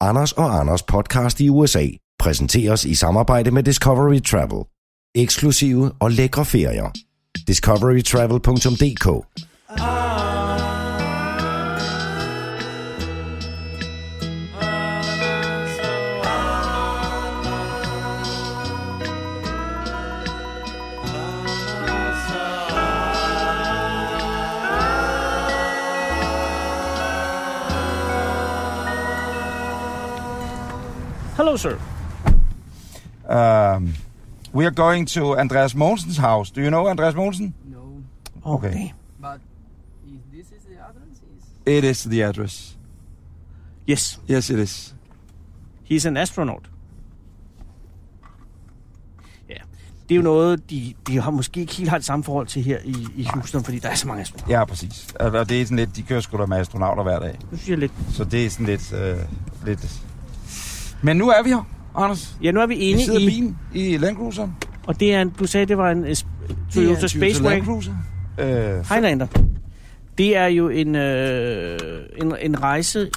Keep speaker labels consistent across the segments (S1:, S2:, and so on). S1: Anders og Anders podcast i USA præsenteres i samarbejde med Discovery Travel. Eksklusive og lækre ferier. discoverytravel.dk
S2: Hello, sir.
S3: Um, we are going to Andreas Mogensen's house. Do you know Andreas Mogensen?
S4: No,
S3: Okay.
S4: but if this is the address, is
S3: It is the address.
S2: Yes,
S3: Yes, it is.
S2: he's an astronaut. Ja, det er jo noget, de, de har måske ikke helt har det samme forhold til her i, i Houston, fordi der er så mange astronauter.
S3: Ja, præcis. Og og det er sådan lidt, de kører sgu da med astronauter hver dag.
S2: Nu synes jeg lidt...
S3: Så det er sådan lidt, øh, lidt... Men nu er vi her, Anders.
S2: Ja, nu er vi
S3: Vi
S2: inde
S3: sidder i
S2: i...
S3: bilen i Land Cruiser. Det
S2: Og det er en... Du sagde, det var en uh,
S3: er en
S2: Toyota
S3: Toyota
S2: Space
S3: Land
S2: Wagon.
S3: Cruiser. Øh,
S2: Highlander. Det er jo en, øh, en, en rejse...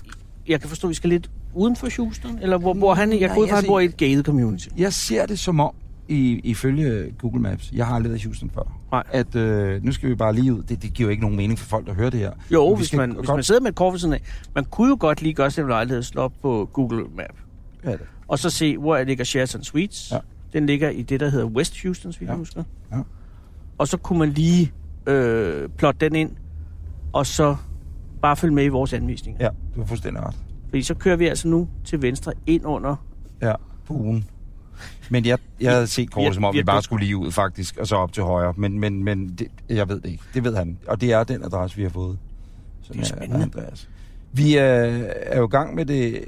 S2: Jeg kan forstå, vi skal lidt uden for Houston, eller hvor bor han? i? Jeg
S3: Nej,
S2: går ud fra, at han
S3: altså-
S2: bor i et gated community.
S3: jeg ser det som om, i, ifølge Google Maps, jeg har aldrig været i Houston før,
S2: Nej.
S3: at øh, nu skal vi bare lige ud. Det, det giver jo ikke nogen mening for folk, der hører det her. Men
S2: Jo,
S3: vi
S2: hvis
S3: skal
S2: man, hvis
S3: godt-
S2: man sidder med et kort ved siden af. Man kunne jo godt lige gøre sig en lejlighed og slå op på Google Map.
S3: Ja, det-
S2: Og så se, hvor ligger Sheraton Suites.
S3: Ja.
S2: Den ligger i det, der hedder West Houston, hvis jeg
S3: Ja.
S2: husker.
S3: Ja.
S2: Og så kunne man lige øh, plotte den ind, og så bare følge med i vores anvisninger.
S3: Ja, du har fuldstændig ret.
S2: Fordi så kører vi altså nu til venstre ind under...
S3: Ja, på ugen. Men jeg, jeg havde set
S2: Vi-
S3: kortet, som om
S2: vi-
S3: vi bare skulle lige ud, faktisk, og så op til højre. Men, men, men det, jeg ved det ikke. Det ved han. Og det er den adresse, vi har fået. Som
S2: Det er
S3: er-
S2: spændende.
S3: Andreas. Vi øh, er jo i gang med det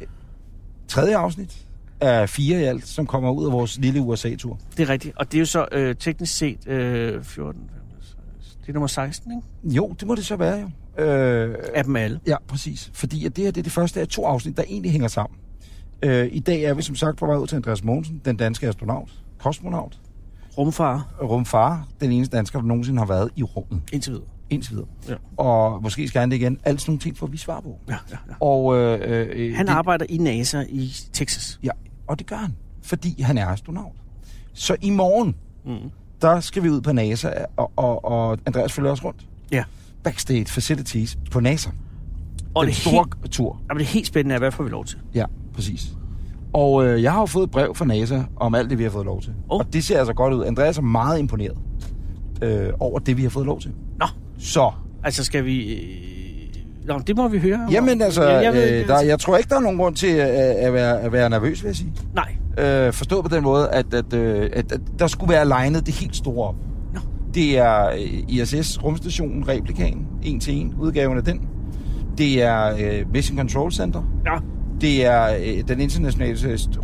S3: tredje afsnit af fire i alt, som kommer ud af vores lille USA-tur.
S2: Det er rigtigt. Og det er jo så øh, teknisk set øh, 14... 15, 16. Det er nummer 16, ikke?
S3: Jo, det må det så være jo. Øh,
S2: Af dem alle.
S3: ja, præcis. Fordi at det her det er det første af to afsnit, der egentlig hænger sammen. Øh, I dag er vi som sagt på vej ud til Andreas Mogensen, den danske astronaut, kosmonaut,
S2: Rumfarer
S3: rumfar, den eneste dansker, der nogensinde har været i rummet,
S2: indtil videre.
S3: indtil videre.
S2: Ja.
S3: Og måske skal han det igen. Alt sådan nogle ting får vi svar på.
S2: Ja, ja, ja.
S3: Og, øh, øh,
S2: Han
S3: det,
S2: arbejder i NASA i Texas.
S3: Ja, og det gør han, fordi han er astronaut. Så i morgen,
S2: Mm.
S3: der skal vi ud på NASA, og, og, og Andreas følger os rundt.
S2: Ja.
S3: Backstage facilities på NASA.
S2: Og
S3: den
S2: det,
S3: store
S2: helt,
S3: tur.
S2: jamen, det er helt spændende, er, hvad får vi lov til?
S3: Ja, præcis. Og øh, jeg har jo fået et brev fra NASA om alt det, vi har fået lov til.
S2: Oh.
S3: Og det ser altså godt ud. Andreas er meget imponeret øh, over det, vi har fået lov til.
S2: Nå,
S3: Så
S2: altså skal vi... Øh... Nå, det må vi høre.
S3: Jamen altså,
S2: jeg,
S3: jeg,
S2: jeg ved,
S3: øh, der,
S2: altså,
S3: jeg tror ikke, der er nogen grund til øh, at, at, være, at være nervøs, vil jeg sige.
S2: Nej,
S3: Øh, forstå på den måde, at, at, øh, at, at der skulle være legnet det helt store op.
S2: Nå.
S3: Det er øh, ISS, rumstationen, replikanen, en til en, udgaven af den. Det er øh, Mission Control Center.
S2: ja,
S3: Det er øh, den internationale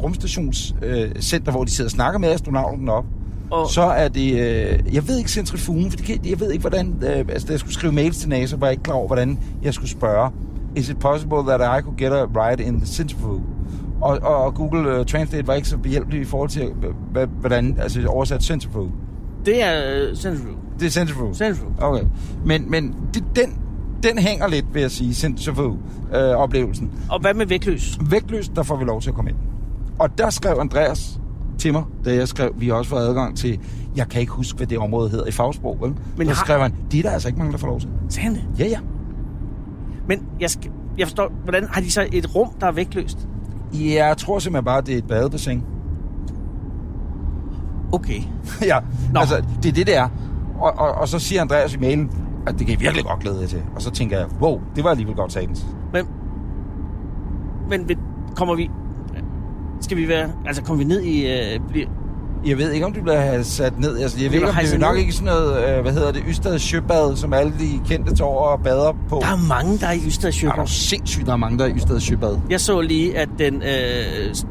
S3: rumstations øh, center, hvor de sidder og snakker med astronauten op.
S2: og
S3: Så er det, øh, jeg ved ikke centrifugen, for det kan, jeg ved ikke, hvordan, øh, altså da jeg skulle skrive mails til NASA, var jeg ikke klar over, hvordan jeg skulle spørge. Is it possible that I could get a ride in the centrifuge? Og, og, og Google uh, Translate var ikke så behjælpelig i forhold til, h- h- hvordan, altså oversat centrifuge.
S2: det er øh, Central.
S3: Det er centrifuge.
S2: Central.
S3: Okay. Men, men det, den, den hænger lidt, vil jeg sige, øh, centrifuge-oplevelsen.
S2: Og hvad med vægtløs?
S3: vægtløst, der får vi lov til at komme ind. Og der skrev Andreas til mig, da jeg skrev, vi har også fået adgang til, jeg kan ikke huske, hvad det område hedder i fagsprog, vel? Men der
S2: har-
S3: skrev han, det er der altså ikke mange, der får lov til.
S2: Sagde han det?
S3: Ja, ja.
S2: Men jeg, skal, jeg forstår, hvordan har de så et rum, der er vægtløst?
S3: Jeg tror simpelthen bare, det er et badebassin.
S2: Okay.
S3: ja,
S2: Nå.
S3: Nå. altså, det er det, det er. Og, og, og så siger Andreas i mailen, at det kan jeg virkelig godt glæde jer til. Og så tænker jeg, wow, det var alligevel godt satans.
S2: Men, men vil- kommer vi... Skal vi være... Altså, kommer vi ned i... Øh, bliver,
S3: Jeg ved ikke, om du bliver sat ned. Altså, jeg ved
S2: bliver
S3: ikke, om det er
S2: hejset
S3: nok
S2: ned.
S3: ikke sådan noget, øh, hvad hedder det, Ystad Søbad, som alle de kendte tårer og bader på.
S2: der er mange, der er i Ystad
S3: er du sindssygt, der er mange, der er i Ystad Søbad.
S2: Jeg så lige, at den øh,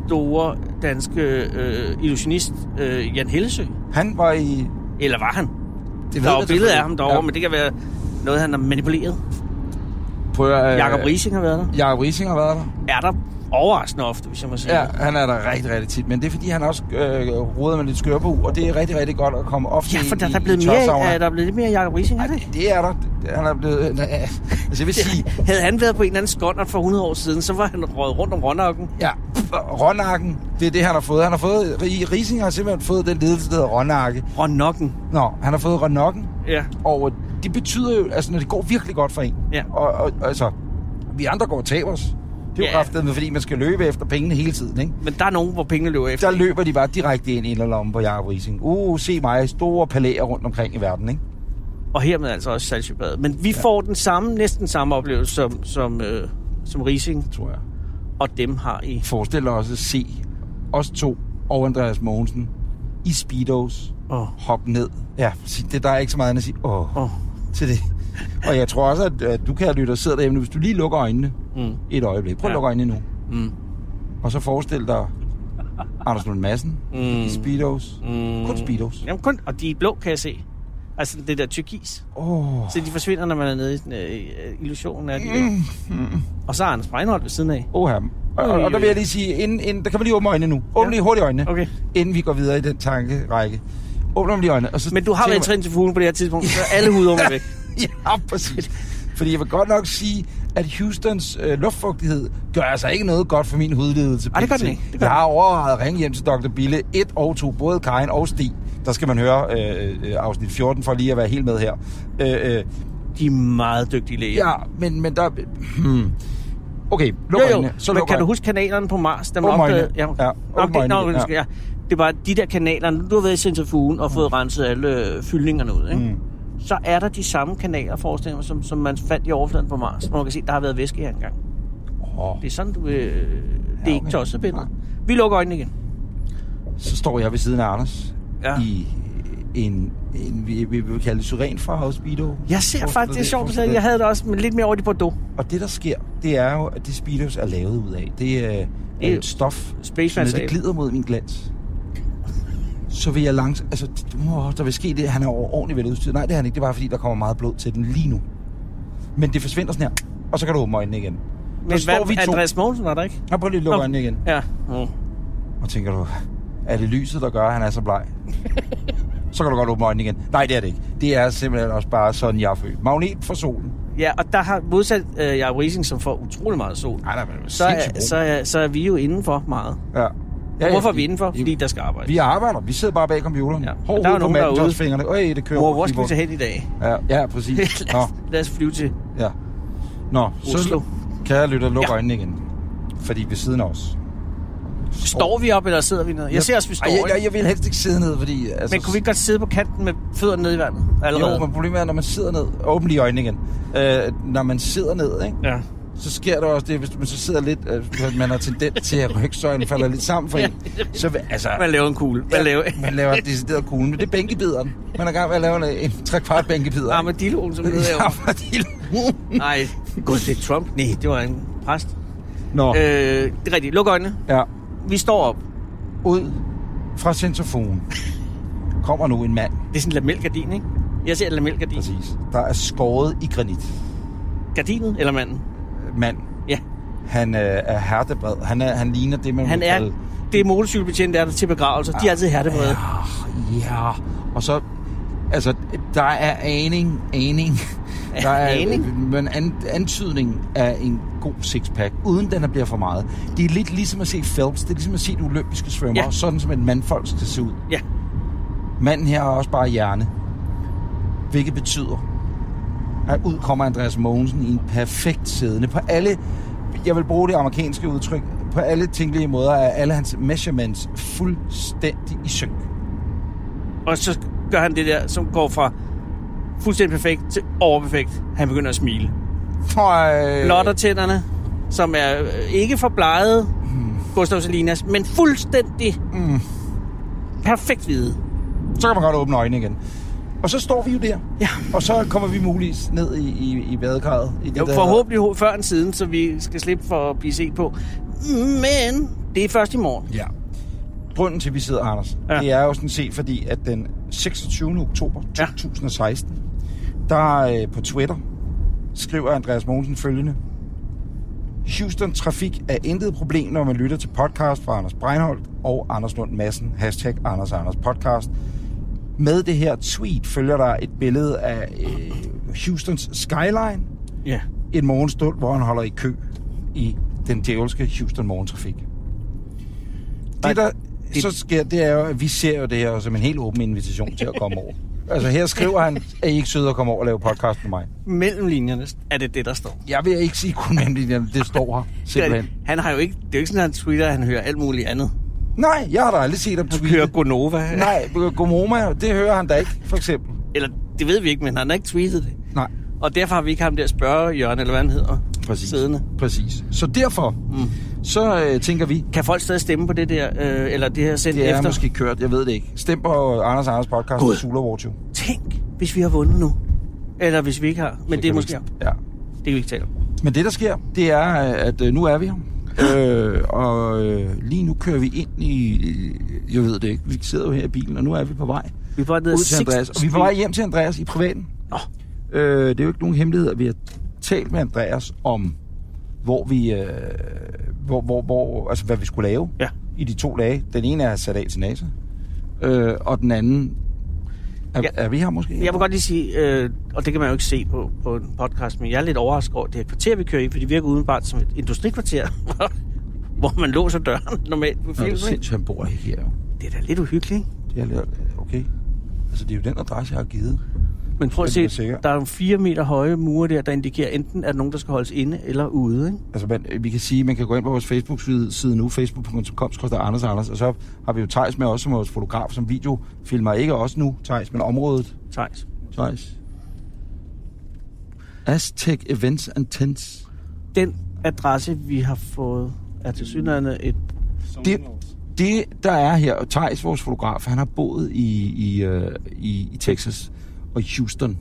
S2: store danske øh, illusionist, øh, Jan Hellesø,
S3: Han var i...
S2: eller var han?
S3: Det
S2: Der er jo billeder
S3: man selvfølgelig.
S2: af ham derovre, ja. men det kan være noget, han har manipuleret.
S3: Prøv at, Øh.
S2: Jakob Rising har været der.
S3: Jacob Rising har været der.
S2: Er der overraskende ofte, hvis jeg må sige.
S3: Ja,
S2: det.
S3: han er der rigtig, rigtig tit. Men det er, fordi han også øh, roder med lidt skørbo, og det er rigtig, rigtig godt at komme ofte
S2: ja for
S3: ind
S2: der, der,
S3: i-
S2: er blevet
S3: i
S2: mere,
S3: tørsauna.
S2: er der er blevet lidt mere Jacob Rising, er det? ikke?
S3: Det er der. Han er blevet... Øh, altså, jeg vil sige,
S2: Havde han været på en eller anden skåndert for 100 år siden, så var han røget rundt om Rønnakken.
S3: Ja, Ronnakken, det er det, han har fået. Han har fået, Rising har simpelthen fået den ledelse, der hedder Ronnakke.
S2: Rønnakken.
S3: Nå, han har fået Ronnakken,
S2: Ja.
S3: og det betyder jo, altså når det går virkelig godt for en,
S2: Ja.
S3: og, og, altså, vi andre går og taber os. Det er jo
S2: Ja.
S3: yeah. med, fordi man skal løbe efter pengene hele tiden, ikke?
S2: Men der er nogen, hvor pengene løber efter.
S3: Der løber de bare direkte ind i lommen på Jacob Rising. Uh, se mig, store palæer rundt omkring i verden, ikke?
S2: Og hermed altså også Salsjøbad. Men vi ja. får den samme, næsten samme oplevelse som, som, øh, som Rising
S3: Tror jeg.
S2: og dem har i.
S3: Forestil dig også at se os to og Andreas Mogensen i Speedos
S2: Åh, oh,
S3: hoppe ned. Ja, sig- det, der er ikke så meget andet at sige. Åh. Oh.
S2: åh. Oh.
S3: til det. Og jeg tror også, at, at du kan lytte og sidder derhjemme, hvis du lige lukker øjnene
S2: Mm.
S3: et øjeblik. Prøv at
S2: Ja.
S3: lukke øjnene nu.
S2: Mm.
S3: Og så forestil dig Anders Lund Madsen i
S2: Mm.
S3: Speedos.
S2: Mm.
S3: Kun Speedos.
S2: Jamen kun, og de er blå, kan jeg se. Altså det der tyrkis.
S3: Åh,
S2: Så de forsvinder, når man er nede i den, øh, illusionen af de der. Og så er Anders Breinholt ved siden af.
S3: oh, og, og, og der vil jeg lige sige, inden, inden, der kan man lige åbne øjnene nu. Åbne
S2: Ja.
S3: lige hurtigt øjnene,
S2: Okay.
S3: inden vi går videre i den tankerække. Åbne dem lige øjnene. Og så
S2: Men du har været i
S3: tænker
S2: trin til fuglen på det her tidspunkt, så er alle hudummer væk.
S3: man- Ja, præcis. Fordi jeg vil godt nok sige, at Houstons øh, luftfugtighed gør altså ikke noget godt for min hudledelse.
S2: Ej, det gør den
S3: pt.
S2: ikke. Det gør
S3: Jeg har overvejet at ringe hjem til Dr. Bille 1 og 2, både Karin og Stig. Der skal man høre øh, øh, afsnit 14 for lige at være helt med her. Øh, øh,
S2: De er meget dygtige læger.
S3: ja, men, men der... Hmm. Okay, luk
S2: jo, jo.
S3: øjnene. Så
S2: men
S3: luk
S2: kan du
S3: øjnene.
S2: huske kanalerne på Mars? Dem
S3: Åbn
S2: opdagede...
S3: øjnene.
S2: Ja,
S3: Ja,
S2: ja
S3: åbn
S2: okay, nå,
S3: øjnene,
S2: ønsker, ja. Det er bare de der kanaler. Nu du har været i centrifugen og fået renset alle øh, fyldningerne ud, ikke?
S3: Mm.
S2: Mm. så er der de samme kanaler, forestiller jeg mig, som, som man fandt i overfladen på Mars. Hvor man kan se, der har været væske her engang.
S3: Åh,
S2: Det er sådan, du... Øh, det er
S3: Ja,
S2: ikke
S3: okay.
S2: tosset billede. Vi lukker øjnene igen.
S3: så står jeg ved siden af Anders
S2: Ja.
S3: i en, en vi, vi vil kalde det syren fra House Speedo.
S2: Jeg ser
S3: Forestil
S2: faktisk, det er
S3: dig
S2: sjovt, du
S3: forestil
S2: sagde,
S3: dig
S2: jeg havde det også, men lidt mere over i Bordeaux.
S3: Og det, der sker, det er jo, at det Speedos er lavet ud af. Det øh, er,
S2: Det er
S3: er
S2: jo
S3: et stof,
S2: space
S3: så når det
S2: materiale.
S3: glider mod min glans. Så vil jeg langs... Altså, oh, der vil ske det, han er over- ordentligt veludstyret. Nej, det er han ikke. Det er bare, fordi der kommer meget blod til den lige nu. Men det forsvinder sådan her, og så kan du åbne øjnene igen.
S2: Men
S3: Men
S2: hvad,
S3: står vi to... Andreas...
S2: Andreas Mogensen var der ikke?
S3: Jeg prøver lige at lukke
S2: Nå.
S3: øjnene igen.
S2: Ja. Mm.
S3: Og tænker du, er det lyset, der gør, at han er så bleg? så kan du godt åbne øjnene igen. Nej, det er det ikke. Det er simpelthen også bare sådan, jeg er født. Magnet for solen.
S2: Ja, og der har modsat øh, Jacob Rising, som får utrolig meget sol,
S3: Nej, nej, men
S2: så er, så, er, så er vi jo indenfor meget.
S3: Ja. Ja, ja,
S2: Hvorfor er
S3: det-
S2: vi indenfor?
S3: det-
S2: Fordi der skal arbejde.
S3: Vi arbejder. Vi sidder bare bag computeren. Ja.
S2: Ja.
S3: Hård
S2: Der er
S3: der er
S2: nogen
S3: nogen
S2: derude.
S3: fingrene. Øj, det kører
S2: Mor,
S3: over
S2: hvor skal vi
S3: keyboard.
S2: tage hen i dag?
S3: Ja, ja, præcis.
S2: lad,
S3: Nå,
S2: os, lad os flyve til
S3: ja. Nå,
S2: Oslo.
S3: så kan jeg lytte og lukke ja.
S2: Ja.
S3: øjnene igen. Fordi ved siden af os.
S2: Står vi op, eller sidder vi ned? Jeg ser også, vi står.
S3: Ej, jeg,
S2: ikke?
S3: jeg, jeg vil helst ikke sidde ned, fordi... Altså,
S2: Men kunne vi ikke godt sidde på kanten med fødderne nede i vandet? Allerede?
S3: Jo, men problemet er, når man sidder ned... Åbn lige øjnene igen. Øh, når man sidder ned, ikke?
S2: Ja.
S3: så sker der også det, hvis man så sidder lidt... Øh, man har tendens til, at rygsøjlen falder lidt sammen for en. Så vil- altså...
S2: Man laver en kugle. Man laver...
S3: man laver en decideret kugle, men det er bænkebideren. Man er i gang med at lave en, en trekvart bænkebider.
S2: Ah, Armadilloen, som det
S3: Ja,
S2: hedder.
S3: fordi...
S2: Nej. Gud, det er Trump. Nej, det var en præst.
S3: Nå,
S2: Øh, det er rigtigt. Luk øjnene.
S3: ja.
S2: Vi står op.
S3: Ud fra sensofonen kommer nu en mand,
S2: Det er sådan en lamelgardin, ikke? Jeg ser et lamelgardin.
S3: præcis, der er skåret i granit.
S2: Gardinet eller manden?
S3: Mand.
S2: Ja.
S3: Han øh, er hertebred. Han, er, han ligner det, man
S2: Han
S3: vil
S2: er...
S3: kalde...
S2: Det er motorcykelbetjent, der er der til begravelser. De er altid hertebrede.
S3: Ja, og så... Altså, der er aning, aning. Der er
S2: Aning?
S3: Men an, antydning af en god sixpack, uden den er bliver for meget. Det er lidt ligesom at se Phelps, det er ligesom at se de olympiske svømmer, ja.
S2: Ja.
S3: sådan som en mandfolk skal se ud.
S2: Ja.
S3: Manden her har også bare hjerne. Hvilket betyder, at ud kommer Andreas Mogensen i en perfekt siddende på alle, jeg vil bruge det amerikanske udtryk, på alle tænkelige måder er alle hans measurements fuldstændig i synk.
S2: Og så gør han det der, som går fra fuldstændig perfekt til overperfekt. Han begynder at smile.
S3: Øh.
S2: blotter tænderne, som er øh, ikke forbleget Gustav Salinas, men fuldstændig mm. perfekt hvide.
S3: Så kan man godt åbne øjnene igen. Og så står vi jo der.
S2: Ja.
S3: Og så kommer vi muligvis ned i, i, i badekarret. I det
S2: Jo,
S3: der-
S2: forhåbentlig ho- før end siden, så vi skal slippe for at blive set på. Men det er først i morgen.
S3: Ja. Grunden til, at vi sidder, Anders, ja.
S2: Ja.
S3: det er jo sådan set, fordi at den 26. oktober
S2: Ja.
S3: 2016, der øh, på Twitter skriver Andreas Mogensen følgende. Houston Trafik er intet problem, når man lytter til podcast fra Anders Breinholt og Anders Lund Madsen. Hashtag Anders Anders Podcast. Med det her tweet følger der et billede af øh, Houstons skyline
S2: Ja.
S3: en morgenstund, hvor han holder i kø i den djævelske Houston morgentrafik.
S2: Nej,
S3: Det, der
S2: det-
S3: så sker, det er jo, at vi ser jo det her som en helt åben invitation til at komme over. Altså her skriver han, at I ikke søde at komme over og lave podcast med mig.
S2: Mellem linjerne er det det, der står.
S3: Jeg vil ikke sige kun nemlig, det står her simpelthen.
S2: Han har jo ikke, det er jo ikke sådan, at han tweeter, at han hører alt muligt andet.
S3: Nej, jeg har da aldrig set ham
S2: Han kører
S3: tweete.
S2: Gonova.
S3: Nej, Gomoma, det hører han da ikke, for eksempel.
S2: Eller det ved vi ikke, men han har ikke tweetet det.
S3: Nej,
S2: Og derfor har vi ikke ham der spørge Jørgen, eller hvad han hedder,
S3: præcis.
S2: siddende.
S3: Præcis. Så derfor, mm. så øh, tænker vi,
S2: Kan folk stadig stemme på det der, øh, eller det her sendt
S3: det er
S2: efter?
S3: måske kørt, jeg ved det ikke. Stem på Anders Anders podcast
S2: Gud.
S3: og Sula Vortio.
S2: Tænk, hvis vi har vundet nu. Eller hvis vi ikke har. Men det er måske... Det
S3: Ja.
S2: kan vi ikke tale om.
S3: Men det, der sker, det er, at øh, nu er vi her. Øh, og øh, lige nu kører vi ind i... øh, Jeg ved det ikke. Vi sidder jo her i bilen, og nu er vi på vej
S2: Vi er på vej ned ad
S3: ud til
S2: Sixth
S3: Andreas. Og vi er på vej hjem til Andreas i privaten.
S2: Nå.
S3: Øh, det er jo ikke nogen hemmelighed, at vi har talt med Andreas om, hvor vi... Øh, hvor, hvor, hvor, altså, hvad vi skulle lave
S2: Ja.
S3: i de to dage. Den ene er sat af til NASA, øh, og den anden...
S2: Ja.
S3: Er, ja. er vi her måske?
S2: Jeg vil godt lige sige, øh, og det kan man jo ikke se på, på en podcast, men jeg er lidt overrasket over det her kvarter, vi kører i, for det virker udenbart som et industrikvarter, hvor man låser døren normalt ved
S3: Nå, det er
S2: filmen. ikke?
S3: sindssygt, han bor ikke her. jo.
S2: Det er da lidt uhyggeligt, ikke?
S3: Det er lidt- okay. Altså, det er jo den adresse, jeg har givet.
S2: Men prøv at
S3: Det er
S2: se,
S3: da sikkert.
S2: der Altså, er nogle fire meter høje mure der, der indikerer enten, at nogen, der skal holdes inde eller ude, ikke?
S3: Altså, man, vi kan sige, man kan gå ind på vores Facebook-side nu, facebook.com, koster Anders og Anders, og så har vi jo Tejs med os som vores fotograf, som videofilmer. Ikke os nu, Tejs, men området.
S2: Thijs.
S3: Tejs. Aztec Events and Tents.
S2: Den adresse, vi har fået, er til synligheden et...
S3: Det, det, der er her, og Tejs, vores fotograf, han har boet i, i, øh, i, i Texas og i Houston.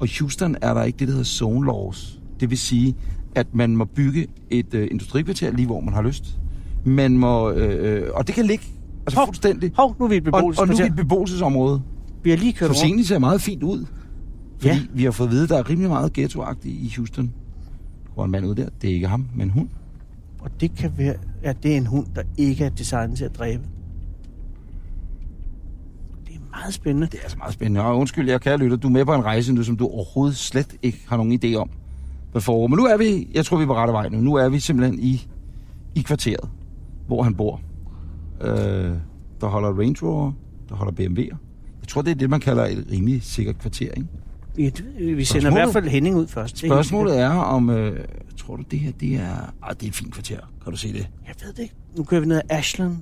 S3: Og i Houston er der ikke det, der hedder zone laws. Det vil sige, at man må bygge et øh, industrikvarter lige, hvor man har lyst. Man må, øh, øh, og det kan ligge altså
S2: Hov,
S3: fuldstændig.
S2: Hov, nu er vi et
S3: Og, og nu er
S2: beboelseskvarter.
S3: vi et beboelsesområde,
S2: Vi har lige kørt
S3: som
S2: rundt.
S3: egentlig ser meget fint ud. Fordi
S2: Ja.
S3: ja. vi har fået at vide, at der er rimelig meget ghettoagtigt i Houston. Hvor en mand ud der, det er ikke ham, men hun.
S2: Og det kan være, at det er en hund, der ikke er designet til at dræbe. Det er meget spændende.
S3: Det er altså meget spændende. Og undskyld, jeg kære lytter, du er med på en rejse nu, som du overhovedet slet ikke har nogen idé om. Hvad foregår. Men nu er vi, jeg tror vi er på rette vej nu. Nu er vi simpelthen i, i kvarteret, hvor han bor. Øh, der holder Range Rover, der holder BMW'er. Jeg tror, det er det, man kalder et rimelig sikkert kvarter, ikke?
S2: Ja, det- Vi sender i hvert fald Henning ud først. Det er
S3: Spørgsmålet er om, øh, tror du det her, det er... Ah, det er et fint kvarter, kan du se det?
S2: helt- Jeg ved det ikke. Nu kører vi ned ad Ashland.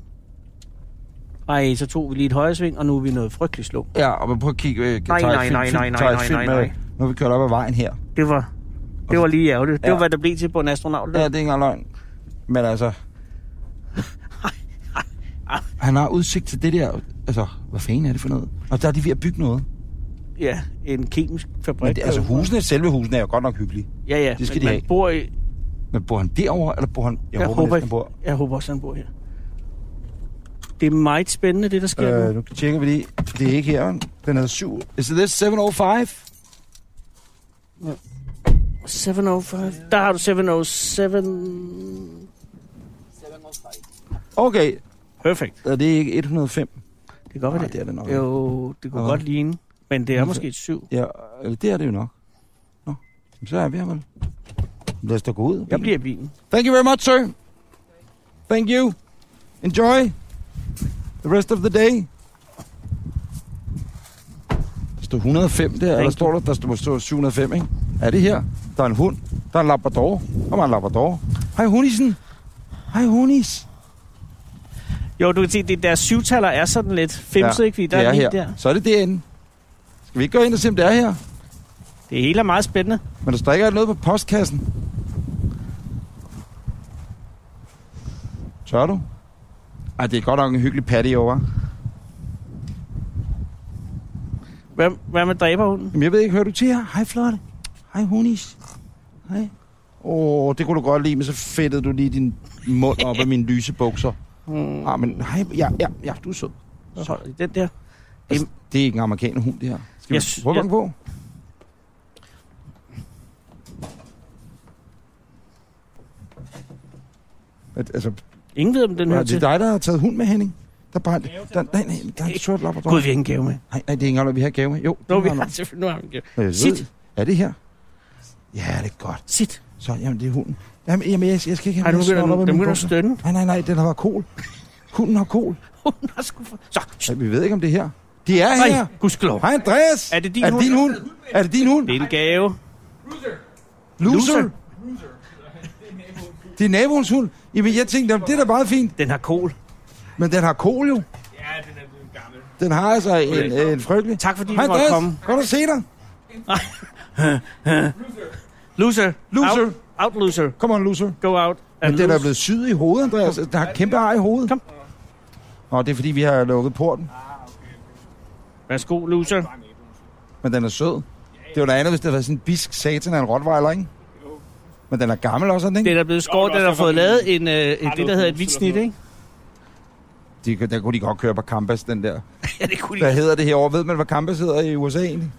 S2: Ej, så tog vi lige et højresving, og nu er vi noget frygteligt slå.
S3: Ja, og man prøver at kigge... Øh,
S2: Nej,
S3: tager et
S2: nej, nej, nej, nej,
S3: tager et
S2: nej,
S3: film
S2: nej,
S3: med,
S2: nej.
S3: Nu har vi kørt op ad vejen her.
S2: Det var, det var lige ærgerligt. Det
S3: Ja.
S2: var, hvad der blev til på en astronaut.
S3: Ja, det er
S2: Ja.
S3: ikke engang løgn. Men altså... Han har udsigt til det der... Altså, hvad fanden er det for noget? Og der er de ved at bygge noget.
S2: ja, en kemisk fabrik.
S3: Men det, altså, husene, selve husene er jo godt nok hyggelige.
S2: Ja, ja.
S3: det skal
S2: men
S3: de
S2: man
S3: have.
S2: Bor i,
S3: Men bor han derover eller bor han... Jeg,
S2: jeg,
S3: håber,
S2: håber,
S3: næsten, han
S2: håber
S3: bor...
S2: jeg håber også, han bor her. Det er meget spændende, det der sker øh, nu.
S3: Øh, nu tjekker vi lige. Det er ikke her. Den hedder 7... Is this 705?
S2: 705. Der har du 707.
S4: 705.
S3: Okay,
S2: Perfekt.
S3: er det ikke 105?
S2: Det kan godt være
S3: Nej,
S2: det.
S3: Ah, det er det nok ikke.
S2: Jo, det kunne
S3: Nå.
S2: godt ligne. Men det er
S3: Okay.
S2: måske et syv.
S3: Ja, eller det er det jo nok. Nå, jamen, så er vi her vel. Lad os da gå ud.
S2: Jeg bliver i bilen.
S3: Thank you very much, sir. Thank you. Enjoy the rest of the day. Der står 105 der, eller
S2: you.
S3: står der, der står, står 705, ikke? Er det her? Der er en hund. Der er en labrador. Der var en labrador. Hej, hunisen. Hej, hunis.
S2: Jo, du kan se, det der syvtaller er sådan lidt femset, ja, ikke? Fordi der
S3: det
S2: er,
S3: er
S2: er
S3: her.
S2: der.
S3: Så er det derinde. Skal vi ikke gå ind og se, om det er her?
S2: Det hele er meget spændende.
S3: Men der står ikke noget på postkassen. Tør du? Ej, det er godt nok en hyggelig patio, hva'?
S2: Hvad, hvad med dræberhunden?
S3: Jamen, jeg ved ikke, hører du til her? Hej, Flotte. Hej, Honis. Hej. Åh, oh, det kunne du godt lide, men så fedtede du lige din mund op af mine lyse bukser.
S2: Hmm.
S3: Ah, men hej, ja, ja, ja, du er sød.
S2: Så holder de den der.
S3: Altså, det er ikke en amerikaner hund, det her. Skal vi
S2: Jeg sy-
S3: prøve
S2: jeg-
S3: at banke på? At, altså,
S2: Ingen ved, om den
S3: det
S2: hører
S3: er
S2: til.
S3: dig, der har taget hund med, Henning. Der brændte. Der, nej, nej, der er en sort lapper.
S2: Gud, vi har ingen gave med.
S3: Nej, nej, det er ikke engang, vi har gave med. Jo,
S2: Nå,
S3: den
S2: vi
S3: har
S2: har
S3: nok.
S2: selvfølgelig, nu har vi en gave.
S3: Jeg ved
S2: Sit.
S3: det. Er det her? Ja, det er godt.
S2: Sit.
S3: Så, jamen, det er hunden. Jamen, jamen jeg, jeg skal ikke
S2: Ej,
S3: have
S2: nu
S3: mere snot
S2: begynder
S3: op
S2: den,
S3: af
S2: den
S3: min
S2: begynder at
S3: bukser.
S2: stønne.
S3: Nej, nej, nej, den har kol. Hunden har kol.
S2: Hun har sgu for... Så, sh-
S3: Ja, vi ved ikke, om det er her. De er
S2: nej,
S3: her.
S2: gudskelov.
S3: Hej, Andreas.
S2: Er det din
S3: er det din hund? Er det din hund?
S2: Det er en gave.
S3: Loser. Det er naboens hund. Jamen, jeg tænkte, jamen, det er da meget fint.
S2: Den har kol.
S3: Men den har kol jo.
S5: Ja, den er blevet gammel.
S3: Den har altså en, en frygtelig.
S2: Tak fordi
S3: Hej,
S2: du måtte komme.
S3: Andreas. Godt at se dig.
S2: Loser.
S3: Loser.
S2: Out, out loser.
S3: Kom on, loser.
S2: Go out. and
S3: Men den er
S2: lose.
S3: blevet syet i hovedet, Andreas. Den har kæmpe ar i hovedet.
S2: Kom.
S3: Nå, det er fordi, vi har lukket porten.
S2: Værsgo, loser.
S3: Men den er sød. Det var da andet, hvis det var sådan en bisk satan af en rottweiler, ikke? Men den er gammel også, er den, ikke?
S2: Den er blevet skåret,
S5: Jo, men
S2: den har
S5: også
S2: fået
S5: derfor,
S2: lavet en, øh, et, det, der hedder et
S5: hus
S2: hvidt
S5: eller
S2: snit,
S5: noget.
S2: ikke?
S3: De, der kunne de godt køre på Campus, den der.
S2: Ja, det kunne de.
S3: Hvad hedder det herovre? Ved man, hvad Campus hedder i USA egentlig?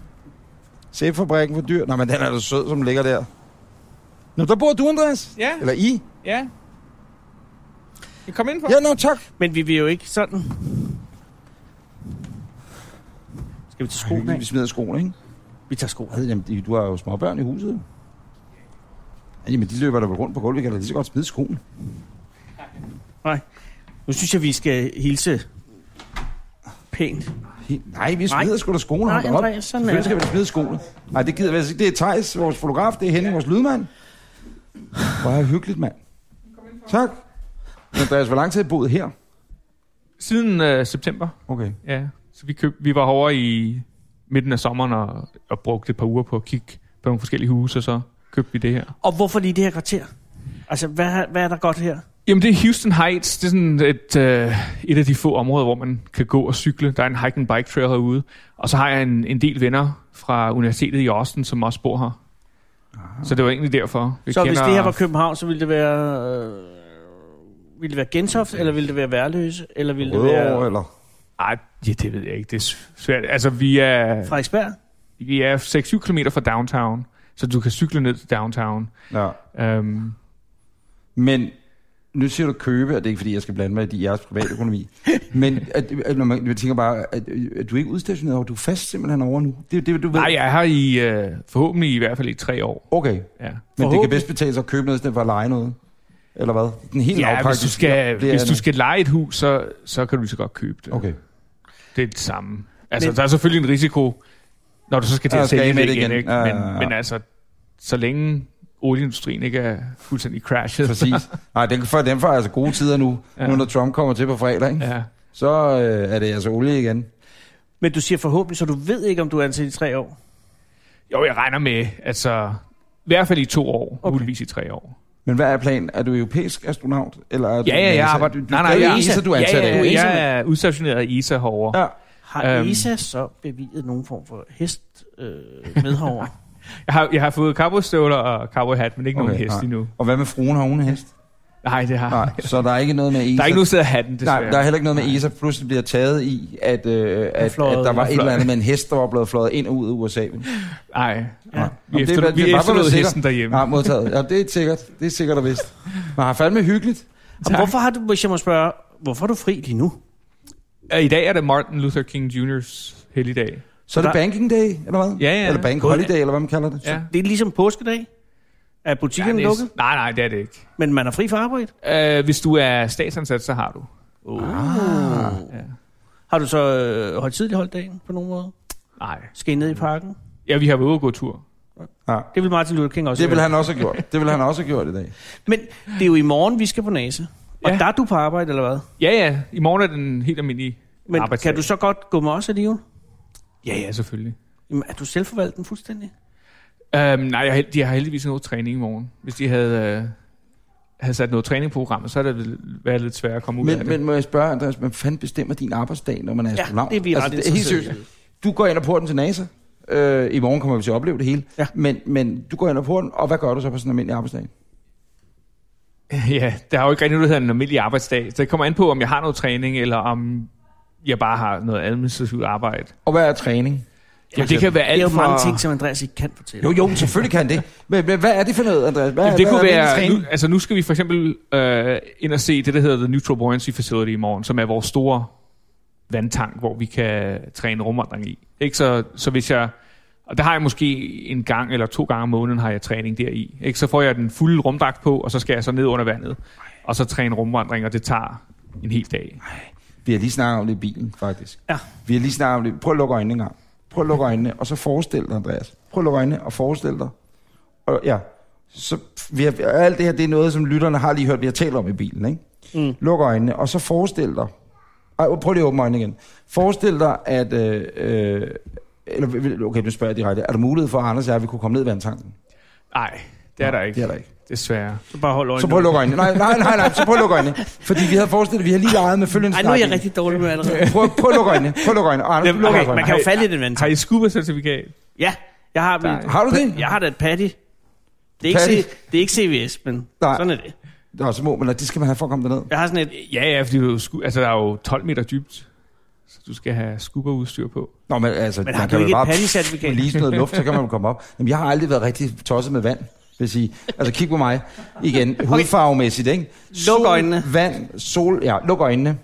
S3: Sæbefabrikken for dyr? Nej, men den er da sød, som ligger der. Nå, der bor du, Andreas?
S5: Ja,
S3: Eller I?
S5: ja. Men Kom ind på.
S3: Ja, nå, tak.
S2: Men vi vil jo ikke sådan. Skal vi tage skoene af?
S3: Vi smider skoene, ikke?
S2: Vi tager skoene af.
S3: Hvad, jamen, de- du har jo småbørn i huset. jo. Ja, Jamen, de løber der vel rundt på gulvet. Vi kan da lige så godt smide skoene.
S2: Nu synes jeg, vi skal hilse pænt.
S3: Helt- Nej, vi
S2: Nej.
S3: smider sgu da skoene.
S2: Nej,
S3: hold da op.
S2: Andreas, sådan er
S3: Selvfølgelig skal
S2: det.
S3: vi da smide skoene. Nej, det gider vi altså ikke. Det er Tejs, vores fotograf. Det er Henning, vores lydmand. Hvor er hyggeligt, mand. Tak. Men Andreas, hvor lang tid har I boet her?
S5: Siden øh, september,
S3: Okay.
S5: ja. Så vi, køb, vi var over i midten af sommeren og, og brugte et par uger på at kigge på nogle forskellige huse, og så købte vi det her.
S2: Og hvorfor lige det her kvarter? Altså, hvad, har- hvad er der godt her?
S5: Jamen, det er Houston Heights. Det er sådan et, øh, et af de få områder, hvor man kan gå og cykle. Der er en hike and bike trail herude. Og så har jeg en, en del venner fra universitetet i Austin, som også bor her. Så det var egentlig derfor. Vi
S2: Ah. så hvis det her var København, så ville det være... Øh, ville det være Gentofte, eller ville det være Værløse, eller ville det
S3: Rødovre,
S2: være
S3: eller?
S5: Ej, ja, det ved jeg ikke. Det er s- svært. Altså, vi er...
S2: Frederiksberg?
S5: Vi er 6-7 km fra downtown, så du kan cykle ned til downtown.
S3: Ja.
S5: Um,
S3: Men nu siger du købe, og det er ikke fordi, jeg skal blande mig i jeres privatøkonomi. Men at, at, når man, man tænker bare, at, at du er ikke udstationeret, og du er fast simpelthen over nu. Det er det, du ved.
S5: nej, jeg er her i, øh, forhåbentlig i hvert fald i tre år.
S3: Okay,
S5: Ja,
S3: men det
S2: Forhåbentlig.
S3: kan bedst betale sig at købe noget, i stedet for at lege noget. Eller hvad? Den helt
S5: ja
S3: afpakket
S5: hvis, du skal,
S3: bliver
S5: hvis
S3: en-
S5: du skal lege et hus, så, så kan du lige så godt købe det.
S3: Okay.
S5: Det er det samme. Altså,
S2: Men-
S5: men, der er selvfølgelig en risiko, når du så skal til
S3: Ja,
S5: at
S3: skal
S5: sælge
S3: af med
S5: det
S3: det
S5: igen.
S3: igen.
S5: Ikke?
S3: Ja,
S5: Men,
S3: ja, ja.
S5: men altså, så længe olieindustrien ikke er fuldstændig crashed.
S3: Præcis. Nej, den, for, den får altså gode tider nu, ja.
S5: Ja.
S3: nu når Trump kommer til på fredag. Ikke? Ja.
S5: ja.
S3: Så øh, er det altså olie igen.
S2: Men du siger forhåbentlig, så du ved ikke, om du er ansat i tre år.
S5: Jo, jeg regner med, altså, i hvert fald i to år, okay. muligvis i tre år.
S3: Men hvad er planen? Er du europæisk astronaut? Eller er du
S5: Ja, ja, jeg
S3: NASA?
S5: arbejder...
S3: Du, du, nej, nej, det er jo ESA, du er ansat
S5: ja, ja,
S3: af.
S5: ja,
S3: Du er
S5: Jeg er udstationeret i ESA herovre.
S3: Ja.
S5: Ja.
S2: Har
S5: Øhm.
S2: ESA så bevidet nogen form for hest øh, med herover?
S5: Jeg, har, jeg har fået cowboystøvler og cowboyhat, men ikke okay,
S3: Okay,
S5: nogen hest
S3: nej.
S5: endnu.
S3: Og hvad med fruen? Har hun en hest?
S5: Nej, det har
S3: Nej, så der er ikke noget med ESA.
S5: Der er ikke nogen sted at have den, desværre.
S3: Nej, der er heller ikke noget med ESA. Pludselig bliver taget i, at, øh, at,
S2: fløjet-
S3: at der var et
S5: fløjet.
S3: eller andet med en hest, der var blevet fløjet ind og ud af USA. Ja.
S5: Nej.
S2: Ja.
S5: Vi, efter, det, vi
S3: er bare for at være
S5: efterlod
S3: sikker.
S5: hesten derhjemme.
S3: Ja, modtaget. Ja, det er sikkert. Det er sikkert og vist. Man har fandme hyggeligt.
S2: Og hvorfor har du, hvis jeg må spørge, hvorfor er du fri lige nu?
S5: Ja. I dag er det Martin Luther King Jr.'s helligdag.
S3: Så er det
S2: Der-
S3: banking day, eller hvad?
S5: Ja, ja.
S3: Eller bank
S2: Både-
S3: holiday, eller hvad man kalder det.
S5: Ja.
S2: Det er ligesom påskedag. Er butikken ja,
S5: det er-
S2: lukket?
S5: Nej, nej, det er det ikke.
S2: Men man er fri fra arbejde?
S5: Uh, hvis du er statsansat, så har du.
S3: Uh.
S2: Ah. Ja. Har du så øh, holdt tidligt holdt dagen på nogen måde?
S5: Nej.
S2: Skal I ned i parken?
S5: Ja, vi har været ude og gå tur.
S3: Ja.
S2: Det vil Martin Luther King også
S3: Det vil
S2: gøre.
S3: han også have gjort. Det vil han også have gjort i dag.
S2: Men det er jo i morgen, vi skal på NASA. Og ja.
S5: Ja.
S2: der er du på arbejde, eller hvad?
S5: Ja, ja. I morgen er den helt almindelige
S2: Men
S5: arbejdsdag.
S2: kan du så godt gå med os alligevel?
S5: Ja, ja, selvfølgelig.
S2: Jamen, er du selvforvalgt den fuldstændig?
S5: Um, nej, jeg, har held- de har heldigvis noget træning i morgen. Hvis de havde, øh, havde sat noget træning på programmet, så havde det vel været lidt sværere at komme ud af
S3: Men,
S5: det.
S3: men må jeg spørge, Andreas, hvem fanden bestemmer din arbejdsdag, når man er astronaut? Altså,
S2: det er vi ret
S3: det er helt
S2: interesserede i.
S3: seriøst. Du går ind og porten til NASA. Øh, I morgen kommer vi til at opleve det hele.
S2: Ja.
S3: Men, men du går ind og porten, og hvad gør du så på sådan en almindelig arbejdsdag?
S5: Ja, der er jo ikke rigtig noget, der hedder en almindelig arbejdsdag. Så det kommer an på, om jeg har noget træning, eller om jeg bare har noget administrativt arbejde.
S3: Og hvad er træning?
S5: Jamen, det kan være
S2: Det er
S5: alt
S2: jo
S5: fra...
S2: mange ting, som Andreas ikke kan fortælle.
S3: Jo, jo, selvfølgelig kan det. Men, men hvad er det for noget, Andreas? Hvad,
S5: Jamen, det
S3: hvad
S5: kunne
S3: er
S5: være, nu,
S3: meningen?
S5: altså nu skal vi for eksempel øh, ind og se det, der hedder The Neutral Buoyancy Facility i morgen, som er vores store vandtank, hvor vi kan træne rumvandring i. Ikke? Så, så hvis jeg, og der har jeg måske en gang eller to gange om måneden, har jeg træning deri. Ikke? Så får jeg den fulde rumdragt på, og så skal jeg så ned under vandet, og så træne rumvandring, og det tager en hel dag.
S3: Vi har lige snakket om det i bilen, faktisk.
S2: Ja.
S3: Vi har lige snakket om det. Prøv at lukke øjnene en gang. Prøv at lukke øjnene, og så forestil dig, Andreas. Prøv at lukke øjnene og forestil dig. Og ja, så vi har, og alt det her, det er noget, som lytterne har lige hørt, vi har talt om i bilen, ikke? Mm. Luk øjnene, og så forestil dig. Ej, prøv lige at åbne øjnene igen. Forestil dig, at... Øh, øh, eller, vil- vil- okay, nu spørger jeg direkte. Er der mulighed for, at Anders og jeg vil kunne komme ned i vandtanken?
S5: Nej, det er der ikke.
S3: Det er der ikke.
S5: Desværre.
S2: Så bare hold øjnene.
S3: Så prøv at lukke øjnene. Nej, nej, nej, nej. Så prøv at lukke øjnene. Fordi vi havde forestillet, vi har lige leget med følgende
S2: Ej, nu er jeg
S3: snak.
S2: rigtig dårlig med allerede.
S3: Prøv, prøv at lukke øjnene. Prøv at lukke øjnene. Anders,
S5: Jamen,
S3: luk
S2: Okay,
S3: øjnene.
S2: man kan jo falde i den vand.
S5: Har I scuba-certifikat?
S2: Ja, jeg har,
S5: Nej.
S2: mit,
S3: Har du det?
S2: jeg har da et patty. Det er, ikke,
S3: Patty?
S2: C, det er ikke CVS, men
S3: Nej.
S2: sådan er det.
S3: Nå, så må man, og det skal man have for at komme derned.
S2: Jeg har sådan et...
S5: Ja, ja, fordi du er jo scu- altså, der er jo 12 meter dybt, så du skal have scuba-udstyr på.
S3: Nå, men altså,
S2: Men
S3: man
S2: har
S3: kan
S2: du
S3: jo
S2: ikke et
S3: bare
S2: patty-certifikat?
S3: lige noget luft, så kan man jo komme op. Jamen, jeg har aldrig været rigtig tosset med vand, vil jeg sige. Altså, kig på mig igen, hudfarvemæssigt, ikke? Sol,
S2: øjnene.
S3: Vand, sol, ja, luk øjnene.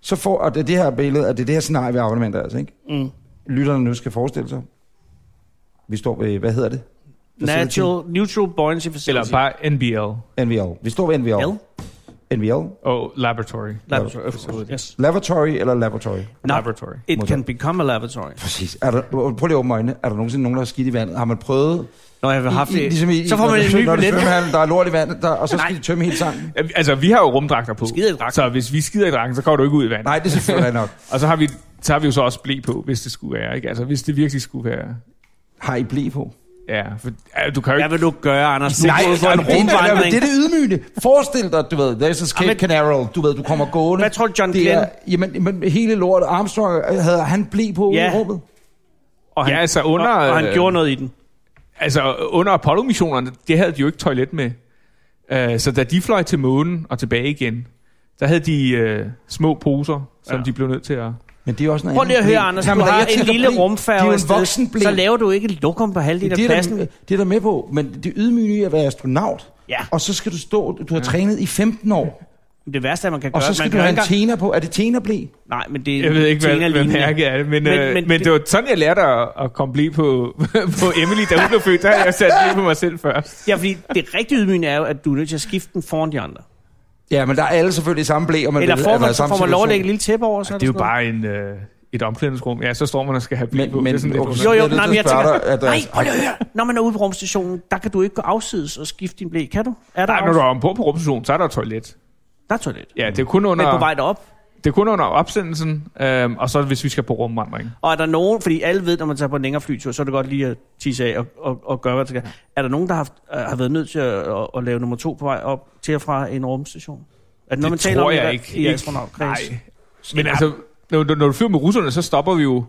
S3: Så får, og det er det her billede, og det er det her scenarie, vi arbejder med, altså, ikke?
S2: Mm,
S3: Lytterne nu skal forestille sig. Vi står ved, hvad hedder det?
S2: natural, neutral buoyancy facility.
S5: Eller bare NBL.
S3: NVL. Vi står ved NVL.
S2: Hvad?
S3: NVL.
S5: Og laboratory.
S2: Laboratory. Absolut, Yes.
S3: Laboratory eller laboratory?
S2: Nå,
S5: Laboratory.
S2: it
S3: Modtaget.
S2: can become a laboratory.
S3: Præcis. Er der, prøv lige at åbne øjnene. Er der nogensinde nogen, der har skidt i vandet? Har man prøvet
S2: Når jeg har haft
S3: I,
S2: det.
S3: i, ligesom i,
S2: så får
S3: når
S2: man
S3: du
S2: en
S3: svømmer-
S2: ny
S3: når du
S2: billet.
S3: svømmer, Der er lort i vandet, der, og så skal
S2: Nej.
S3: de tømme hele sangen.
S5: Altså, vi har jo rumdragter på.
S2: Skide i dragten.
S5: Så hvis vi skider i dragten, så kommer du ikke ud i vandet.
S3: Nej, det er selvfølgelig nok.
S5: Og så har vi, så har vi jo så også blæ på, hvis det skulle være. Ikke? Altså, hvis det virkelig skulle være...
S3: Har I blæ på?
S5: Ja, for, ja, du kan jo
S2: Hvad
S5: ikke...
S2: vil du gøre, Anders? Nej,
S3: det,
S2: for en
S3: det,
S2: rumvandring.
S3: det er det ydmygende. Forestil dig, du ved, there's a Cape
S2: Jamen-
S3: Canaveral, du ved, du kommer gående.
S2: Hvad tror du, John
S3: det er,
S2: Glenn?
S3: jamen, men hele lortet, Armstrong, øh, havde han blæ på
S2: Ja.
S3: i rummet?
S5: Og han, ja, altså under,
S2: Og, og han
S5: øh,
S2: gjorde noget i den.
S5: altså, under Apollo-missionerne, det havde de jo ikke toilet med. Uh, så da de fløj til månen og tilbage igen, der havde de uh, små poser, som
S2: Ja.
S5: ja. de blev nødt til at...
S3: Men det er jo også noget
S2: Prøv lige at
S3: andet
S2: høre,
S3: blæ.
S2: Anders.
S3: Nej,
S2: Du
S3: men da
S2: har
S3: jeg
S2: en
S3: tænker
S2: lille
S3: blæ,
S2: rumfærge
S3: Det er
S2: afsted,
S3: jo en voksen blæ.
S2: Så laver du ikke et lokum på halvdelen af
S3: det er,
S2: pladsen.
S3: der, det er der med på, men det er ydmygende i at være astronaut.
S2: Ja.
S3: Og så skal du stå, du har trænet i 15 år,
S2: Det værste, er, man kan gøre...
S3: og så
S2: man
S3: skal du
S2: kan
S3: have en
S2: ikke engang-
S3: tena på. Er det tena blæ?
S2: Nej, men det er
S5: Jeg ved ikke, hvad, hvad
S2: tænerlignende.
S5: mærket er det, men,
S2: Men-
S5: men, øh,
S2: men
S5: men, men
S2: det-
S5: det var sådan, jeg lærte at, at komme blive på, på Emily, da hun blev født. Der havde jeg sat lige på mig selv først.
S2: Ja, fordi det rigtige ydmygende er jo, at du er nødt til at skifte den foran de andre.
S3: Ja, men der er alle selvfølgelig i samme blæ, og man
S2: Eller
S3: ved,
S2: får
S3: at være
S2: man,
S3: i samme
S2: får man lov at
S3: situation.
S2: lægge et lille tæppe over? Så
S5: Det
S2: eller
S5: er jo
S2: sådan noget?
S5: bare en, øh, et omklædningsrum. Ja, så står man og skal have blive
S3: Men,
S5: på.
S3: men,
S5: det er sådan, lidt
S2: Jo,
S5: underligt.
S2: jo, nej, men jeg
S3: tænker...
S2: Nej, prøv lige at høre. Når man er ude på rumstationen, der kan du ikke gå afsides og skifte din blæ. Kan du? Er der,
S5: Nej,
S2: afs-
S5: når du er ombord på rumstationen, så er der et toilet.
S2: der er toilet.
S5: Ja, det er kun
S2: Men
S5: under,
S2: på vej derop.
S5: det er kun under opsendelsen, øhm, og så hvis vi skal på rumvandring.
S2: Og er der nogen, fordi alle ved, når man tager på en længere flytur, så er det godt lige at tisse af og, og, og gøre, hvad der skal. Er der nogen, der har, haft, øh, har været nødt til at, at, at, lave nummer to på vej op til og fra en rumstation? Er det, noget, man taler
S5: tror
S2: om i-
S5: jeg ikke.
S2: i
S5: Ikke-
S2: astronautkreds?
S5: Nej. Men altså, når, når når du flyver med russerne, så stopper vi jo,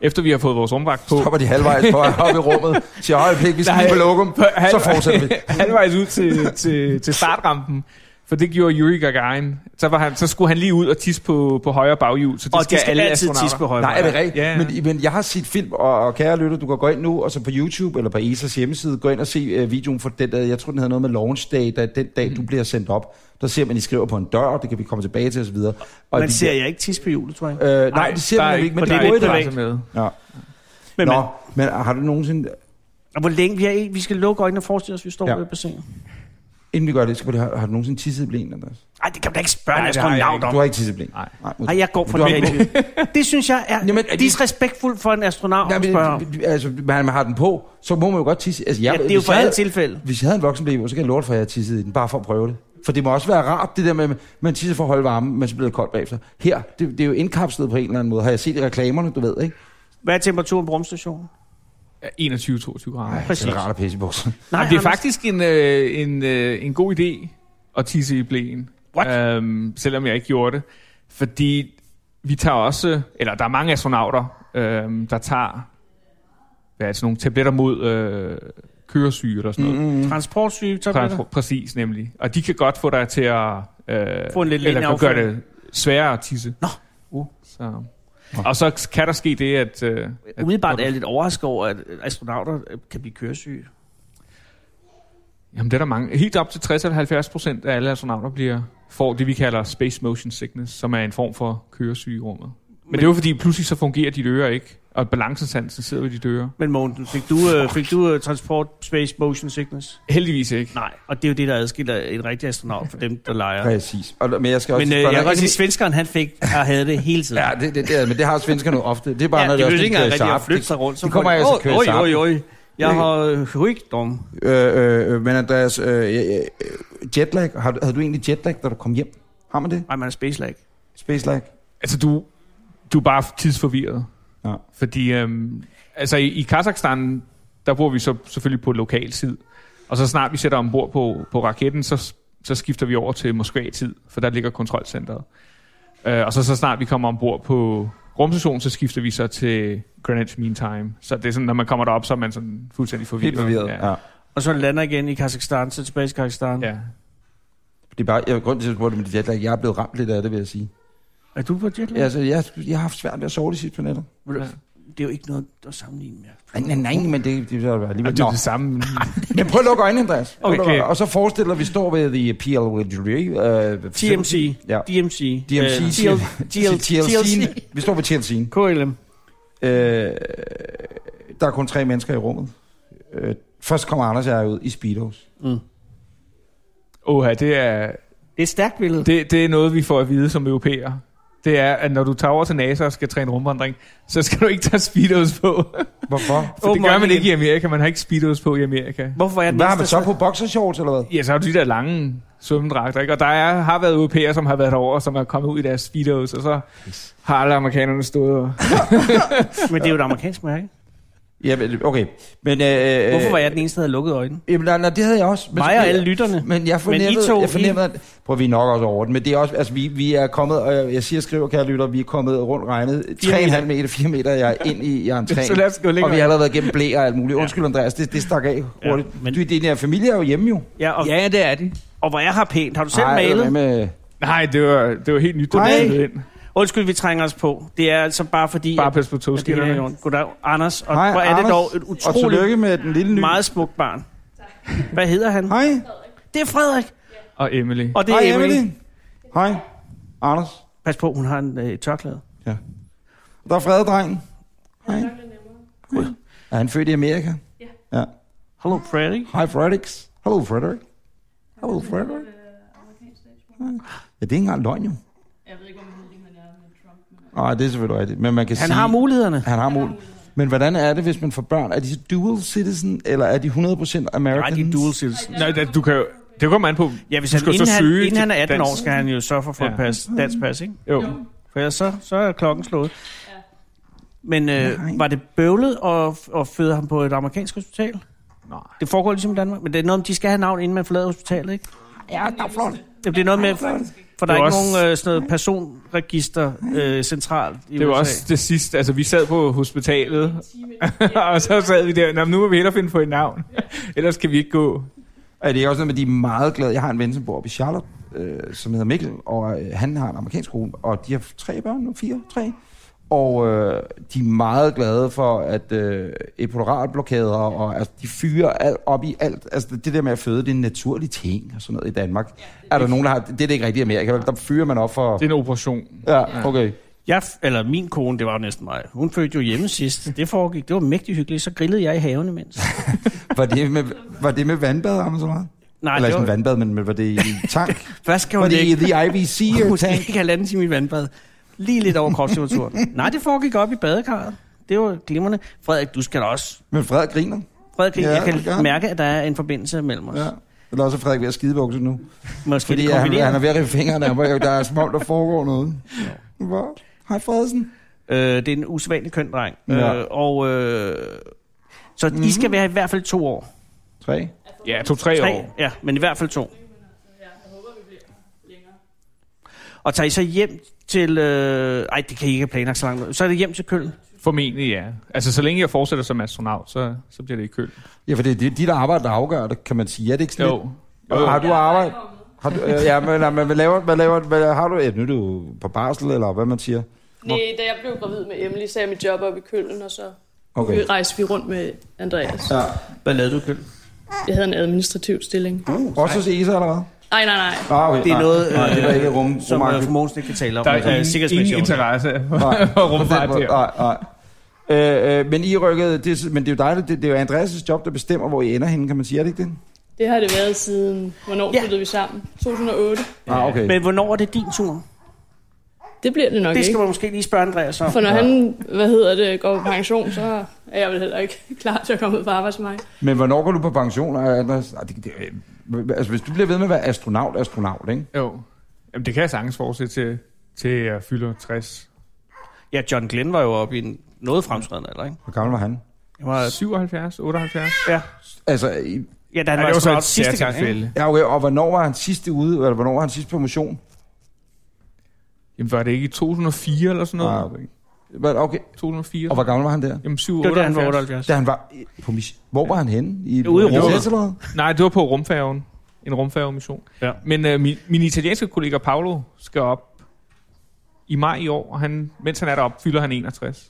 S5: efter vi har fået vores rumdragt på.
S3: Hopper de halvvejs på op i rummet, siger, høj, plik, vi skal lige på lokum, så fortsætter vi.
S5: halvvejs ud til, til, til startrampen. For det gjorde Yuri Gagarin. Så, var han, så skulle han lige ud og tisse på, på højre baghjul. Så det
S2: Og de skal
S5: alle
S2: altid
S5: astronauter.
S2: tisse på højre.
S3: Nej, er det rigtigt?
S5: Ja.
S3: Men, men jeg har set film, og, og kære lytter, du kan gå ind nu, og så på YouTube eller på ESA's hjemmeside, gå ind og se uh, videoen for den, uh, jeg tror, den havde noget med launch day, da, den dag, du bliver sendt op. Der ser man, I skriver på en dør, det kan vi komme tilbage til osv. Og
S2: Man
S3: de-
S2: ser jeg ikke tisse på hjulet, tror jeg.
S3: Øh, nej, det ser
S5: der er
S3: man jo ikke, men
S5: for
S3: det
S5: der
S3: er gået i
S5: ikke
S3: dag.
S5: plads med.
S3: Ja.
S2: Men,
S3: Nå, men har du nogensinde
S2: Og hvor længe vi er i, vi skal lukke øjnene og forestille os, at vi står
S3: Ja.
S2: ja. ved bassinet.
S3: Inden vi gør det, skal vi lige høre, har du nogensinde tisset i blæen, Andreas?
S2: Nej, det kan man da ikke spørge en
S5: Nej, det har jeg
S2: astronaut
S5: ikke.
S2: om.
S3: Du har ikke tisset i blæen?
S5: Nej.
S3: Nej
S2: Nej, jeg går for
S3: Du har
S2: det. her. Det synes jeg er
S3: Jamen,
S2: Jamen,
S3: er det-
S2: disrespektfuldt for en astronaut
S3: Nej,
S2: at spørge om.
S3: men, altså, man har den på, så må man jo godt tisse. Altså, jeg,
S2: Ja, det er jo
S3: hvis
S2: for
S3: jeg
S2: alle
S3: havde-
S2: tilfælde.
S3: Hvis jeg havde en voksenblæ, på, så kan jeg lort for, at jeg havde tisset i den, bare for at prøve det. For det må også være rart, det der med, at man tisser for at holde varmen, men så bliver det koldt bagefter. Her, det, det er jo indkapslet på en eller anden måde. Har jeg set i reklamerne, du ved, ikke?
S2: Hvad er temperaturen på rumstationen?
S3: Altså,
S5: Ja, 21-22 grader.
S3: Ej,
S2: præcis.
S3: Det er rart at pisse i bukser.
S5: Nej, Jamen, det er
S2: Anders,
S5: faktisk en, øh, en, øh, en god idé at tisse i blæen.
S2: What?
S5: Øhm, selvom jeg ikke gjorde det. Fordi vi tager også, eller der er mange astronauter, øhm, der tager hvad er det, sådan nogle tabletter mod øh, køresyge eller sådan noget. Mm-hmm.
S2: mm. Transportsyge, tabletter.
S5: Transport, præcis nemlig. Og de kan godt få dig til at... Øh,
S2: Få en lidt lignende
S5: eller kan gøre
S2: afføring.
S5: det sværere at tisse.
S2: Nå.
S5: Uh, så. Og så kan der ske det, at... Øh, at
S2: Umiddelbart
S5: når
S2: er
S5: du-
S2: jeg lidt overrasket over, at astronauter øh, kan blive køresyge.
S5: Jamen, det er der mange. Helt op til 60-70 procent af alle astronauter bliver, får det, vi kalder space motion sickness, som er en form for køresyge i rummet. Men, Men det er jo fordi, pludselig så fungerer dit øre ikke, og balancesansen sidder ved dit øre.
S2: Men Mogensen, fik du, øh, fik du øh, transport space motion sickness?
S5: Heldigvis ikke.
S2: Nej, og det er jo det, der adskiller en rigtig astronaut fra dem, der leger.
S3: Præcis. Og, men jeg skal også
S2: Men øh, jeg
S3: spørge
S2: kan
S3: dig-
S2: godt sige, at svenskeren han fik, og havde det hele tiden.
S3: Ja, det, det, det, er- men det har svenskerne jo ofte. Det er bare, ja, når det,
S2: det
S3: også
S2: ikke engang
S3: kører
S2: rigtig at
S3: sharp.
S2: flytte sig rundt. Så
S3: de kommer
S2: folk,
S3: altså køre
S2: oj,
S3: sig
S2: oj, oj, oj. Jeg
S3: Det-
S2: har rygdom.
S3: Øh, øh, men Andreas, øh, øh, øh, jetlag, har, du- havde du egentlig jetlag, da du kom hjem? Har man det?
S2: Nej, man er space lag.
S3: Space lag?
S5: Altså, du, du er bare tidsforvirret.
S3: Ja.
S5: Fordi, øhm, altså i, i Kazakhstan, der bor vi så selvfølgelig på lokal tid. Og så snart vi sætter ombord på, på raketten, så, så skifter vi over til Moskva-tid, for der ligger kontrolcentret. Øh, og så, så snart vi kommer ombord på rumstationen, så skifter vi så til Greenwich Mean Time. Så det er sådan, når man kommer derop, så er man sådan fuldstændig forvirret.
S3: Helt forvirret.
S5: Ja.
S3: Ja. ja.
S2: Og så lander igen i Kazakhstan, så tilbage til Kazakhstan. Ja.
S5: ja.
S3: Det er bare, jeg, grunden til, at jeg spurgte om det jetlag, jeg er blevet ramt lidt af det, vil jeg sige.
S2: Er du på jetlag?
S3: Ja, altså, jeg, jeg har haft svært ved at sove de sidste par nætter.
S2: Ved du, Det er jo ikke noget at sammenligne med.
S3: Nej, nej, nej, men det, det er
S5: Og
S3: alligevel...
S5: det er
S3: Nå.
S5: det samme.
S3: Men prøv at lukke øjnene, Andreas. Prøv at lukke
S5: Okay.
S3: øjnene. Og så forestiller dig, at vi står ved the PL Jury. Uh,
S2: TMC,
S3: Ja.
S2: DMC,
S3: DMC.
S2: øh, TL, TL, TLC,
S3: TLC. Vi står ved TLC.
S2: KLM.
S3: Øh, der er kun tre mennesker i rummet. Øh, først kommer Anders og jeg ud i Speedos.
S5: Åh, det er,
S2: Det er et stærkt billede.
S5: Det, det er noget, vi får at vide som europæer. Det er, at når du tager over til NASA og skal træne rumvandring, så skal du ikke tage speedos på.
S3: Hvorfor?
S5: For det gør
S2: Åbenbart
S5: man ikke
S2: ikke.
S5: i Amerika. Man har ikke speedos på i Amerika.
S2: Hvorfor er jeg den
S3: Hvad har man
S2: eneste,
S3: så
S2: der
S3: på? Boxershorts eller hvad?
S5: Ja, så har du de der lange svømmedragter, ikke? Og der er, har været europæer, som har været derovre, som er kommet ud i deres speedos, og så har alle amerikanerne stået og...
S2: sidder- Men det er jo et amerikansk mærke.
S3: Ja, men, okay. Men, øh,
S2: Hvorfor var jeg den eneste, der havde lukket øjnene?
S3: Jamen, nej, nej, det havde jeg også. Men,
S2: Mig og alle lytterne.
S3: Men jeg
S2: Men
S3: fornemmede,
S2: I to,
S3: jeg fornemmede
S2: I-
S3: at, prøv, vi er nok også over den, men det er også, altså, vi, vi er kommet, og jeg, jeg siger, skriver, kære lytter, vi er kommet rundt regnet 3,5 meter, 4 meter, jeg er ind i, jeg er en træn.
S5: Så lad os gå længere.
S3: Og vi har allerede gennem blæer og alt muligt. Undskyld, Andreas, det, det stak af hurtigt. Ja, men...
S2: men-
S3: Du, din her familie er jo hjemme jo.
S2: Ja, og, ja.
S5: Ja, det er de.
S2: og hvor jeg har pænt. Har du selv
S3: Ej,
S2: malet?
S3: hvad Med,
S5: Nej, det var, det var helt nyt, da
S3: Nej.
S5: vi flyttede ind.
S2: Undskyld, vi trænger os på. Det er altså bare fordi...
S5: Bare
S2: at-
S5: pas på
S2: at det er
S5: togskinnerne.
S2: Jorden. Goddag, Anders. Og
S3: Hej,
S2: hvor er det
S3: Anders.
S2: dog et
S3: og
S2: utroligt
S3: tillykke med den lille nye.
S2: meget smukt barn. Hvad hedder han?
S3: Hej,
S2: Det er Frederik,
S5: Og Emily.
S2: og det er
S3: hej
S2: Emily.
S3: Emily. Hej, Anders.
S2: Pas på, hun har en øh, tørklæde.
S3: Der er frededrengen. Hej. Gud. Er han født i Amerika? Ja. ja.
S2: Hello, Frederik.
S3: Hej, Fredericks. Hello, Frederik. Hello, Frederik. Ja, det er ikke engang løgn, jo.
S6: Jeg ved ikke, hvor modig han er med Trump. Men...
S3: Nej, det er selvfølgelig rigtigt. Men man kan
S2: Han
S3: sige,
S2: har mulighederne.
S3: Han har mulighed. Men hvordan er det, hvis man får børn? Er de så dual citizen, eller er de 100%
S2: Nej,
S3: Americans?
S2: de er dual citizen.
S5: Nej, da- du kan jo... Det kommer an på...
S2: Ja, hvis
S5: Du
S2: han,
S5: skal jo
S2: inden,
S5: så
S2: han,
S5: søge
S2: inden han er
S5: til
S2: 18 år,
S5: dansk.
S2: skal han jo sørge for at få
S5: Ja.
S2: et pas, dansk pas, ikke?
S5: Jo.
S2: For ellers så, så er klokken slået.
S6: Ja.
S2: Men
S3: Nej.
S2: øh, var det bøvlet at, at føde ham på et amerikansk hospital?
S5: Nej.
S2: Det foregår ligesom i Danmark, men det er noget om, de skal have navn, inden man forlader hospitalet, ikke?
S3: Ja, der er flot.
S2: Jamen, det er noget med, for der er
S5: Det
S2: ikke
S5: var
S2: også...
S5: også-
S2: nogen øh, sådan noget personregister øh, centralt i
S5: Det var
S2: USA.
S5: også det sidste. Altså, vi sad på hospitalet, og så sad vi der. Nå, men nu må vi hellere finde på et navn. Ellers kan vi ikke gå.
S3: Er det er også noget med, de er meget glade. Jeg har en ven, som bor oppe i Charlotte, øh, som hedder Mikkel, og øh, han har en amerikansk kone, og de har tre børn nu, fire, tre. Og øh, de er meget glade for, at øh, epiduralblokader, og altså, de fyrer alt op i alt. Altså det det der med at føde, det er en naturlig ting og sådan noget i Danmark. er der nogen, der har... Det er det ikke rigtigt i Amerika, vel? der fyrer man op for...
S5: Det er en operation.
S3: Ja, okay.
S2: Jeg, f- eller min kone, det var jo næsten mig. Hun fødte jo hjemme sidst. Det foregik. Det var mægtig hyggeligt. Så grillede jeg i haven imens.
S3: Var det med, var det med vandbad, Anders, så meget?
S2: Nej,
S3: Eller
S2: det
S3: ikke en
S2: var,
S3: vandbad, men men var det i en tank?
S2: først skal
S3: var
S2: hun
S3: det i
S2: ligge.
S3: the IVC?
S2: Hun
S3: tank?
S2: skal ikke halvanden time i vandbad. Lige lidt over kropstemperatur. Nej, det foregik op i badekarret. Det var glimrende. Frederik, du skal da også.
S3: Men Frederik griner.
S2: Frederik,
S3: Ja,
S2: ja, jeg
S3: det gør
S2: kan
S3: han.
S2: mærke, at der er en forbindelse mellem os.
S3: Ja.
S2: Ja.
S3: Eller også er Frederik ved at skide i bukser nu.
S2: Måske
S3: Fordi
S2: det
S3: han,
S2: kombinerer.
S3: han er ved at rive fingrene af mig. Der er som om, der foregår noget. Hvor? Hej Frederiksen.
S2: Øh, det er en usædvanlig køn dreng.
S3: Ja. Mhm.
S2: Øh, og, øh, så mm. I skal være i hvert fald to år.
S3: Tre.
S5: Ja, to-tre
S2: Tre,
S5: år.
S2: ja, men i hvert fald to.
S6: Ja, jeg håber, vi bliver længere.
S2: Og tager I så hjem til... Øh, ej, det kan I ikke have planlagt så langt. Så er det hjem til Køln.
S5: Formentlig, ja. Altså, så længe jeg fortsætter som astronaut, så, så bliver det i køl.
S3: Ja, for det er de, de der arbejder, der afgør det, kan man sige. Er det ikke sådan
S5: Jo.
S3: lidt?
S5: Jo,
S3: Og Har du arbejdet?
S6: Jeg kommer med.
S3: Har du, øh, ja, men, nej, men hvad laver, hvad laver, hvad, har du, ja, nu er du på barsel, eller hvad man siger.
S6: Nej, da jeg blev gravid med Emily, sagde jeg mit job op i Køln, og så
S3: Okay.
S6: okay. rejste vi rundt med Andreas.
S3: Ja.
S2: Hvad lavede du, Køl?
S6: Jeg havde en administrativ stilling.
S3: Også hos ESA, eller hvad?
S6: Nej, nej, nej.
S3: Ah, okay.
S2: Det er
S3: nej.
S2: noget,
S3: nej, det var ikke rum,
S2: Som øh,
S3: romantisk.
S2: fru Mogensen ikke kan tale om.
S5: Der
S2: altså,
S5: er ingen, ingen
S2: sikkerhedsmæssigt.
S5: interesse
S3: Nej,
S5: for rumfart
S3: på den måde.
S5: her.
S3: Nej, nej. Øh, øh, men I rykkede, det, er s- men det er jo dejligt, det, det er jo Andreas' job, der bestemmer, hvor I ender henne, kan man sige, er det ikke det?
S6: Det har det været siden, hvornår
S2: Ja.
S6: ja. flyttede vi sammen? 2008.
S3: Ah, okay.
S2: Men hvornår er det din tur?
S6: Det bliver det nok
S2: Det skal
S6: ikke.
S2: man måske lige spørge Andreas om.
S6: For når han, hvad hedder det, går på pension, så er jeg vel heller ikke klar til at komme ud på arbejdsmarkedet.
S3: Men hvornår går du på pension, Anders? Ah, Det, det, øh, altså, hvis du bliver ved med at være astronaut, astronaut, ikke?
S5: Jo. Jamen, det kan jeg sagtens fortsætte til, til jeg fylder 60.
S2: Ja, John Glenn var jo oppe i en noget fremskredende alder, ikke?
S3: Hvor gammel var han?
S2: Jeg var,
S5: 77, 78?
S2: ja.
S3: Altså, I-
S2: ja, da han
S5: Ja,
S2: var,
S5: det var så
S2: astronaut
S5: et
S2: sidste gang, ikke?
S5: særtilfælde.
S3: ja, okay, og hvornår var han sidste ude, eller hvornår var han sidst på motion?
S5: Jamen, var det ikke i 2004 eller sådan noget?
S3: Ah, okay. Hvad- okay.
S5: 2004?
S3: Og hvor gammel var han der?
S5: Jamen, 7,
S2: Det var da han var
S5: 78.
S2: 78.
S3: Da han var i- på mis- Hvor var han henne? I,
S2: Ude i rummet.
S3: Eller noget?
S5: Nej, det var på rumfærgen. En rumfærgemission.
S2: Ja.
S5: Men øh, min, min italienske kollega Paolo skal op i maj i år, og han, mens han er deroppe, fylder han 61.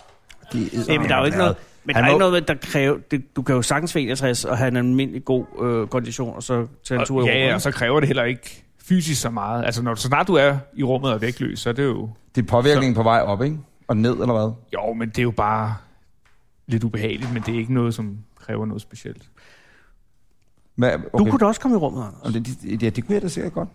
S3: Det,
S2: Jamen, der er jo ikke noget, men der
S3: Han
S2: er
S3: må-
S2: ikke noget, med, der kræver... Det, du kan jo sagtens være 61 og have en almindelig god øh, kondition, og så tage en tur i
S5: Og, ja, ja,
S2: Europa.
S5: og så kræver det heller ikke fysisk så meget. Altså, når, så snart du er i rummet og vægtløs, så er det jo...
S3: Det er påvirkningen på vej op, ikke? Og ned, eller hvad?
S5: Jo, men det er jo bare lidt ubehageligt, men det er ikke noget, som kræver noget specielt.
S3: Hvad,
S2: Du kunne da også komme i rummet, Anders.
S3: Om Det, det, det, det kunne jeg da sikkert godt.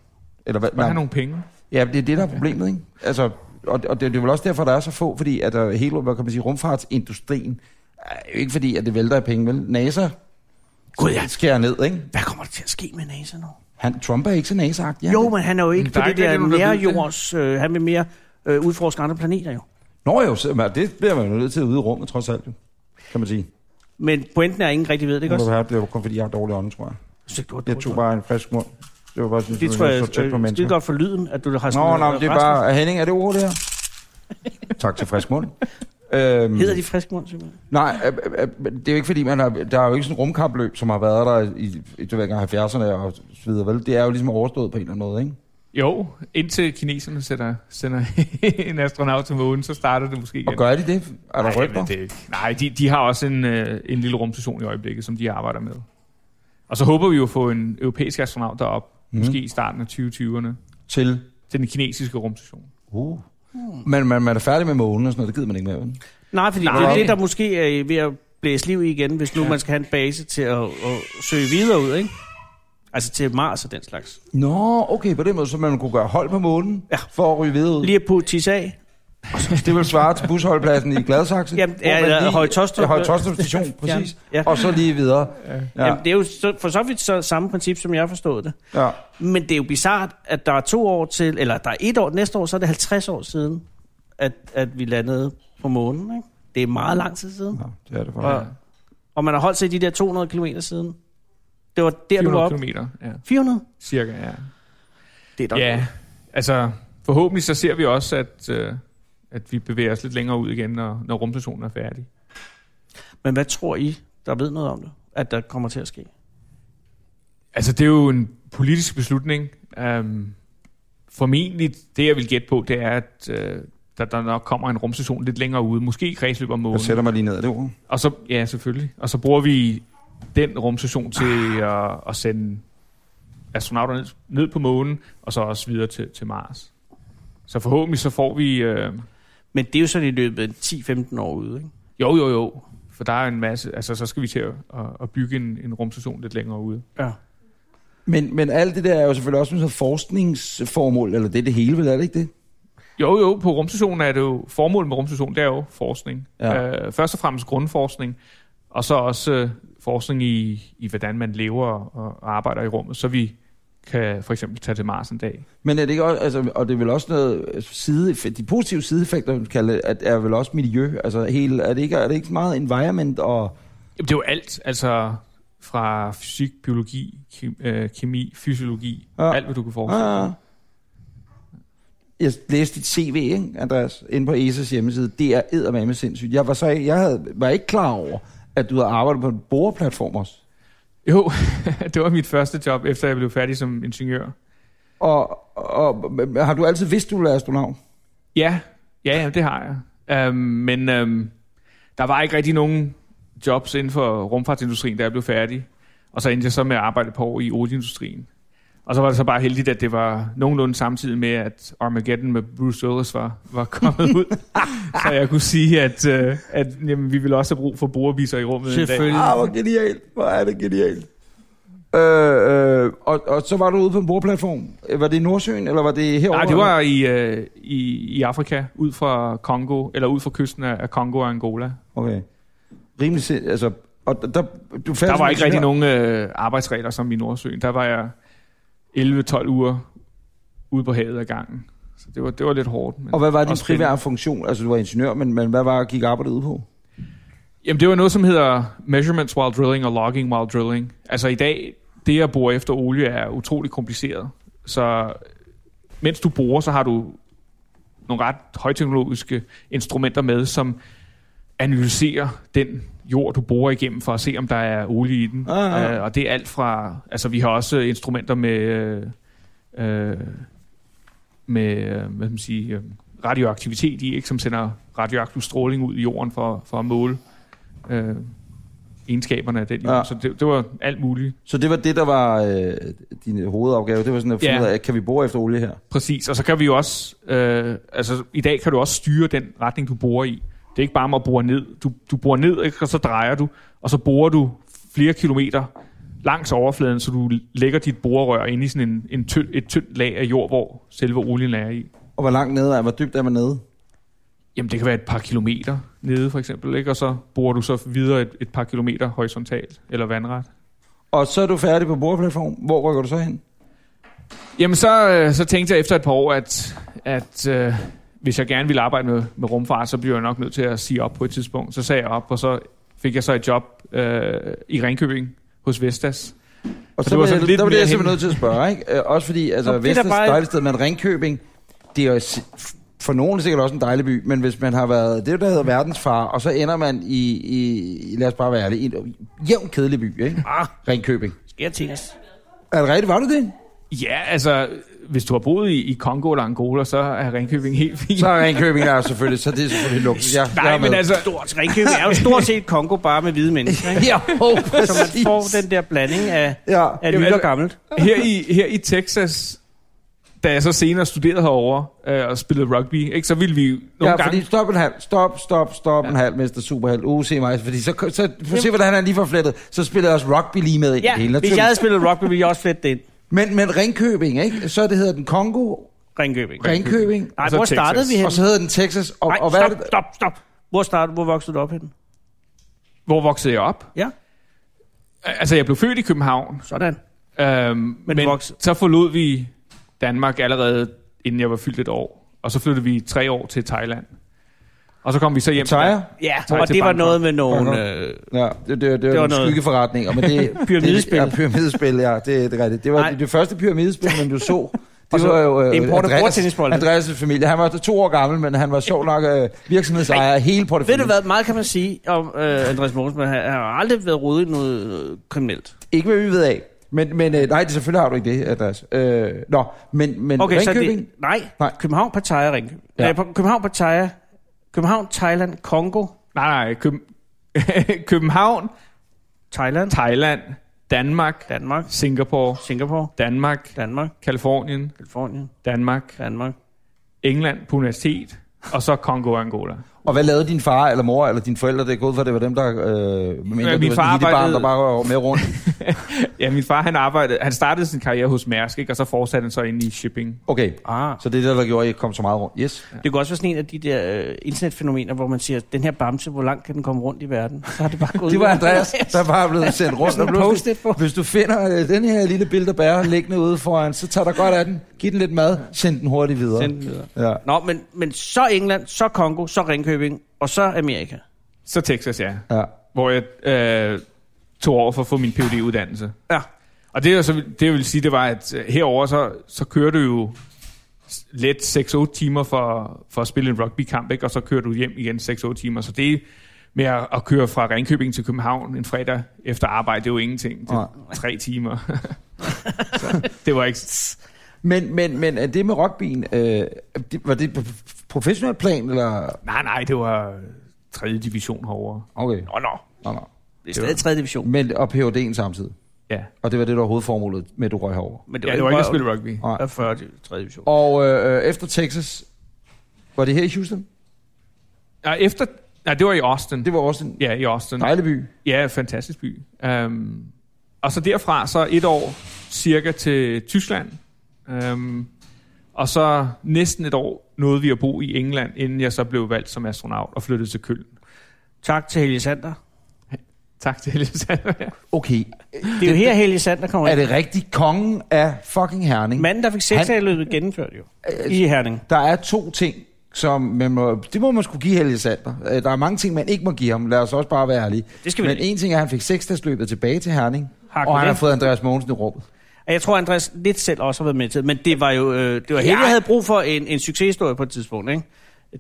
S3: Eller hvad?
S5: Bare
S3: Nej.
S5: have nogle penge.
S3: Ja, det er det, der er problemet, ikke? Altså, og, og det, det er vel også derfor, der er så få, fordi at der hele hvad kan man sige, rumfartsindustrien, er jo ikke fordi, at det vælter af penge, vel? NASA
S2: Gud, ja.
S3: skærer ned, ikke?
S2: Hvad kommer der til at ske med NASA nu?
S3: Han, Trump er ikke så nasa ja.
S2: Jo, men han er jo ikke
S5: Men
S2: på
S5: der er
S2: det
S5: ikke
S2: der
S5: rigtig nogen, der
S2: nære
S5: ved det.
S2: jords... Øh, han vil mere øh, udforske andre planeter, jo.
S3: Nå jo, så, men det bliver man jo nødt til ude i rummet, trods alt, jo. kan man sige.
S2: Men pointen er, at ingen rigtig ved det,
S3: Det,
S2: ikke også?
S3: være, det var kun fordi, jeg har dårlig ånde, tror jeg.
S2: Så du har
S3: Jeg
S2: dårlig
S3: tog
S2: ånd.
S3: bare en frisk mund. Det var bare sådan,
S2: Det tror jeg,
S3: så tæt på
S2: øh, det er
S3: mennesker.
S2: godt for lyden, at du har
S3: Nå,
S2: noget
S3: nå, men det er
S2: rasmus.
S3: bare... Henning, er det ordet, det her? tak til frisk mund. Øhm,
S2: Hedder de frisk mund, simpelthen?
S3: Nej, øh, øh, øh, men det er jo ikke fordi, man har, der er jo ikke sådan en rumkapløb, som har været der i, i du ved, ikke, 70'erne og så videre, vel? Det er jo ligesom overstået på en eller anden måde, ikke?
S5: Jo, indtil kineserne sætter, sender en astronaut til månen, så starter det måske igen.
S3: Og gør de det? Er der
S5: Nej,
S3: rygter?
S5: men det, nej de, de har også en, øh, en lille rumstation i øjeblikket, som de arbejder med. Og så håber vi jo at få en europæisk astronaut derop, mm.
S3: Mhm.
S5: måske i starten af 2020'erne,
S3: Til?
S5: til den kinesiske rumstation.
S3: Uh. Men man, man er færdig med månen og sådan noget, det gider man ikke mere, vel?
S2: Nej, fordi Nej. det er det, der måske er ved at blæse liv i igen, hvis nu ja. man skal have en base til at, at søge videre ud, ikke? Altså til Mars og den slags.
S3: Nå, okay, på den måde, så man kunne gøre hold på månen
S2: Ja.
S3: for at ryge videre ud.
S2: Lige at putte tis af.
S3: Det vil svare til busholdpladsen i Gladsaxe.
S2: Jamen,
S3: hvor
S2: ja,
S3: man
S2: ja,
S3: lige-
S2: Høje Taastrup.
S3: Ja, Høje Tostrup station, præcis.
S2: Ja, ja.
S3: Og så lige videre.
S2: Ja.
S3: Ja,
S2: Jamen, det er jo så, for så vidt så, samme princip, som jeg forstod det.
S3: ja.
S2: Men det er jo bizart, at der er to år til, eller der er et år, næste år, så er det 50 år siden, at, at vi landede på månen, ikke? Det er meget lang tid siden.
S3: Nå, det er det for.
S2: Og, og man har holdt sig i de der 200 km siden. Det var der, du var
S5: 400
S2: oppe.
S5: kilometer, ja,
S2: 400?
S5: cirka. Ja.
S2: Det er da
S5: ja, altså forhåbentlig så ser vi også, at, øh, at vi bevæger os lidt længere ud igen, når, når rumstationen er færdig.
S2: Men hvad tror I, der ved noget om det, at der kommer til at ske?
S5: Altså, det er jo en politisk beslutning. Um, formentlig, det jeg vil gætte på, det er, at øh, der, der nok kommer en rumstation lidt længere ude. Måske i kredsløb om
S3: Jeg
S5: måneden.
S3: sætter mig lige ned af det ord.
S5: Og så, ja, selvfølgelig. Og så bruger vi den rumstation til
S3: Ah.
S5: at, at sende astronauterne ned- ned på månen, og så også videre til, til Mars. Så forhåbentlig så får vi... Øh,
S2: Men det er jo sådan i løbet af 10-15 år ude, ikke?
S5: jo, jo, jo. For der er en masse... Altså, så skal vi til at, at, at bygge en, en rumstation lidt længere ude.
S2: Ja.
S3: Men, men alt det der er jo selvfølgelig også noget forskningsformål, eller det er det hele, vel er det ikke det?
S5: Jo, jo, på rumstationen er det jo... Formålet med rumstationen, det er jo forskning.
S3: Ja.
S5: Ja. Øh, først og fremmest grundforskning, og så også øh, forskning i, i, hvordan man lever og, og arbejder i rummet, så vi kan for eksempel tage til Mars en dag.
S3: Men er det ikke også, altså, og det er vel også noget altså, side, de positive sideeffekter, man kalder det, at er vel også miljø, altså hele, er det ikke, er det ikke meget environment og...
S5: Jamen, det er jo alt, altså fra fysik, biologi, ke- øh, kemi, fysiologi,
S3: Ja.
S5: ja. alt hvad du kan forestille dig.
S3: Ah. Jeg læste dit CV, ikke, Andreas, inde på ESA's hjemmeside. Det er eddermame sindssygt. Jeg var, så, jeg havde, var ikke klar over, at du havde arbejdet på en boreplatform også.
S5: Jo, det var mit første job, efter jeg blev færdig som ingeniør.
S3: Og, og, og har du altid vidst, du ville være astronaut?
S5: Ja, Ja, ja, det har jeg. Øhm, men øhm, der var ikke rigtig nogen jobs inden for rumfartsindustrien, da jeg blev færdig. Og så endte jeg så med at arbejde på år i olieindustrien. Og så var det så bare heldigt, at det var nogenlunde samtidig med, at Armageddon med Bruce Willis var, var kommet ud. så jeg kunne sige, at, øh, at jamen, vi ville også have brug for brugerviser i rummet en dag.
S3: Ah, hvor genialt. Hvor er det genialt. Øh, øh, og, og så var du ude på en boreplatform. Øh, Var det i Nordsøen, eller var det herovre?
S5: Nej, det var i, øh, i, i Afrika, ud fra Kongo, eller ud fra kysten af, af Kongo og Angola.
S3: Okay. Rimelig sind, altså... Og der, du
S5: Der var ikke rigtig nogen øh, arbejdsregler som i Nordsøen. Der var jeg 11-12 uger ude på havet ad gangen. Så det var, det var lidt hårdt. Men
S3: Og hvad var din
S5: også spændende.
S3: primære funktion? Altså, du var ingeniør, men, men hvad var gik arbejdet ud på?
S5: Jamen, det var noget, som hedder measurements while drilling og logging while drilling. Altså i dag, det at bore efter olie er utrolig kompliceret. Så mens du borer, så har du nogle ret højteknologiske instrumenter med, som analyserer den jord, du borer igennem, for at se, om der er olie i den.
S3: Ah, ah.
S5: Øh, og det er alt fra... Altså, vi har også øh, instrumenter med... Øh, øh, med, øh, hvad skal man sige, øh, radioaktivitet i, ikke? som sender radioaktiv stråling ud i jorden for, for at måle øh, egenskaberne af den jord.
S3: Ja.
S5: Ja. Så det, det var alt muligt.
S3: Så det var det, der var øh, din hovedopgave. Det var sådan at finde
S5: Ja.
S3: ud af, kan vi bore efter olie her?
S5: Præcis, og så kan vi jo også, øh, altså i dag kan du også styre den retning, du borer i. Det er ikke bare med at bore ned. Du, du borer ned, ikke? og så drejer du, og så borer du flere kilometer langs overfladen, så du lægger dit borerør ind i sådan en, en tynd, et tyndt lag af jord, hvor selve olien er i.
S3: Og hvor langt nede er, hvor dybt er man nede?
S5: Jamen, det kan være et par kilometer nede, for eksempel, ikke? og så borer du så videre et, et par kilometer horisontalt eller vandret.
S3: Og så er du færdig på boreplatform. Hvor rykker du så hen?
S5: Jamen, så, øh, så tænkte jeg efter et par år, at, at øh, hvis jeg gerne ville arbejde med, med rumfart, så bliver jeg nok nødt til at sige op på et tidspunkt. Så sagde jeg op, og så fik jeg så et job øh, i Ringkøbing hos Vestas.
S3: Og så, var
S5: det var sådan
S3: jeg,
S5: lidt
S3: der var det,
S5: mere
S3: jeg simpelthen
S5: hen-
S3: nødt til at spørge, ikke? Øh, også fordi, altså,
S2: Nå,
S3: Nå,
S2: det er da
S3: Vestas bare...
S2: bare-
S3: dejligt sted, men Ringkøbing, det er jo si- for nogen sikkert også en dejlig by, men hvis man har været, det er jo, der hedder verdensfar, og så ender man i, i lad os bare være ærlige, i en jævn kedelig by, ikke?
S2: Ah,
S3: Ringkøbing.
S2: skal jeg tænkes.
S3: Er det rigtigt? Var du det?
S5: Ja, altså, hvis du har boet i, i Kongo eller Angola, så er Ringkøbing helt fint.
S3: Så er Ringkøbing der selvfølgelig, så det er selvfølgelig lukket. Jeg, jeg
S5: Nej,
S3: er
S5: men
S3: med.
S5: altså,
S2: Stort Ringkøbing er jo stort set Kongo bare med hvide mennesker, ikke?
S3: Ja, oh,
S2: Så man får den der blanding af,
S3: Ja.
S2: af
S5: Jamen,
S2: nyt og
S5: altså-
S2: gammelt.
S5: her i, her i Texas, da jeg så senere studerede herovre øh, og spillede rugby, ikke, så ville vi jo nogle
S3: ja,
S5: gange...
S3: fordi stop en halv, stop, stop, stop ja. en halv, Mester Superhal, uh, se mig, fordi så, så, så for se, hvordan han er lige forflettet, så spiller jeg også rugby lige med ind i det hele,
S2: Ja, hvis
S3: naturligvis.
S2: jeg havde spillet rugby, ville jeg også flette det ind.
S3: Men, men Ringkøbing, ikke? Så det hedder den Kongo,
S2: Ringkøbing.
S3: Ringkøbing,
S2: Nej,
S5: Og så
S2: hvor
S5: Texas.
S2: startede vi hen?
S3: og så hedder den Texas, og,
S2: Nej,
S3: og hvad er
S2: stop,
S3: det?
S2: stop, stop. Hvor, startede, hvor voksede du op henne?
S5: Hvor voksede jeg op?
S2: Ja.
S5: Altså, jeg blev født i København,
S2: Sådan.
S5: øhm, men, men
S2: voksede-
S5: så forlod vi Danmark allerede, inden jeg var fyldt et år. Og så flyttede vi i tre år til Thailand. Og så kom vi så hjem
S3: Tøjer?
S2: Ja,
S5: Tak
S2: og
S5: til
S2: det var
S5: Bangkok.
S2: noget med nogle...
S3: Bangkok.
S2: Øh,
S3: Ja, det, det, det,
S2: var
S3: det var nogle
S2: noget.
S3: skyggeforretninger, men det...
S2: Pyramidespil.
S3: Det, ja, pyramidespil, ja, det, det er rigtigt. Det var
S2: Nej.
S3: det, det første pyramidespil, man du så. Det
S2: så
S3: var jo øh,
S2: import af
S3: Andreas,
S2: bordtennisbolde.
S3: Andreas' familie. Han var to år gammel, men han var sjov nok øh, virksomhedsejer af hele
S2: øh, ved
S3: porteføljen.
S2: du hvad, meget kan man sige om øh, Andreas Mogensen, men han han har aldrig været rodet i noget øh, kriminelt.
S3: Ikke hvad vi ved af. Men, men øh, nej, det, selvfølgelig har du ikke det, Andreas. Øh, nå, men, men
S2: Okay, så
S3: Ringkøbing...
S2: det, nej,
S3: Nej.
S2: nej, København, Pattaya, Ringkøbing.
S3: Ja.
S2: Ja. København, Pattaya, København, Thailand, Kongo,
S5: Nej, nej, Køben... København,
S2: Thailand,
S5: Thailand, Danmark,
S2: Danmark,
S5: Singapore,
S2: Singapore,
S5: Danmark,
S2: Danmark,
S5: Kalifornien,
S2: Kalifornien,
S5: Danmark,
S2: Danmark.
S5: England på universitet, og så Kongo og Angola.
S3: Og hvad lavede din far eller mor eller dine forældre? Det er gået for, det var dem, der... Øh, mindre,
S5: min
S3: du var
S5: far
S3: sådan et lille barn,
S5: arbejdede-
S3: der bare var med rundt.
S5: Ja, min far, han arbejdede... Han startede sin karriere hos Mærsk, ikke? og så fortsatte han så ind i shipping.
S3: Okay,
S2: Ah.
S3: så det er det, der gjorde, at I kom så meget rundt. Yes.
S2: Det kunne også være sådan en af de der øh, internetfænomener, hvor man siger, den her bamse, hvor langt kan den komme rundt i verden? Så har det bare gået
S3: Det var
S2: ud.
S3: Andreas, der bare er blevet sendt rundt. Og
S2: Sådan en
S3: pludselig,
S2: post-it på.
S3: hvis du finder øh, den her lille bilde, bærer liggende ude foran, så tager dig godt af den. Giv den lidt mad. Send den hurtigt videre.
S2: Send den videre.
S3: Ja.
S2: Nå, men, men så England, så Kongo, så Ringkøbing, og så Amerika.
S5: Så Texas, ja.
S3: ja.
S5: hvor jeg øh, tog over for at få min phd uddannelse
S2: Ja.
S5: Og det, jeg så, det jeg vil sige, det var, at øh, herover så, så kører du jo s- let 6-8 timer for, for at spille en rugbykamp, ikke? og så kører du hjem igen 6-8 timer. Så det med at, at køre fra Ringkøbing til København en fredag efter arbejde, det er jo ingenting. Det er tre timer. så, det var ikke...
S3: Men, men, men øh, det med rockbien, øh, det, var det på professionel plan, eller...
S5: Nej, nej, det var 3. division herovre.
S3: Okay,
S2: Nå, nå.
S3: nå, nå.
S2: Det er stadig 3. division.
S3: Men, og PhD'en samtidig.
S5: Ja.
S3: Og det var det, der var hovedformålet med, at du røg herover.
S2: Men
S5: Ja, det var ikke at spille rugby.
S3: Nej.
S2: Det var 40. 3. division.
S3: Og øh, øh, efter Texas, var det her i Houston?
S5: Ja, efter... Nej, det var i Austin.
S3: Det var også en
S5: Ja, i Austin.
S3: dejlig by.
S5: Ja, fantastisk by. Um, og så derfra, så et år cirka til Tyskland. Um, og så næsten et år nåede vi at bo i England, inden jeg så blev valgt som astronaut og flyttede til Køln.
S2: Tak til Helge Sander.
S5: Tak til Helge Sandberg.
S3: Okay,
S2: Det er jo her, Helge Sander kommer
S3: er
S2: ind.
S3: det rigtigt kongen af fucking Herning?
S2: Manden, der fik sexanløbet gennemført jo.
S3: Øh,
S2: I Herning.
S3: Der er to ting, som man må, det må man skulle give Helge Sander. Øh, Der er mange ting, man ikke må give ham. Lad os også bare være ærlige.
S2: Det skal vi
S3: Men
S2: ikke.
S3: en ting er, at han fik seksdagsløbet tilbage til Herning,
S2: Har
S3: og han har
S2: kunnet.
S3: fået Andreas Mogensen i råbet.
S2: Og Jeg tror, Andreas lidt selv også har været med til det, men det var jo øh, det var Helge, der havde brug for en, en succeshistorie på et tidspunkt, ikke?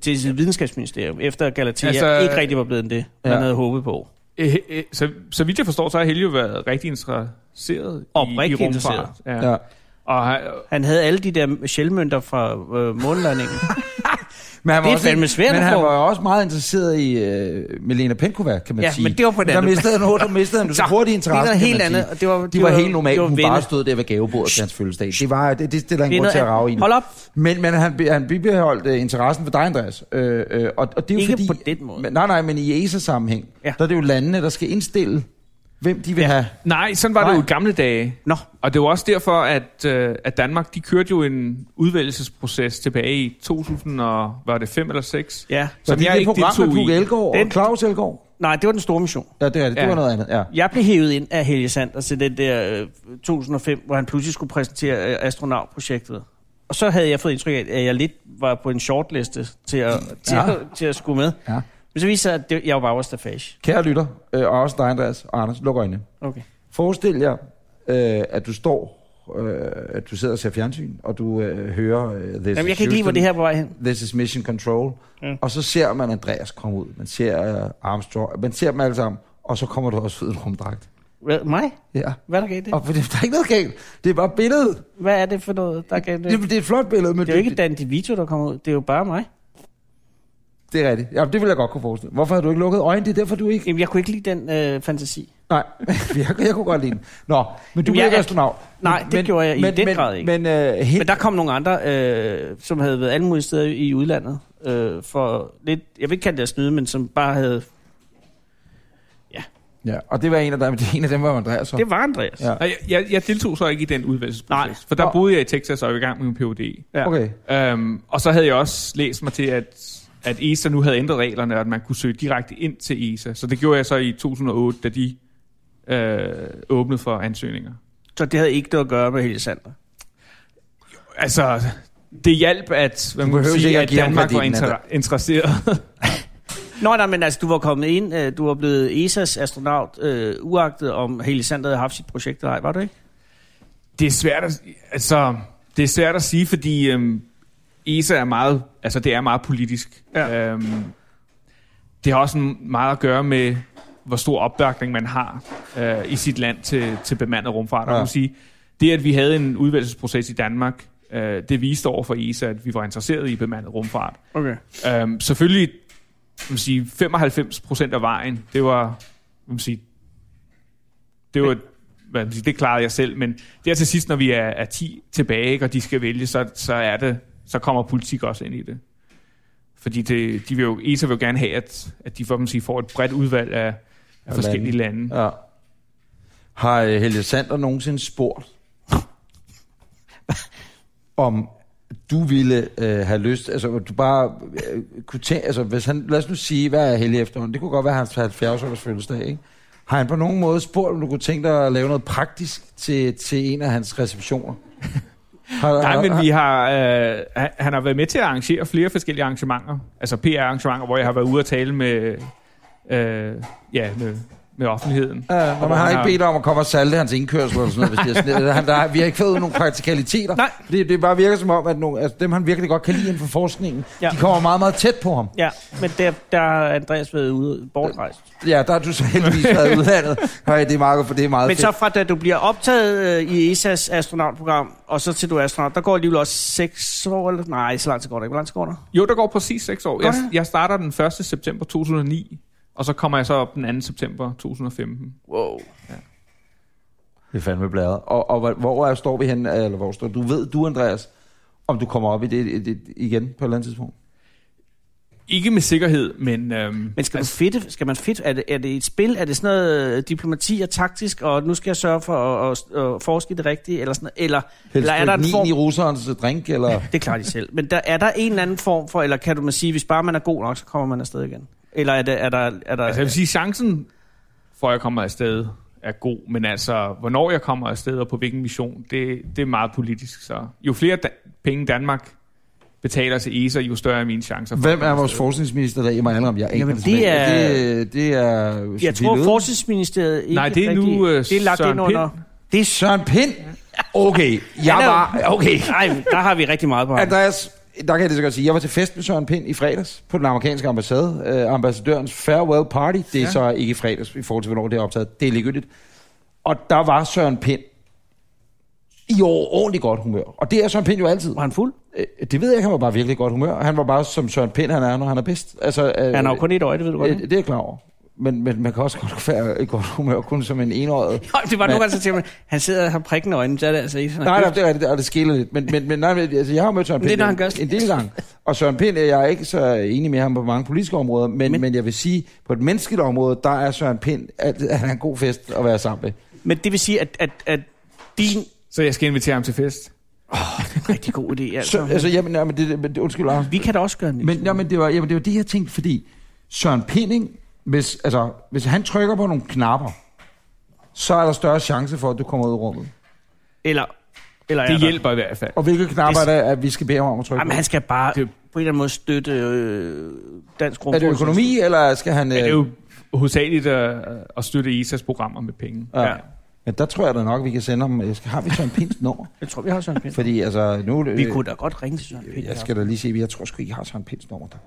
S2: Til sit videnskabsministerium, efter Galatea
S5: Altså,
S2: altså, ikke rigtig var blevet end det, man
S3: ja.
S2: havde håbet på.
S5: Øh, øh, Så, så vidt jeg forstår, så har Helge jo været rigtig interesseret
S2: Og
S5: i,
S2: rigtig
S5: i rumfart.
S2: interesseret.
S5: Ja.
S3: Ja.
S5: Ja. Og har-
S2: Han havde alle de der sjælmønter fra øh, månlandingen.
S3: Men han
S2: Det er
S3: også-
S2: fandme svært
S3: Men
S2: at
S3: han
S2: få.
S3: var jo også meget interesseret i øh, Melena Penkova, kan man
S2: Ja,
S3: sige.
S2: men det var på den
S3: der
S2: anden-
S3: mistede han, der mistede han så hurtigt interesse,
S2: det er noget helt
S3: kan man sige.
S2: andet, og det var-
S3: de,
S2: det
S3: var,
S2: var-
S3: helt normalt,
S2: det var
S3: hun
S2: venner.
S3: bare stod der ved gavebordet til hans fødselsdag. Det, var, det, det, det er der ingen grund
S2: noget
S3: til at
S2: andet.
S3: rave i.
S2: Hold op.
S3: Men, men han, han bibeholdt uh, interessen for dig, Andreas. Øh, øh, og, og det er jo
S2: Ikke
S3: fordi,
S2: på den måde.
S3: Men, nej, nej, men i ESA-sammenhæng, ja.
S2: Ja.
S3: der er det jo landene, der skal indstille, hvem de vil ja. have.
S5: Nej, sådan var Nej. det
S3: Nej.
S5: jo i gamle dage.
S2: Nå.
S5: Og det var også derfor, at, øh, at Danmark de kørte jo en udvælgelsesproces tilbage i 2000 og, var det 5 eller 6?
S2: Ja.
S3: Så det er det program med Puk Elgård og
S2: Den-
S3: Claus Elgård.
S2: Nej, det var den store mission.
S3: Ja, det er det. Det
S5: Ja.
S3: var noget andet, ja.
S2: Jeg blev hævet ind af Helge Sander til den der øh, 2005, hvor han pludselig skulle præsentere øh, astronautprojektet. Og så havde jeg fået indtryk af, at jeg lidt var på en shortliste til at, til,
S3: Ja.
S2: ja. at, til at skulle med.
S3: Ja.
S2: Men så viste det sig, at det, jeg var bare overstafage.
S3: Kære lytter, øh, og også dig, Andreas og Anders, luk øjnene.
S2: Okay.
S3: Forestil jer, øh, at du står, øh, at du sidder og ser fjernsyn, og du øh, hører øh, This
S2: Jamen,
S3: is
S2: jeg kan ikke lide, hvor
S3: Houston,
S2: det her er på vej hen.
S3: This is Mission Control. Ja. Og så ser man Andreas komme ud. Man ser øh, Armstrong. Man ser dem alle sammen. Og så kommer du også ud i en rumdragt.
S2: Hvad, mig?
S3: Ja.
S2: Hvad er der galt det?
S3: Og for det, der er ikke noget galt. Det er bare billedet.
S2: Hvad er det for noget, der er galt det?
S3: Det, det er et flot billede, men
S2: Det er jo ikke Dan DeVito, der kommer ud. Det er jo bare mig.
S3: det, det er rigtigt. Jamen, det vil jeg godt kunne forestille. Hvorfor har du ikke lukket øjnene? Det er derfor, du ikke...
S2: Jamen, jeg kunne ikke lide den øh, fantasi.
S3: Nej, jeg, jeg kunne godt lide den. Nå, men du
S2: Jamen,
S3: blev
S2: jeg
S3: ikke
S2: er-
S3: astronaut.
S2: Nej, det gjorde jeg i den
S3: men,
S2: grad ikke.
S3: Men, øh, hen,
S2: Men der kom nogle andre, øh, som havde været alle mulige steder i udlandet. Øh, for lidt, jeg vil ikke kalde det at snyde, men som bare havde...
S3: Ja, og det var en af dem, det en af dem var Andreas. Så.
S2: Det var Andreas.
S3: Ja.
S2: Ja.
S5: Og Jeg, jeg, jeg deltog så ikke i den udvælgelsesproces,
S2: Nej.
S5: for der
S3: Nå.
S5: boede jeg i Texas og var i gang med min Ph.D.
S2: Ja.
S3: Okay.
S5: Øhm, og så havde jeg også læst mig til, at, at ESA nu havde ændret reglerne, og at man kunne søge direkte ind til ESA. Så det gjorde jeg så i 2008, da de øh, åbnede for ansøgninger.
S2: Så det havde ikke noget at gøre med Helge Sander.
S5: Altså, det hjalp, at, hvad
S3: Du
S5: man kan
S3: behøver
S5: sige,
S3: ikke at
S5: at
S3: give ham
S5: Danmark var
S3: kreditten,
S5: inter- interesseret.
S2: Nå, nej, men altså, du var kommet ind, øh, du var blevet ESA's astronaut, øh, uagtet om Helge Sander havde haft sit projekt eller ej, var du ikke?
S5: det er svært at, altså, det er svært at sige, fordi øhm, ESA er meget, altså det er meget politisk.
S2: Ja.
S5: Øhm, det har også en- meget at gøre med, hvor stor opbakning man har øh, i sit land til, til bemandet rumfart. Ja.
S3: Ja.
S5: Man kan sige, det, at vi havde en udvalgelsesproces i Danmark, øh, det viste over for ESA, at vi var interesseret i bemandet rumfart.
S2: Okay.
S5: Øhm, selvfølgelig, man sige, 95 procent af vejen, det var, man sige, det var, hvad man sige, det klarede jeg selv, men der til sidst, når vi er, er 10 tilbage, ikke, og de skal vælge, så, så er det, så kommer politik også ind i det. Fordi det, de vil jo, ESA vil jo gerne have, at, at de får, man sige, får et bredt udvalg af, af forskellige lande. lande.
S3: Ja. Har øh, Helge Sander nogensinde spurgt, om du ville øh, have lyst, altså om du bare øh, kunne tænke, altså hvis han, lad os nu sige, hvad er Helge efterhånden, det kunne godt være hans 70 års fødselsdag, ikke? Har han på nogen måde spurgt, om du kunne tænke dig at lave noget praktisk til, til en af hans receptioner? har,
S5: Nej, men
S3: har-
S5: vi har, øh, han- han har været med til at arrangere flere forskellige arrangementer. Altså PR-arrangementer, hvor jeg har været ude at tale med, øh, ja, med, med offentligheden.
S3: Ja,
S5: hvor
S3: og man har
S5: han
S3: ikke
S5: har-
S3: bedt om at komme og salte hans indkørsel eller sådan noget. Hvis det er sådan, han, der, er- vi har ikke fået nogen praktikaliteter.
S2: Nej.
S3: Fordi det bare virker som om, at nogle, altså, dem han virkelig godt kan lide inden for forskningen, ja.
S2: Ja.
S3: de kommer meget, meget tæt på ham.
S2: Ja, men der, der er Andreas været ude bortrejst.
S3: Ja, der har du så heldigvis været i udlandet. Hej, det er Marco, for det er meget
S2: Men
S3: fedt.
S2: så fra da du bliver optaget øh, i ESA's astronautprogram, og så til du er astronaut, der går alligevel også 6 år, eller? Nej, så lang tid går der ikke. Hvor lang tid går der?
S5: Jo, der går præcis 6 år. Jeg,
S2: Nå ja.
S5: jeg starter den 1. september 2009, og så kommer jeg så op den 2. september 2015.
S2: Wow.
S3: Det er fandme bladret. Og, og hvor- hvor er, står vi hen, eller hvor står du? Ved du, Andreas, om du kommer op i det, det igen på et eller andet tidspunkt?
S5: Ikke med sikkerhed, men... Øhm,
S2: Men skal, altså, du fedte, skal man fedt? Er det, er det et spil? Er det sådan noget øh, diplomati og taktisk, og nu skal jeg sørge for at, at, at forske i det rigtige? Eller, sådan, noget? eller,
S3: Helst
S2: eller er der en form...
S3: i russerens drink, eller...
S2: Det klarer de selv. Men der, er der en eller anden form for, eller kan du man sige, hvis bare man er god nok, så kommer man afsted igen? Eller er, det, er der... Er der
S5: Altså, jeg vil sige, chancen for, at jeg kommer afsted, er god, men altså, hvornår jeg kommer afsted og på hvilken mission, det, det er meget politisk. Så jo flere da- penge Danmark betaler til ESA, jo større er mine chancer. For.
S3: Hvem er vores forskningsminister, der i mig om? Jeg aner
S2: Jamen,
S3: det,
S2: det
S3: simpelthen ikke. det, det er... Sophie
S2: jeg tror,
S3: Løhde.
S2: forsvarsministeriet ikke
S5: Nej, det er nu,
S2: rigtig-
S5: øh,
S2: det er lagt
S5: Søren
S2: ind under...
S5: Pind.
S3: Det er Søren Pind. Okay, jeg
S2: Han er jo-
S3: var... Okay.
S2: Nej, der har vi rigtig meget på ham.
S3: Andreas, der kan jeg lige så godt sige, jeg var til fest med Søren Pind i fredags på den amerikanske ambassade. Øh, ambassadørens farewell party, det er ja.
S5: Ja.
S3: så ikke i fredags, i forhold til, hvornår det er optaget. Det er ligegyldigt. Og der var Søren Pind i overordentligt godt humør. Og det er Søren Pind jo altid.
S2: Var han fuld?
S3: Øh, det ved jeg ikke, han var bare virkelig godt humør. Han var bare som Søren Pind, han er, når han er bedst. Altså, øh,
S2: Han har jo kun et øje, det ved du godt.
S3: øh,
S2: ikke?
S3: det er jeg klar over. Men, men man kan også godt være i godt humør, kun som en enøjet.
S2: Nej, det var
S3: Men-
S2: nogle gange, så tænker man, han sidder og har prikken øjnene, så er det altså ikke sådan.
S3: Nej, nej, det er rigtigt, og det skiller lidt. Men, men, men nej, men, altså, jeg har jo mødt Søren
S2: Men det er,
S3: Pind
S2: når han gør
S3: en,
S2: sådan.
S3: en del gange. Og Søren Pind, jeg er ikke så enig med ham på mange politiske områder, men, men,
S2: Men-
S3: men jeg vil sige, på et menneskeligt område, der er Søren Pind at, at han er en god fest at være sammen med.
S2: Men det vil sige, at, at, at din...
S5: Så jeg skal invitere ham til fest.
S2: Rigtig god idé, altså.
S3: Så, altså, jamen, jamen, det, det- men, det- undskyld, Lars.
S2: Vi kan da også gøre det.
S3: Men, jamen, det var, jamen, det var det, jeg tænkte, fordi Søren Pinding, hvis, altså, hvis han trykker på nogle knapper, så er der større chance for, at du kommer ud i rummet.
S2: Eller, eller er
S5: Det
S2: der?
S5: hjælper i hvert fald.
S3: Og hvilke knapper
S2: Det-
S3: er det, at vi skal bede ham om at trykke
S2: Jamen, han
S3: på?
S2: skal bare
S5: Det-
S2: på en eller anden måde støtte øh, dansk
S3: Er
S2: rumforskning.
S3: det økonomi, eller skal han...
S5: Det er
S3: øh,
S5: jo hovedsageligt at, at støtte ESA's programmer med penge.
S3: Ja. Men der tror jeg da nok, vi kan sende ham... Jeg skal- Har vi Søren Pinds nummer?
S2: Jeg tror, vi har Søren Pind.
S3: Fordi altså, nu...
S2: Vi kunne da godt ringe til Søren Pind.
S3: Jeg skal da lige se, jeg tror sgu ikke, jeg har Søren Pinds nummer. Der.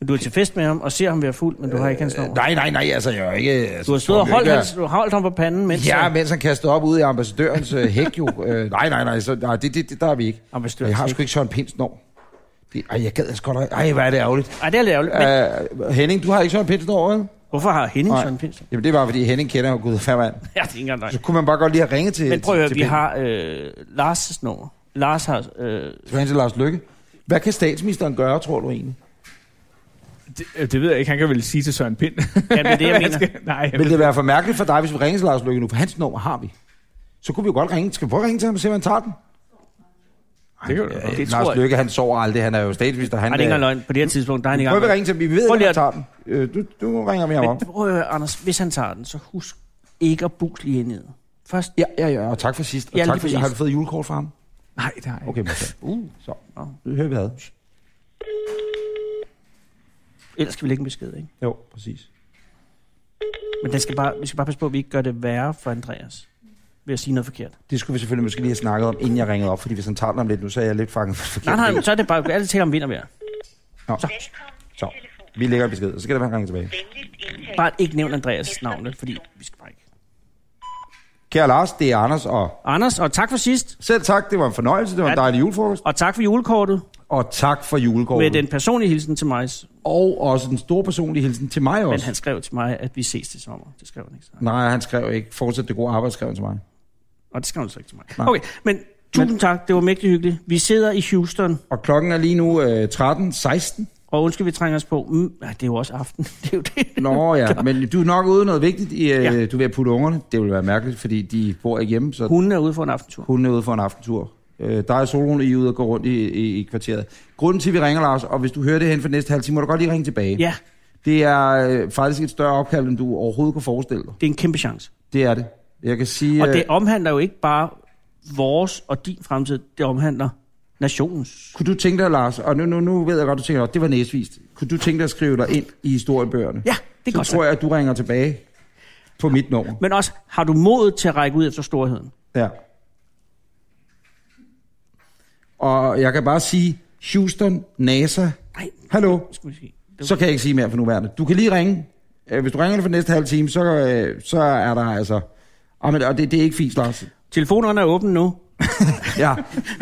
S2: Men Du er til fest med ham og ser ham være fuld, men du har ikke hans nummer.
S3: Nej, nej, nej, altså, jeg er jo ikke... Altså,
S2: Du har stået og
S3: Tom
S2: holdt,
S3: Lykke-
S2: hans, du har holdt ham på panden, mens
S3: Ja, mens han kastede op ude i ambassadørens øh, hæk jo. Øh, nej, nej, nej, så, nej det, det, det, der er vi ikke.
S2: Ambassadørens
S3: Jeg har
S2: hæk.
S3: sgu ikke Søren Pinds nummer. Det, ej, jeg gad altså godt... at- Ej, hvad er det ærgerligt.
S2: Ej, det er lidt ærgerligt. Men
S3: Øh, Henning, du har ikke Søren Pinds nummer, vel?
S2: hvorfor har Henning
S3: nej.
S2: Søren Pind? så?
S3: Jamen, det er bare, fordi Henning kender jo Gud fandme.
S2: Ja, det er ikke engang
S3: Så
S2: løgn.
S3: kunne man bare godt lige have ringet til...
S2: Men prøv at høre,
S3: til
S2: vi
S3: Pind.
S2: har øh, Lars' nummer. Lars har... Øh,
S3: Så ringe til Lars Lykke. Hvad kan statsministeren gøre, tror du egentlig?
S5: Det, øh, det ved jeg ikke. Han kan vel sige til Søren Pind.
S2: ja, det er det, jeg mener.
S5: Nej, jeg
S3: Vil
S5: ved,
S3: det være for mærkeligt for dig, hvis vi ringer til Lars Løkke nu? For hans nummer har vi. Så kunne vi jo godt ringe. Skal vi prøve at ringe til ham og se, om han tager den? øh,
S5: det kan du da godt.
S2: det tror
S3: Lars
S2: jeg.
S3: Løkke, han sover aldrig. Han er jo statsminister. Han,
S2: Ej, det er ikke engang
S3: øh,
S2: løgn. På det her tidspunkt, der er han ikke
S3: Prøv at
S2: engang...
S3: ringe til ham. Vi ved,
S2: Prøv
S3: ikke, om
S2: lige
S3: han
S2: at-
S3: tager den. Øh, Du, du ringer med ham
S2: Men
S3: om.
S2: prøv at høre, Anders, hvis han tager den, så husk ikke at bus lige ind i det. Først...
S3: Ja, ja, ja. Og tak for sidst. Og
S2: Ja,
S3: tak
S2: lige
S3: for,
S2: præcis.
S3: har du fået julekort fra ham?
S5: Nej, det har jeg ikke.
S3: Okay, men så. Uh, så.
S2: Nå.
S3: Det hører vi ad.
S2: Ellers skal vi lægge en besked, ikke?
S3: Jo, præcis.
S2: Men den skal bare, vi skal bare passe på, at vi ikke gør det værre for Andreas. Ved at sige noget forkert.
S3: Det skulle vi selvfølgelig måske lige have snakket om, inden jeg ringede op, fordi hvis han tager den om lidt nu, så er jeg lidt fanget.
S2: Nej, nej, men så er det bare... Alle taler om vinder mere.
S7: Velkommen til
S3: Så,
S7: telefon.
S3: vi lægger en besked, og så skal der være en ring tilbage.
S7: Venligst indtale.
S2: Bare ikke nævn Andreas' navn, vel? fordi vi skal bare ikke.
S3: Kære Lars, det er Anders, og
S2: Anders, og tak for sidst.
S3: selv tak, det var en fornøjelse, det var en
S2: Ja.
S3: dejlig julefrokost,
S2: Og tak for julekortet
S3: og tak for julekortet.
S2: med den personlige hilsen til mig.
S3: Og også en stor personlig hilsen til mig
S2: Men
S3: også.
S2: han skrev til mig, at vi ses til sommer. Det skrev han ikke. Så.
S3: Nej, han skrev ikke. Fortsæt det gode arbejde, skrev han til mig.
S2: Og det skrev han så ikke til mig.
S3: Nej.
S2: Okay, men tusind men... tak. Det var mægtig hyggeligt. Vi sidder i Houston,
S3: Og klokken er lige nu øh, 13, 16.
S2: og undskyld, vi trænger os på. Mm, nej, det er jo også aften. Det er jo det.
S3: Nå ja, men du er nok ude i noget vigtigt. I, øh,
S2: Ja.
S3: Du vil putte ungerne. Det vil være mærkeligt, fordi de bor ikke hjemme, så
S2: Hunden er ude for en aftentur.
S3: hun er ude for en aftentur. Øh, der er solrunde, I er ude og gå rundt i, i, i kvarteret. Grunden til, at vi ringer, Lars, og hvis du hører det hen for næste halv time, må du godt lige ringe tilbage.
S2: Ja,
S3: Det er øh, faktisk et større opkald, end du overhovedet kunne forestille dig.
S2: det er en kæmpe chance.
S3: Det er det. Jeg kan sige...
S2: Og
S3: øh,
S2: det omhandler jo ikke bare vores og din fremtid. Det omhandler nationens.
S3: Kunne du tænke dig, Lars, og nu, nu, nu ved jeg godt, du tænker, at det var næsvist. Kunne du tænke dig at skrive dig ind i historiebøgerne?
S2: Ja, det er
S3: så
S2: godt
S3: tror jeg, at du ringer tilbage. på mit nummer.
S2: Men også, har du modet til at række ud efter storheden?
S3: Ja. Og jeg kan bare sige, Houston, NASA,
S2: Nej,
S3: hallo,
S2: skulle vi sige.
S3: så kan jeg ikke sige mere for nuværende. Du kan lige ringe. Øh, Hvis du ringer inden for næste halve time, så, øh, så er der altså... Ah, men, og det, det er ikke fint, Lars.
S2: Telefonerne er åbne nu.
S3: Ja,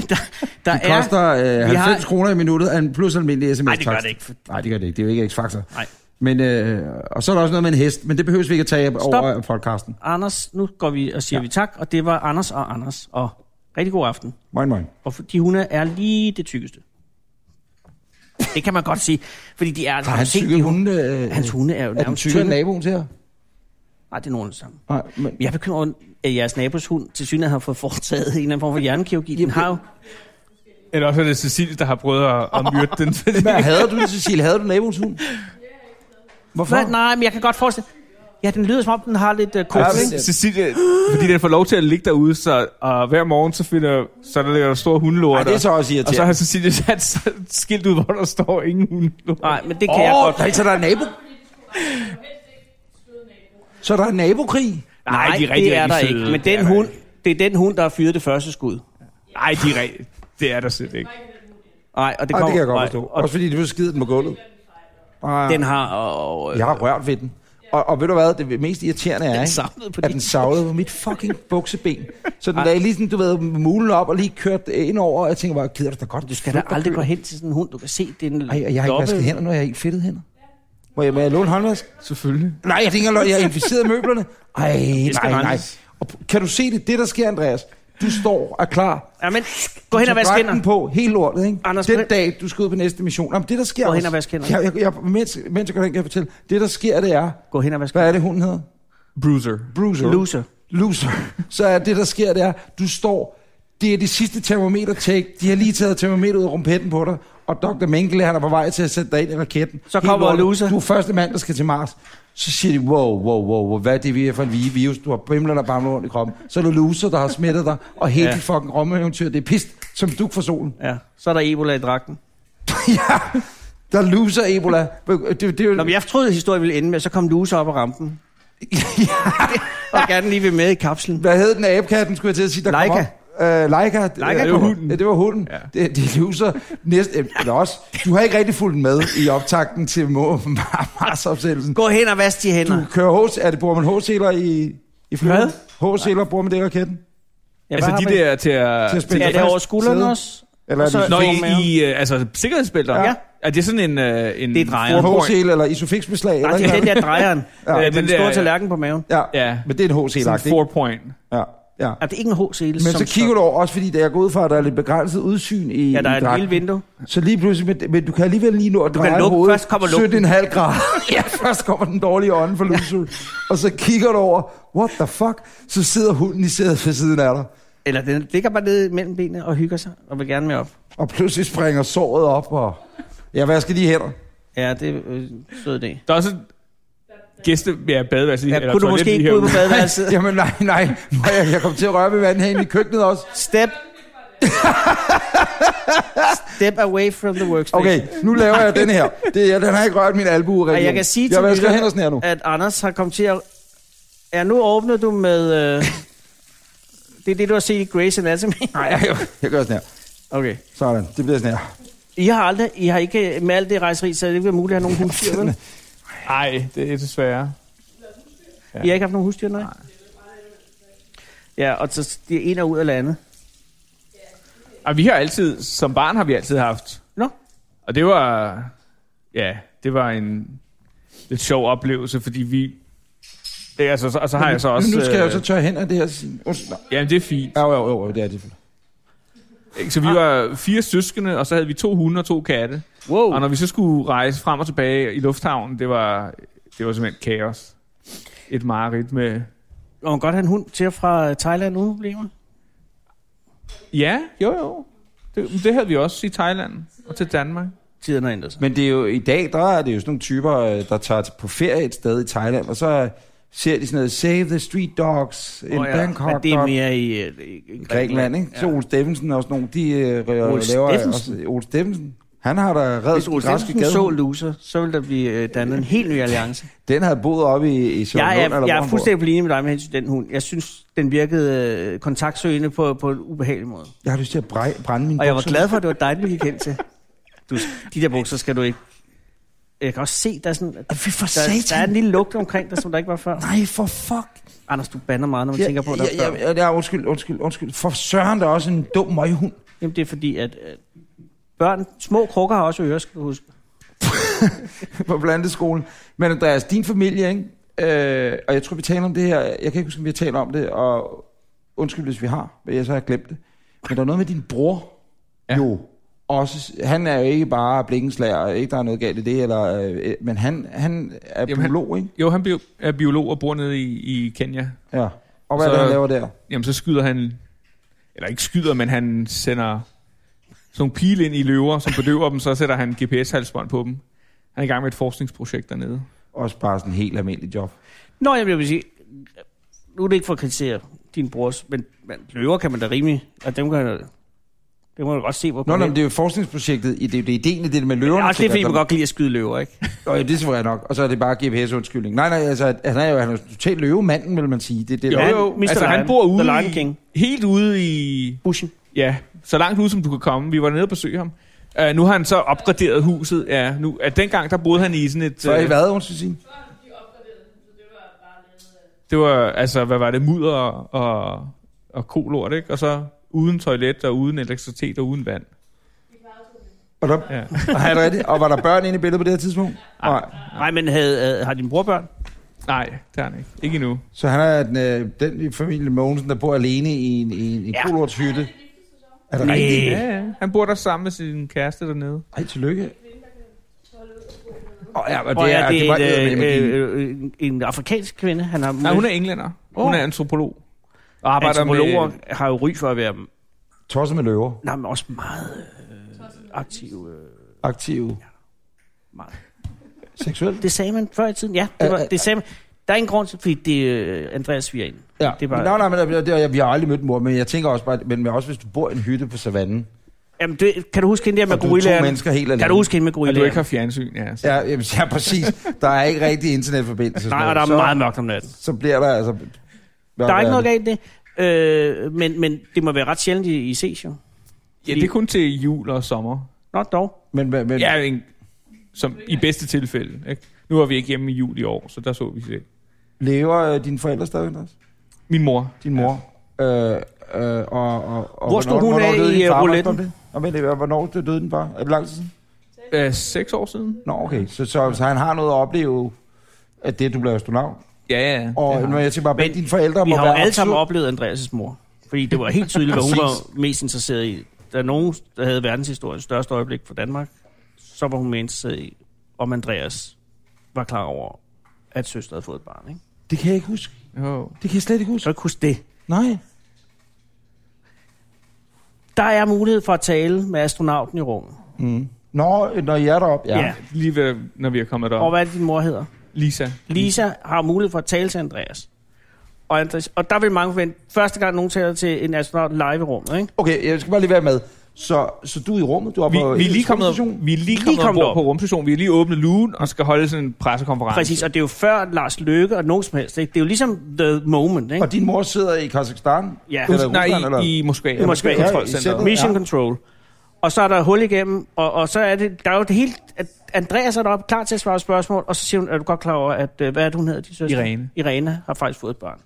S2: Der, der
S3: det koster øh, 90
S2: vi har-
S3: har... kroner i minuttet af en plus almindelig sms
S2: Nej, det gør det ikke.
S3: Nej, det gør det ikke. Det er jo ikke X-Factor.
S2: Nej.
S3: Men, øh, og så er der også noget med en hest, men det behøver vi ikke at tage
S2: Stop.
S3: over øh, podcasten.
S2: Anders, nu går vi og siger ja.
S3: Ja.
S2: vi tak, og det var Anders og Anders, og rigtig god aften.
S3: Moin, moin.
S2: Og f- de hunde er lige det tykkeste. Det kan man godt sige, fordi de er...
S3: Har han
S2: set de
S3: syge hunde? Øh,
S2: Hans hunde er jo
S3: er den
S2: nærmest
S3: tykke
S2: tynde.
S3: af naboen til her?
S2: Nej, det er nogen af det samme.
S3: Nej, men,
S2: Jeg er bekymret, over, at jeres nabos hund til syne har fået foretaget en eller anden form for hjernekirurgi. Den har jo...
S5: Eller også er det Cecilie, der har prøvet at, at myrde den. Fordi...
S3: Hvad havde du, Cecilie? Havde du naboens hund? Hvorfor?
S2: Hvad? Nej, men jeg kan godt forestille... Ja, den lyder som om, den har lidt uh,
S5: Ja,
S2: kort, ikke?
S5: men Cecilie, fordi den får lov til at ligge derude, så og hver morgen så finder så der ligger der store hundelort.
S3: Ej, det er så også
S5: og så
S3: irriterende.
S5: har Cecilie sat så- et skilt ud, hvor der står ingen hundelort.
S2: Nej, men det kan
S3: Åh,
S2: jeg godt...
S3: oh, altså, der er nabo. Så der er nabokrig?
S5: Nej, de er rigtig,
S2: det er der
S5: rigtig
S2: ikke.
S5: søde.
S2: Men
S5: Det er
S2: den
S5: der
S2: hund, det er den hund, der har fyret det første skud.
S5: Nej, de er rigtig. Det er der slet ikke.
S2: Nej, og det,
S3: Ej,
S2: kommer,
S3: Ah, det kan jeg godt
S2: nej,
S3: forstå.
S2: Og
S3: Også fordi du skider den på gulvet. Ah,
S2: den har... Og, øh,
S3: Jeg har rørt ved den. Og, og ved du hvad, det mest irriterende er,
S2: savlede på
S3: ikke, at
S2: dit-
S3: den savlede på mit fucking bukseben. Så den lagde lige sådan, du ved, mulen op og lige kørt øh, ind over, og jeg tænker bare, gider du da godt?
S2: Du skal da aldrig gå hen til sådan en hund. Du kan se, det er en
S3: Ej, og jeg har ikke
S2: loppe.
S3: vasket hænder, når jeg har ikke fedtet hænder. Må jeg, må jeg låne håndvask?
S5: Selvfølgelig.
S3: Nej, jeg tænker, jeg har inficeret møblerne. Ej,
S2: skal
S3: nej, nej.
S2: renses.
S3: Og p- kan du se det, det der sker, Andreas? Du står og klar.
S2: Ja, men gå hen og
S3: Du
S2: vask
S3: drak
S2: hænder.
S3: den på helt lortet, ikke?
S2: Anders,
S3: Anders, den
S2: men-
S3: dag, du skal ud på næste mission. Jamen, det der sker...
S2: Gå hen
S3: også-
S2: og vask hænder.
S3: Jeg, jeg, jeg, mens, mens jeg går hen, kan jeg fortælle. Det der sker, det er...
S2: Gå hen og vask
S3: Hvad er det, hun hedder?
S5: Bruiser.
S3: Bruiser.
S2: Loser.
S3: Loser. Så er det, der sker, det er, du står... Det er det sidste termometer-take. De har lige taget termometer ud af rumpetten på dig. Og Dr. Mengele, han er på vej til at sætte dig ind i raketten.
S2: Så
S3: Helt
S2: kommer
S3: lortet.
S2: loser.
S3: Du er første mand, der skal til Mars. Så siger de, wow, wow, wow, wow hvad er det vi er for en vi- virus? Du har bimler og bamler rundt i kroppen. Så er det loser, der har smittet dig. Og hele
S2: Ja.
S3: ja. dit fucking romeventyr, det er pist som duk for solen.
S2: Ja, så er der Ebola i dragten.
S3: ja, der er loser Ebola. Det, det, det,
S2: Nå, men jeg troede, at historien ville ende med, at så kom Loser op ad rampen. ja. Og gerne lige ved med i kapslen.
S3: Hvad hed den af abekatten, skulle jeg til at sige? Der
S2: Laika.
S3: Kom op. Øh, Leica.
S2: Laika, det var
S5: hunden.
S3: Ja, det var hunden.
S5: Ja.
S3: Ja. Det, det er loser. Næste, øh, eller også, du har ikke rigtig fulgt med i optakten til Mo- Mars-opsættelsen.
S2: Gå hen og vask de hænder.
S3: Du kører hos, er det, bruger man H-seler i, i
S2: Hvad?
S3: flyet? H-seler bruger man det i raketten?
S2: Ja,
S5: Altså
S2: hvad
S5: de
S2: har man-
S5: der til at...
S3: Til at spille
S2: Ja, det er over
S3: fast
S2: skulderen
S3: sæde?
S2: også.
S3: Eller er
S2: Og så-
S3: det
S5: Nå,
S2: Nå,
S5: i,
S2: i-
S5: i altså, sikkerhedsbælter?
S2: Ja.
S5: Er det sådan en... Øh, en
S2: Det er drejer.
S5: four point?
S3: H-sel eller isofixbeslag?
S2: Nej,
S3: eller
S2: det er
S3: ikke
S2: den der Øh, drejeren. ja,
S5: Ja,
S2: med
S5: den
S2: den
S5: der,
S2: store
S5: ja.
S2: tallerken på maven.
S3: Ja,
S5: Ja.
S3: ja, men det er en
S5: Sådan
S3: H-selagt,
S5: en
S3: ikke?
S5: four point.
S3: Ja, ja.
S2: Er det ikke en H-sele?
S3: Men så kigger du over, også fordi det er gået ud fra, at der er lidt begrænset udsyn i
S2: Ja, der
S3: i
S2: er et
S3: dragten.
S2: lille vindue.
S3: Så lige pludselig, men, men du kan alligevel lige nå at dreje
S2: lukke-
S3: hovedet.
S2: først kommer lugten.
S3: 17,5 grader. ja, først kommer den dårlige ånde for Lusul. og så kigger du over, what the fuck? Så sidder hunden i sædet ved siden af dig.
S2: Eller den ligger bare nede mellem benene og hygger sig og vil gerne med op.
S3: Og pludselig springer såret op, og jeg vasker lige hænder.
S2: Ja, det er øh, sød idé.
S5: Der er også et gæste... Ja, badeværelse.
S2: Ja, kunne du måske ikke gå ud på badeværelset?
S3: Jamen nej, nej. Må jeg, jeg kom til at røre ved vandet herinde i køkkenet også.
S2: Step. Step away from the workspace.
S3: Okay, nu laver jeg den her. Det, jeg, den har ikke rørt min albue.
S2: Og jeg kan sige til
S3: jeg vasker
S2: lytterne,
S3: hænder sådan her nu.
S2: At Anders har kommet til at... Ja, nu åbner du med... Øh... Det er det, du har set i Grey's Anatomy.
S3: Nej, jeg, jeg gør sådan her.
S2: Okay.
S3: Sådan, det bliver sådan her.
S2: I har aldrig... I har ikke... Med alt det rejseri, så er det ikke været muligt at have nogen husdyr, vel?
S5: Nej, det er desværre.
S2: I har ikke haft nogen husdyr, nej? Ja, og så de er en og ud af landet.
S5: Og vi har altid, som barn har vi altid haft.
S2: Nå.
S5: Og det var, ja, det var en lidt sjov oplevelse, fordi vi, det, altså, så, og så har jeg så også,
S3: Men nu skal jeg jo
S5: øh,
S3: så tørre hænder af det her. Undskyld, nej.
S5: jamen det er fint.
S3: Ja, jo, jo, jo, det er det.
S5: Ikke? Så vi
S3: Ah.
S5: var fire søskende, og så havde vi to hunde og to katte.
S2: Wow.
S5: Og når vi så skulle rejse frem og tilbage i lufthavnen, det var, det var simpelthen kaos. Et mareridt med,
S2: Og man godt have en hund til og fra Thailand uden problemer.
S5: ja, jo jo. Det, men det havde vi også i Thailand og til Danmark.
S2: Tiden har ændret sig.
S3: Men det er jo, i dag, der er det jo sådan nogle typer, øh, der tager på ferie et sted i Thailand, og så øh, ser de sådan noget, save the street dogs in
S2: Åh
S3: oh, ja. Bangkok.
S2: Men det er
S3: dog."
S2: mere i, øh, i, i
S3: Grækenland, ikke? Ja. Så Ole Steffensen og sådan nogle, de øh, rø-
S2: Ole
S3: laver...
S2: Steffensen?
S3: Også, Ole Steffensen. Han har da reddet
S2: Hvis
S3: den
S2: Ole
S3: græske
S2: Jensen så
S3: gade.
S2: loser, så vil der blive øh, dannet en helt ny alliance.
S3: Den havde boet oppe i, i Sjælland,
S2: jeg,
S3: eller
S2: er,
S3: hvor
S2: jeg
S3: han
S2: er
S3: bor.
S2: fuldstændig på linje med dig med hensyn til den hund. Jeg synes, den virkede øh, kontaktsøgende på, på en ubehagelig måde.
S3: Jeg har lyst til at bræ- brænde min
S2: Og jeg var glad for, at det var dig, den gik hen til. Du, de der bukser skal du ikke... Jeg kan også se, der er sådan... Der,
S3: Fy for
S2: der, der er
S3: satan.
S2: en lille lugt omkring dig, som der ikke var før.
S3: Nej, for fuck.
S2: Anders, du bander meget, når man ja, tænker på det.
S3: ja, ja, ja, ja, undskyld, undskyld, undskyld. For søren, der er også en dum møghund.
S2: Jamen, det er fordi, at øh, børn... Små krukker har også ører, skal du huske.
S3: på blandeskolen. Men Andreas, din familie, ikke? Øh, og jeg tror, vi taler om det her. Jeg kan ikke huske, om vi har talt om det, og undskyld, hvis vi har, men jeg så har glemt det. Men der er noget med din bror.
S5: Ja.
S3: Jo. Også, han er jo ikke bare blikkenslager, ikke der er noget galt i det, eller, øh, men han, han er
S5: Jamen, han-
S3: biolog, ikke?
S5: Jo, han bio, er biolog og bor nede i, i Kenya.
S3: Ja. Og hvad så, er
S5: Så-
S3: det, han laver der?
S5: Jamen, så skyder han... Eller ikke skyder, men han sender sådan nogle pile ind i løver, som bedøver dem, så sætter han GPS-halsbånd på dem. Han er i gang med et forskningsprojekt dernede.
S3: Også bare sådan en helt almindelig job.
S2: Nå, jeg vil sige... Nu er det ikke for at kritisere din brors, men, men løver kan man da rimelig... Og dem kan... Det må man godt se, hvor...
S3: Nå, nå, men det er altså. jo forskningsprojektet, i- det er jo det er ideen i det med løverne.
S2: Ja, også det er,
S3: sikkert,
S2: fordi man
S3: der-
S2: godt kan lide at skyde løver, ikke?
S3: Nå, ja, det er selvfølgelig nok. Og så er det bare GPS-undskyldning. Nej, nej, altså, han er jo, han er jo totalt løvemanden, vil man sige. Det, er det,
S5: Jo,
S3: der-
S2: han-
S5: jo.
S2: Mr.
S5: Altså, han
S2: Lion-
S5: bor ude
S2: The Lion
S5: i-
S2: King.
S5: Helt ude i...
S2: Buschen.
S5: Ja, så langt ud, som du kan komme. Vi var nede og besøge ham. Uh, nu har han så opgraderet huset. Ja, nu, uh, dengang, der boede han i sådan et...
S3: Så er I
S5: Uh,
S3: hvad, hun skal sige?
S5: det var, altså, hvad var det? Mudder og, og, og kolort, ikke? Og så uden toilet og uden elektricitet og uden vand.
S3: Og der,
S5: Ja.
S3: Nej, er det rigtigt? Og var der børn inde i billedet på det her tidspunkt? Nej.
S2: Nej, men havde, øh, har din bror børn?
S5: Nej, det har han ikke. Ikke endnu.
S3: Så han er den, øh, den i familien Mogensen, der bor alene i en, i en, en
S2: Ja.
S3: ja. kolortshytte. Er det
S2: Næh.
S3: rigtigt?
S5: Ja, ja. Han bor der sammen med sin kæreste dernede.
S3: Ej, tillykke. Åh, ja, og
S2: Og
S3: det,
S2: ja,
S3: er,
S2: det
S3: det var
S2: er en,
S3: eddermame din-
S2: øh, øh, øh, en afrikansk kvinde. Han har
S5: Nej, hun er englænder. Hun er antropolog. Og arbejder
S2: Antropologer
S5: med...
S2: har jo ry for at være
S3: Tosset med løver.
S2: nej, men også meget øh, aktiv. Øh,
S3: Aktiv.
S2: meget.
S3: Seksuelt?
S2: Det sagde man før i tiden. Ja, det, var, det sagde man. Der er ingen grund til, fordi det er Andreas Svigerinde.
S3: Ja.
S2: Det er bare,
S3: Nej, nej, men øh, det, det, vi har aldrig mødt mor, men jeg tænker også bare, men også hvis du bor i en hytte på savannen.
S2: Jamen, det, kan du huske hende der med
S3: Og du er to
S2: gorillaen?
S3: mennesker helt alene.
S2: Kan du huske hende med
S5: At du ikke har
S2: gorillaen?
S5: fjernsyn, ja. Så.
S3: Ja, jamen, ja præcis. Der er ikke rigtig internetforbindelse.
S2: Nej, og der er
S3: så,
S2: meget mørkt om natten.
S3: Så bliver der altså...
S2: Der er ikke noget galt i det. Øh, men, men det må være ret sjældent, I, I ses jo.
S5: ja, det er kun til jul og sommer.
S2: Nå, dog.
S3: Men, men, men
S5: Ja, en, som i bedste tilfælde. Ikke? Nu var vi ikke hjemme i jul i år, så der så vi det.
S3: lever øh, dine forældre stadig, Andreas?
S5: Min mor.
S3: din mor. Øh, øh, og, og, og
S2: Hvor stod hun af i, øh, rouletten?
S3: Og men, hvornår døde den bare? Er det lang tid siden?
S5: Øh, seks år siden?
S3: Nå, okay. Så, så, så han har noget at opleve at det, du blev astronaut.
S5: Ja, ja.
S3: Og
S5: det har
S3: når jeg tænker bare,
S2: Men
S3: men dine forældre
S2: Vi
S3: må
S2: har jo
S3: være
S2: alle sammen
S3: absurd-
S2: oplevet Andreas' mor. Fordi det var helt tydeligt, hvad hun var mest interesseret i. Da nogen der havde verdenshistoriens største øjeblik for Danmark, så var hun mest interesseret i, om Andreas var klar over, at søster havde fået et barn. Ikke?
S3: Det kan jeg ikke huske.
S5: jeg. Jo.
S3: Det kan jeg slet ikke
S2: Så
S3: huske.
S2: ikke huske det.
S3: Nej.
S2: Der er mulighed for at tale med astronauten i rummet.
S3: Nå, øh, når jeg er deroppe. Ja.
S2: Ja.
S3: ja.
S5: Lige ved, når vi er kommet
S2: Og
S5: derop.
S2: hvad er det, din mor hedder?
S5: Lisa.
S2: Lisa har mulighed for at tale til Andreas. Og, Andreas, og der vil mange forvente, første gang nogen taler til en astronaut live i rummet, ikke?
S3: Okay, jeg skal bare lige være med. Så, så du er i rummet, du er
S5: Vi,
S3: på
S5: vi, er lige kommet,
S3: rumstation.
S5: vi er lige
S2: Lige
S5: kommet,
S2: kommet
S5: ombord
S2: op.
S5: på rumstationen. Vi har lige åbnet lugen og skal holde sådan en pressekonference.
S2: Præcis, og det er jo før Lars Løkke og nogen som helst, ikke? Det er jo ligesom the moment, ikke?
S3: Og din mor sidder i Kazakhstan?
S2: Ja.
S3: Eller
S5: Nej,
S3: Rusland, eller?
S5: i, i Moskva. I
S2: Moskva. Ja, i
S5: Kontrolcenteret.
S2: Mission
S3: Ja.
S2: Control. Og så er der hul igennem, og, og så er det, der er jo det helt, at Andreas er deroppe klar til at svare spørgsmål, og så siger hun, er du godt klar over, at, øh, hvad er det, hun hedder, din søster?
S5: Irene.
S2: Irene har faktisk fået et barn.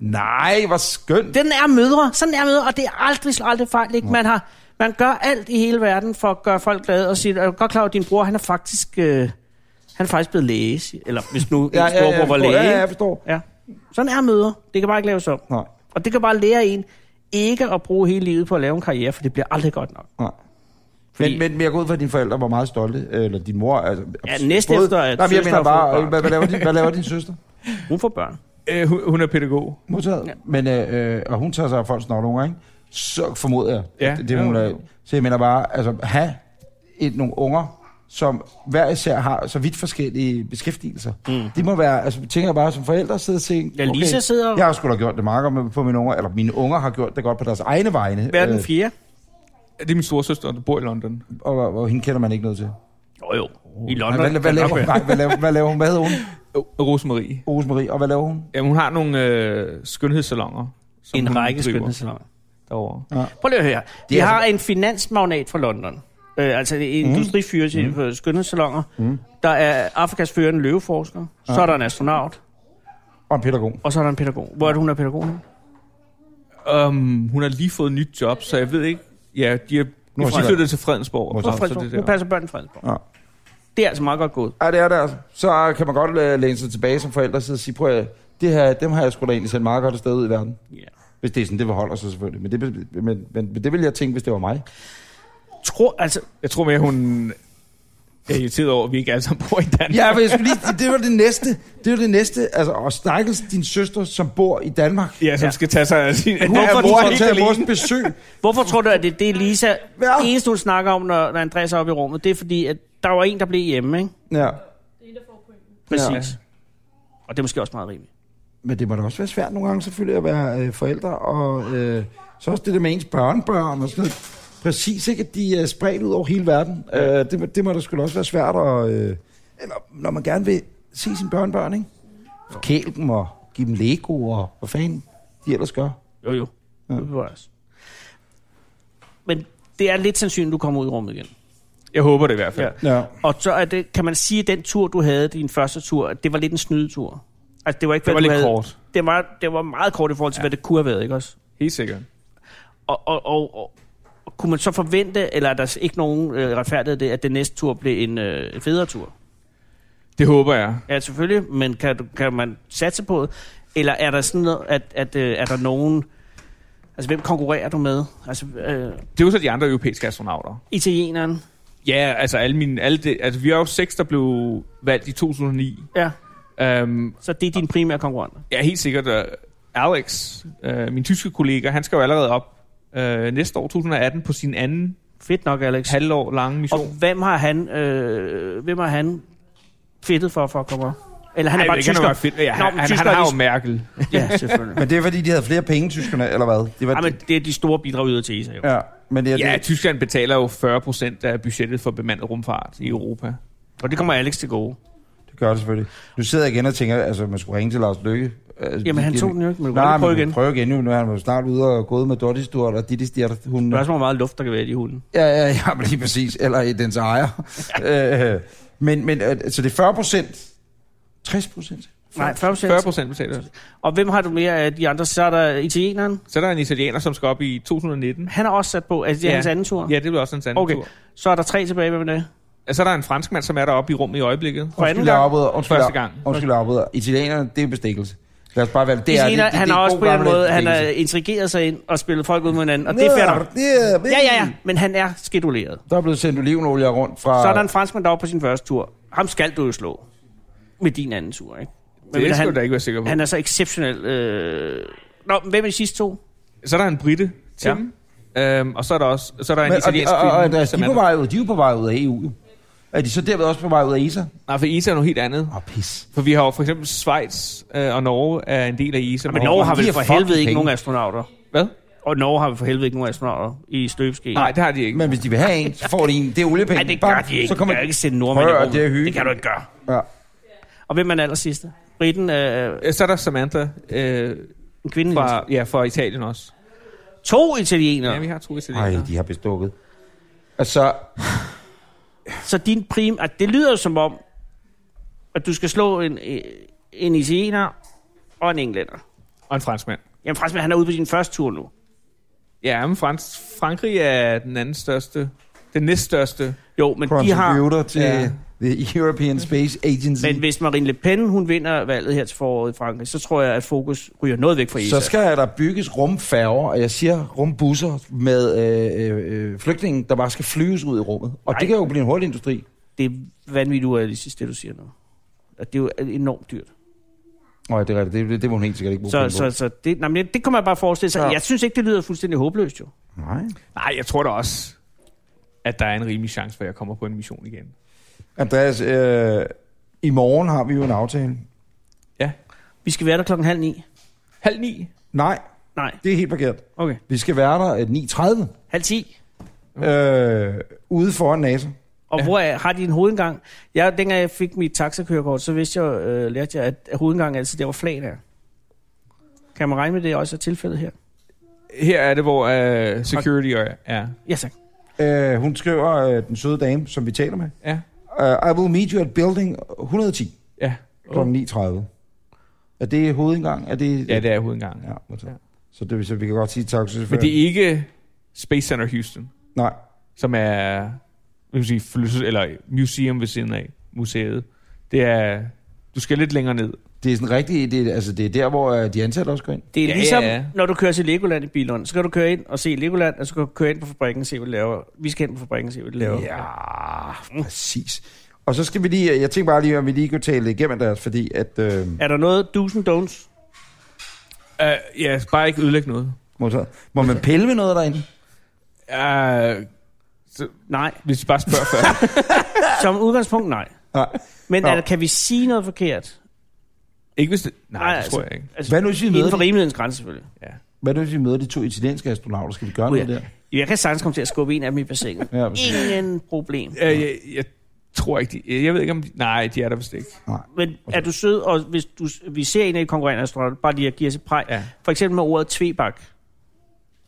S3: Nej, hvor skønt.
S2: Den er mødre, sådan er mødre, og det er aldrig, slår aldrig fejl, ikke? Man, har, man gør alt i hele verden for at gøre folk glade, og siger, er du godt klar over, at din bror, han er faktisk, øh, han er faktisk blevet læge, siger- eller hvis nu ja, ja, ja, var
S3: jeg
S2: læge.
S3: forstår.
S2: Ja,
S3: Ja, ja, jeg forstår.
S2: ja. Sådan er mødre, det kan bare ikke laves om.
S3: Nej,
S2: Og det kan bare lære en ikke at bruge hele livet på at lave en karriere, for det bliver aldrig godt nok.
S3: nej.
S2: Fordi-
S3: Men, men, men jeg går ud fra, at dine forældre var meget stolte, øh, eller din mor. Altså,
S2: Ja, næst efter, at
S3: nej, men
S2: søster
S3: jeg mener
S2: har fået
S3: bare,
S2: barn.
S3: øh, hvad, hvad, laver din, hvad laver din søster?
S2: Hun får børn.
S5: Øh, hun, hun er pædagog.
S3: Modtaget. Ja. Men, øh, øh, og hun tager sig af folks nogle ikke? Så formoder jeg,
S5: Ja,
S3: ja, det, det hun
S5: ja.
S3: laver. Så jeg mener bare, altså, have et, nogle unger, som hver især har så vidt forskellige beskæftigelser. Mm. Det må være, altså tænker jeg bare som forældre sidder og tænker,
S2: Ja, Lisa sidder-
S3: jeg har sgu da gjort det meget godt med, på mine unger, eller mine unger har gjort det godt på deres egne vegne.
S2: Hvad er den
S3: Øh,
S2: fjerde?
S5: det er min store søster, der bor i London.
S3: Og, og, og hende kender man ikke noget til.
S5: Jo, jo. I
S3: Ej,
S5: London.
S3: Hvad, hvad, hvad, laver, hun? Nej, hvad, laver, hvad laver hun? Hvad hedder hun?
S5: Rosemarie.
S3: Ose Marie. Og hvad laver hun?
S5: Jamen, hun har nogle øh, skønhedssalonger. som
S2: en
S5: hun
S2: række
S5: driver
S2: skønhedssalonger.
S5: Derovre.
S2: Prøv lige at høre.
S3: er
S2: Vi
S3: altså-
S2: har en finansmagnat fra London. Øh, altså en mm. industrifyrer til mm. skønhedssalonger. Mm. Der er Afrikas førende løveforsker. Så er der en astronaut.
S3: Og en pædagog.
S2: Og så er der en pædagog. Hvor er det, hun er pædagog? nu?
S5: Um, hun har lige fået nyt job, så jeg ved ikke... Ja, de er
S3: Nu
S5: nu
S3: er
S5: de
S3: Sjælland.
S5: flyttet til Fredensborg.
S2: Hun, er
S5: så- så
S2: Fredensborg.
S5: det er
S2: hun
S5: der.
S2: passer børn i Fredensborg.
S3: Ja.
S2: Det er altså meget godt gået.
S3: Ja, det er det altså. Så kan man godt øh, læne sig tilbage som forældre og sidde og sige, prøv at høre, det her, dem har jeg sgu da egentlig sendt meget godt afsted ud i verden.
S2: Ja.
S3: Hvis det er sådan, det holder sig selvfølgelig. Men det, men, men, men det ville jeg tænke, hvis det var mig.
S2: Tror, altså,
S5: Jeg tror mere, hun er irriteret over, at vi ikke alle sammen bor i Danmark.
S3: Ja, men jeg skulle lige, det var det næste. Det var det næste. Altså, og Stakkels, din søster, som bor i Danmark.
S5: Ja, som
S2: Ja.
S5: ja. skal tage sig af sin...
S2: Men hvorfor tror
S3: Hvorfor
S5: Ja,
S3: mor
S2: du
S3: har
S2: ikke
S3: taget
S2: alene?
S3: vores besøg?
S2: Hvorfor tror du, at det er det, Lisa
S3: Ja.
S2: eneste, hun snakker om, når, når Andreas er oppe i rummet? Det er fordi, at der var en, der blev hjemme, ikke?
S3: Ja.
S6: Det er en, der får pointen.
S2: Præcis. Ja. Og det er måske også meget rimeligt.
S3: Men det må da også være svært nogle gange selvfølgelig at være øh, forældre, og øh, så også det der med ens børnebørn og sådan noget. Præcis ikke, at de er spredt ud over hele verden. Ja. Øh, det, må- det må da skulle også være svært at... Øh, eller når man gerne vil se sine børnebørn, ikke? Forkæle dem og give dem Lego og hvad fanden de ellers gør.
S2: Jo, jo. Ja. Det var også. Men det er lidt sandsynligt, at du kommer ud i rummet igen.
S5: Jeg håber det i hvert fald.
S2: Ja.
S5: Ja.
S3: Ja.
S2: Og så er det, kan man sige, at den tur, du havde, din første tur, at det var lidt en snydetur. Altså, det var ikke,
S5: Det var
S2: hvad du
S5: lidt
S2: havde.
S5: kort.
S2: Det var, det var meget kort i forhold til, ja. hvad det kunne have været, ikke også?
S5: Helt sikkert.
S2: Og, og, og, og og kunne man så forvente, eller er der ikke nogen øh, retfærdighed i det, at den næste tur blev en, øh, en federe tur?
S5: Det håber jeg.
S2: Ja, selvfølgelig, men kan, du- kan man satse på det? Eller er der sådan noget, at, at øh, er der nogen... Altså, hvem konkurrerer du med? Altså, øh,
S5: Det er jo så de andre europæiske astronauter.
S2: italieneren?
S5: Ja, altså alle mine... Alle det, altså, vi er jo seks, der blev valgt i 2009.
S2: Ja,
S5: Um,
S2: så det er din primære konkurrent.
S5: ja, helt sikkert. Uh, Alex, uh, min tyske kollega, han skal jo allerede op uh, næste år, 2018, på sin anden
S2: Fedt nok, Alex.
S5: halvår lange mission.
S2: Og hvem har han, øh, hvem har han fedtet for, for at komme op? Eller han er
S5: Ej,
S2: bare
S5: det kan jo
S2: tysker?
S5: være fedt. Ja, han,
S2: men
S5: han, han,
S2: tysker er
S5: har jo
S2: de-
S5: Merkel.
S2: Ja, selvfølgelig.
S3: Men det er fordi, de havde flere penge, tyskerne, eller hvad? Det var,
S2: Ej, men det er de store bidragydere til ESA, jo.
S3: ja, men det er
S5: Ja,
S3: det.
S5: Tyskland betaler jo 40 procent af budgettet for bemandet rumfart i Europa.
S2: Og det kommer Alex til gode.
S3: Det gør det selvfølgelig. Nu sidder jeg igen og tænker, altså man skulle ringe til Lars Lykke. Altså,
S2: Jamen, han
S3: de-
S2: tog den jo ikke, men du kan
S3: Nej,
S2: godt prøve
S3: men
S2: igen.
S3: prøv igen nu. Nu er han jo snart ude og gået med Dottis Duert og Didis Duert. Hun...
S2: Spørgsmålet er, hvor meget luft, der kan være i de hunde.
S3: Ja, ja, ja, men lige præcis. Eller i dens ejer. øh, men, men øh, så det er 40 procent. 60 procent.
S2: Nej, 40 procent.
S5: 40 procent betaler.
S2: Og hvem har du mere af de andre? Så er der italieneren.
S5: Så er der en italiener, som skal op i 2019.
S2: Han er også sat på, altså det er ja. hans anden tur.
S5: Ja, det bliver også en anden
S2: Okay,
S5: tur.
S2: så er der tre tilbage, hvem er det?
S5: Og så er der en franskmand, som er deroppe i rummet i øjeblikket.
S2: For anden
S3: Undskyld, jeg
S2: gang.
S3: afbryder. Undskyld,
S5: Første
S3: jeg-
S5: gang.
S3: Undskyld, jeg afbryder. Italienerne, det er bestikkelse. Lad os bare være det. er,
S2: Isina,
S3: det, det,
S2: han
S3: det
S2: har også
S3: god
S2: på en
S3: gammeldags
S2: måde, han har
S3: bestikkelse.
S2: intrigeret sig ind og spillet folk ud mod hinanden, og det er fair nok.
S3: Det er-
S2: Ja, ja, ja, men han er skeduleret.
S3: Der er blevet sendt olivenolie rundt fra...
S2: Så er der en franskmand, der var på sin første tur. Ham skal du jo slå med din anden tur, ikke? Men
S5: Det skal
S2: han,
S5: du da ikke være sikker på.
S2: han er så exceptionel. Øh... Nå, men hvem er de sidste to?
S5: Så er der en brite, Tim. Ja. Øhm, og så er der også så er der en
S3: Men,
S5: italiensk
S3: og, og, og, og,
S5: kvinde,
S3: Andreas, de,
S5: som
S3: er
S5: er
S3: på
S5: der.
S3: vej ud, de er jo på vej ud af EU. jo. Er de så derved også på vej ud af ESA?
S5: Nej, for ISA er noget helt andet.
S3: Åh, oh, pis.
S5: For vi har jo for eksempel Schweiz øh, og Norge er en del af ISA.
S2: Men Norge har
S3: de
S2: vel
S3: er
S2: for
S3: fucking
S2: helvede ikke
S3: penge.
S2: nogen astronauter.
S5: Hvad?
S2: Og Norge har vel for helvede ikke nogen astronauter i støbeskeen.
S5: Nej, det har de ikke.
S3: Men hvis de vil have en, så får de en. Det er oliepenge.
S2: Nej, det gør
S3: Bam.
S2: de ikke.
S3: Så
S2: Så kan
S3: kommer
S2: man ikke sende nordmænd i
S3: Prøv at
S2: rummet.
S3: det er hyggeligt.
S2: Det kan du ikke gøre.
S3: Ja.
S2: Og hvem er den aller sidste? Britten, øh,
S5: Øh, Så er der Samantha øh,
S2: en kvinde.
S5: fra, ja, fra Italien også.
S2: To
S5: Ja,
S2: italienere.
S5: vi har to italienere.
S3: Ej, de har bestukket. Og så...
S2: Så din prim... At det lyder jo som om, at du skal slå en, øh, en italiener og en englænder.
S5: Og en franskmand.
S2: Jamen, franskmand, han er ude på sin første tur nu.
S5: Ja, men Frans- Frankrig er den anden største. Den næststørste.
S2: Jo, men de har...
S3: Contributor til
S5: Ja.
S3: The European Space Agency.
S2: Men hvis Marine Le Pen, hun vinder valget her til foråret i Frankrig, så tror jeg, at fokus ryger noget væk fra ESA.
S3: Så skal der bygges rumfærger, og jeg siger rumbusser med øh, øh, øh, flygtninge, der bare skal flyves ud i rummet. Og
S2: Nej.
S3: det kan jo blive en hurtig industri.
S2: Det er vanvittigt urealistisk, det du siger nu. At det er jo øh, enormt dyrt.
S3: Nå, ja, det er rigtigt. Det, det, det må hun helt sikkert ikke bruge
S2: Så,
S3: penge
S2: så, så det, nej, men det, det kommer jeg bare forestille sig.
S3: Ja.
S2: Ja. Jeg synes ikke, det lyder fuldstændig håbløst, jo.
S3: på. Nej.
S5: Nej, jeg tror da også, at der er en rimelig chance for, at jeg kommer på en mission igen.
S3: Andreas, øh, i morgen har vi jo en aftale.
S2: Vi skal være der klokken halv ni.
S5: Halv ni.
S3: Nej,
S2: Nej,
S3: det er helt forkert.
S2: okay.
S3: Vi skal være der øh, 9.30.
S2: Halv ti.
S3: øh, ude foran NASA.
S2: Og ja. hvor er, har de en hovedindgang? Jeg, dengang jeg fik mit taxakørekort, så vidste jeg, øh, lærte jeg, at hovedindgangen altid der var flag der. Kan man regne med, at det også er tilfældet her?
S5: Her er det, hvor uh, security er. Ja.
S2: Ja, tak.
S3: Øh, hun skriver, øh, den søde dame, som vi taler med,
S5: Ja.
S3: uh, I will meet you at building 110
S5: Ja.
S3: kl. 9.30. Er det hovedindgang? Er det,
S5: ja, det er hovedindgangen.
S3: Ja, modtaget.
S5: Ja.
S3: Så, det, så vi kan godt sige tak til
S5: Men det er ikke Space Center Houston,
S3: Nej,
S5: som er jeg vil sige, flyttet, eller museum ved siden af museet. Det er, du skal lidt længere ned.
S3: det er sådan rigtigt, det, er- altså det er der, hvor øh, de ansatte også går ind.
S2: Det er
S5: Ja,
S2: ja, ligesom,
S5: ja,
S2: ja,
S5: ja.
S2: ja. når du kører til Legoland i Bilund, så kan du køre ind og se Legoland, og så kan du køre ind på fabrikken og se, hvad de laver. Vi skal ind på fabrikken og se, hvad de laver. Ja.
S3: Ja, præcis. Og så skal vi lige, jeg tænker bare lige, om vi lige kunne tale det igennem deres, fordi at, øh,
S2: Er der noget do's and don'ts?
S5: Uh, ja, bare ikke ødelægge noget.
S3: modtaget. må man pille ved noget derinde?
S5: Uh,
S2: Nej.
S5: hvis I bare spørger før.
S2: Som udgangspunkt, nej.
S3: Nej.
S2: Men
S3: Nå.
S2: er der, kan vi sige noget forkert?
S5: ikke hvis det, nej,
S2: Nej,
S5: nej, det tror
S2: altså-
S5: jeg ikke.
S2: Altså,
S3: Hvad nu hvis vi møder,
S2: Inden for
S3: de,
S2: rimelighedens grænse, selvfølgelig.
S3: hvad nu, hvis vi møder de to italienske astronauter? Skal vi gøre
S2: Ui,
S3: noget der?
S2: Jeg kan sagtens komme til at skubbe en af dem i bassinet.
S3: Ja, præcis.
S2: Ingen problem.
S5: Uh, jeg, jeg tror ikke, de, jeg ved ikke om de, nej, de er der vist ikke.
S2: Men er du sød, og hvis du, vi ser en af de konkurrerende astronauter, bare lige at give os et præg.
S5: Ja.
S2: For eksempel med ordet tvebak.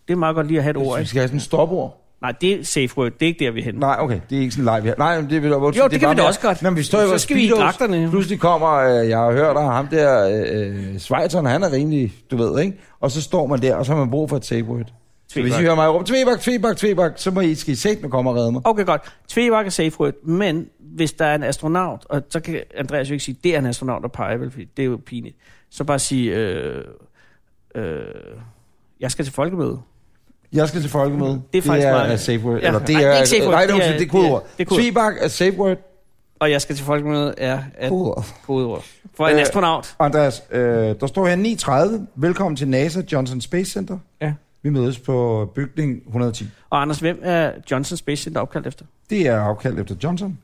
S2: Det er meget godt lige at have et ord.
S3: Vi
S2: Ikke?
S3: skal have sådan en stopord.
S2: Nej, det er safe word. Det er ikke der, vi er henne.
S3: Nej, okay, det er ikke sådan en leg, vi har. Nej, men det vil da
S2: Jo, det kan vi da også godt.
S3: Men vi står jo
S2: Så skal vi i dragterne.
S3: Pludselig kommer, øh, jeg har hørt, at ham der, øh, øh, Schweizeren, han er rimelig, du ved, ikke? Og så står man der, og så har man brug for et safe word. Så hvis I hører mig råbe, tvebak, tvebak, tvebak, så må I, skal I sætte med komme og redde mig.
S2: Okay, godt. Tvebak er safe word, men hvis der er en astronaut, og så kan Andreas jo ikke sige, det er en astronaut, der peger, vel, fordi det er jo pinligt. Så bare sige, øh, øh, jeg skal til folkemøde.
S3: Jeg skal til folkemøde.
S2: Det er faktisk
S3: det er
S2: meget-
S3: er safe word.
S2: Ja.
S3: Eller det
S2: Nej,
S3: er,
S2: det er ikke safe word.
S3: Nej, det
S2: Det er-
S3: er, det er kodeord.
S2: det er- det er kodeord.
S3: Tvebak er safe word.
S2: Og jeg skal til folkemøde er at
S3: Kodeord.
S2: kodeord. For en
S3: Øh,
S2: astronaut.
S3: Andreas, øh, der står her 9.30. Velkommen til NASA Johnson Space Center.
S5: Ja.
S3: Vi mødes på bygning 110.
S2: Og Anders, hvem er Johnson Space Center opkaldt efter?
S3: Det er opkaldt efter Johnson.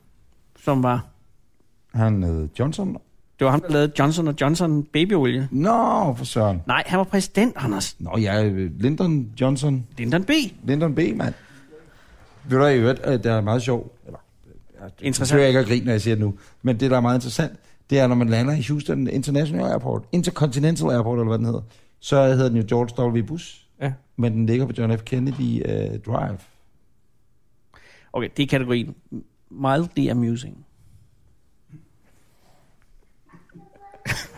S2: Som var,
S3: Han hed Johnson.
S2: det var ham, der lavede Johnson Johnson babyolie.
S3: Nå, for søren.
S2: Nej, han var præsident, Anders.
S3: Nå, jeg er øh, Lyndon Johnson.
S2: Lyndon B.
S3: Lyndon B, mand. Ved du, hvad, i øvrigt, øh, det er meget sjovt. Eller, jeg
S2: Interessant.
S3: tør ikke at grine, når jeg siger det nu. Men det, der er meget interessant, det er, når man lander i Houston International Airport, Intercontinental Airport, eller hvad den hedder, så hedder den jo George W. Bush.
S5: Ja.
S3: Men den ligger på John F. Kennedy øh, Drive.
S2: Okay, det er kategorien mildly amusing.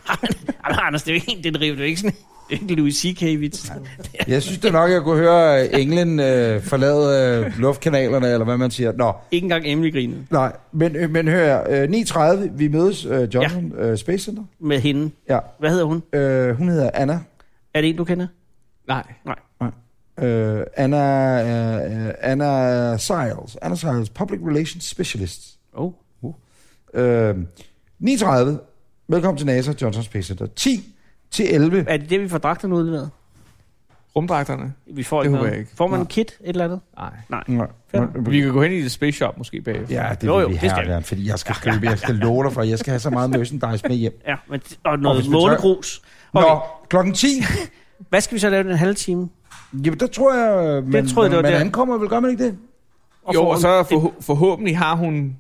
S2: Jamen, Anders, det er jo ikke en, det driver, det er jo ikke sådan, det er ikke Louis C.K. vits.
S3: Jeg synes da nok, jeg kunne høre øh, England øh, forlade øh, luftkanalerne, eller hvad man siger. Nå,
S2: Ikke engang Emily grinede
S3: nej, men, øh, men hør her. Øh, 9.30, vi mødes, øh, Johnson øh, Space Center.
S2: med hende.
S3: Ja,
S2: Hvad hedder hun?
S3: øh, hun hedder Anna.
S2: Er det en, du kender?
S5: Nej.
S3: Øh, Anna, øh, øh, Anna Siles. Anna Siles, Public Relations Specialist.
S2: Oh.
S3: Øh, 39. Velkommen til NASA, Johnson Space Center. 10 til 11.
S2: Er det det, vi får dragterne udleveret?
S5: Rumdragterne?
S2: Vi får
S5: Det
S2: ikke
S5: håber
S2: noget.
S5: jeg ikke.
S2: Får man en kit, et eller andet?
S5: Nej.
S3: Nå,
S2: Fem.
S5: Vi kan gå hen i det space shop måske bagefter.
S3: Ja, det
S2: Jo,
S3: vil
S2: jo,
S3: vi
S2: det
S3: have,
S2: skal vi.
S3: Allan, fordi jeg skal købe, jeg skal love dig for, jeg skal have så meget merchandise med hjem.
S2: Ja, men, og
S3: Og
S2: noget
S3: hvis vi tør-
S2: månegrus.
S3: Okay.
S2: Okay,
S3: Nå, klokken 10.
S2: hvad skal vi så lave den halve time?
S3: Jamen, der tror jeg, øh, man,
S2: Det tror jeg, det var
S3: man, man
S2: der.
S3: ankommer, vel gør man ikke det?
S2: Og
S5: jo,
S2: får
S5: og
S2: en-
S5: så forhå- forhåbentlig har hun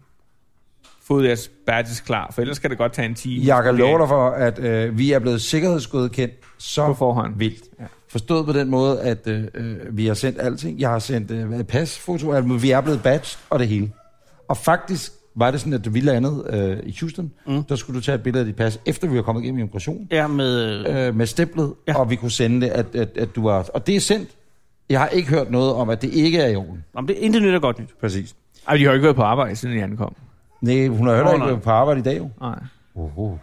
S5: fået jeres badges klar, for ellers kan det godt tage en time.
S3: Jeg kan love dig for, at øh, vi er blevet sikkerhedsgodkendt så
S5: På forhånd.
S3: vildt. Ja. Forstået på den måde, at øh, øh, vi har sendt alting. Jeg har sendt øh, pas, fotoalbum, vi er blevet batched og det hele. Og faktisk var det sådan, at da vi landede øh, i Houston, mm. der skulle du tage et billede af dit pas, efter vi var kommet igennem immigration,
S2: Ja, med...
S3: øh, med stemplet, ja.
S2: Ja.
S3: og vi kunne sende det, at, at, at du var... Og det er sendt. Jeg har ikke hørt noget om, at det ikke er i orden.
S2: Nå, men det, intet nyt er godt nyt.
S3: Præcis.
S5: Ej, de har jo ikke været på arbejde, siden I ankom.
S3: Nej, hun har
S2: Nå,
S3: heller ikke
S2: nej.
S3: været på arbejde i dag, jo.
S5: Nej.
S3: Oho.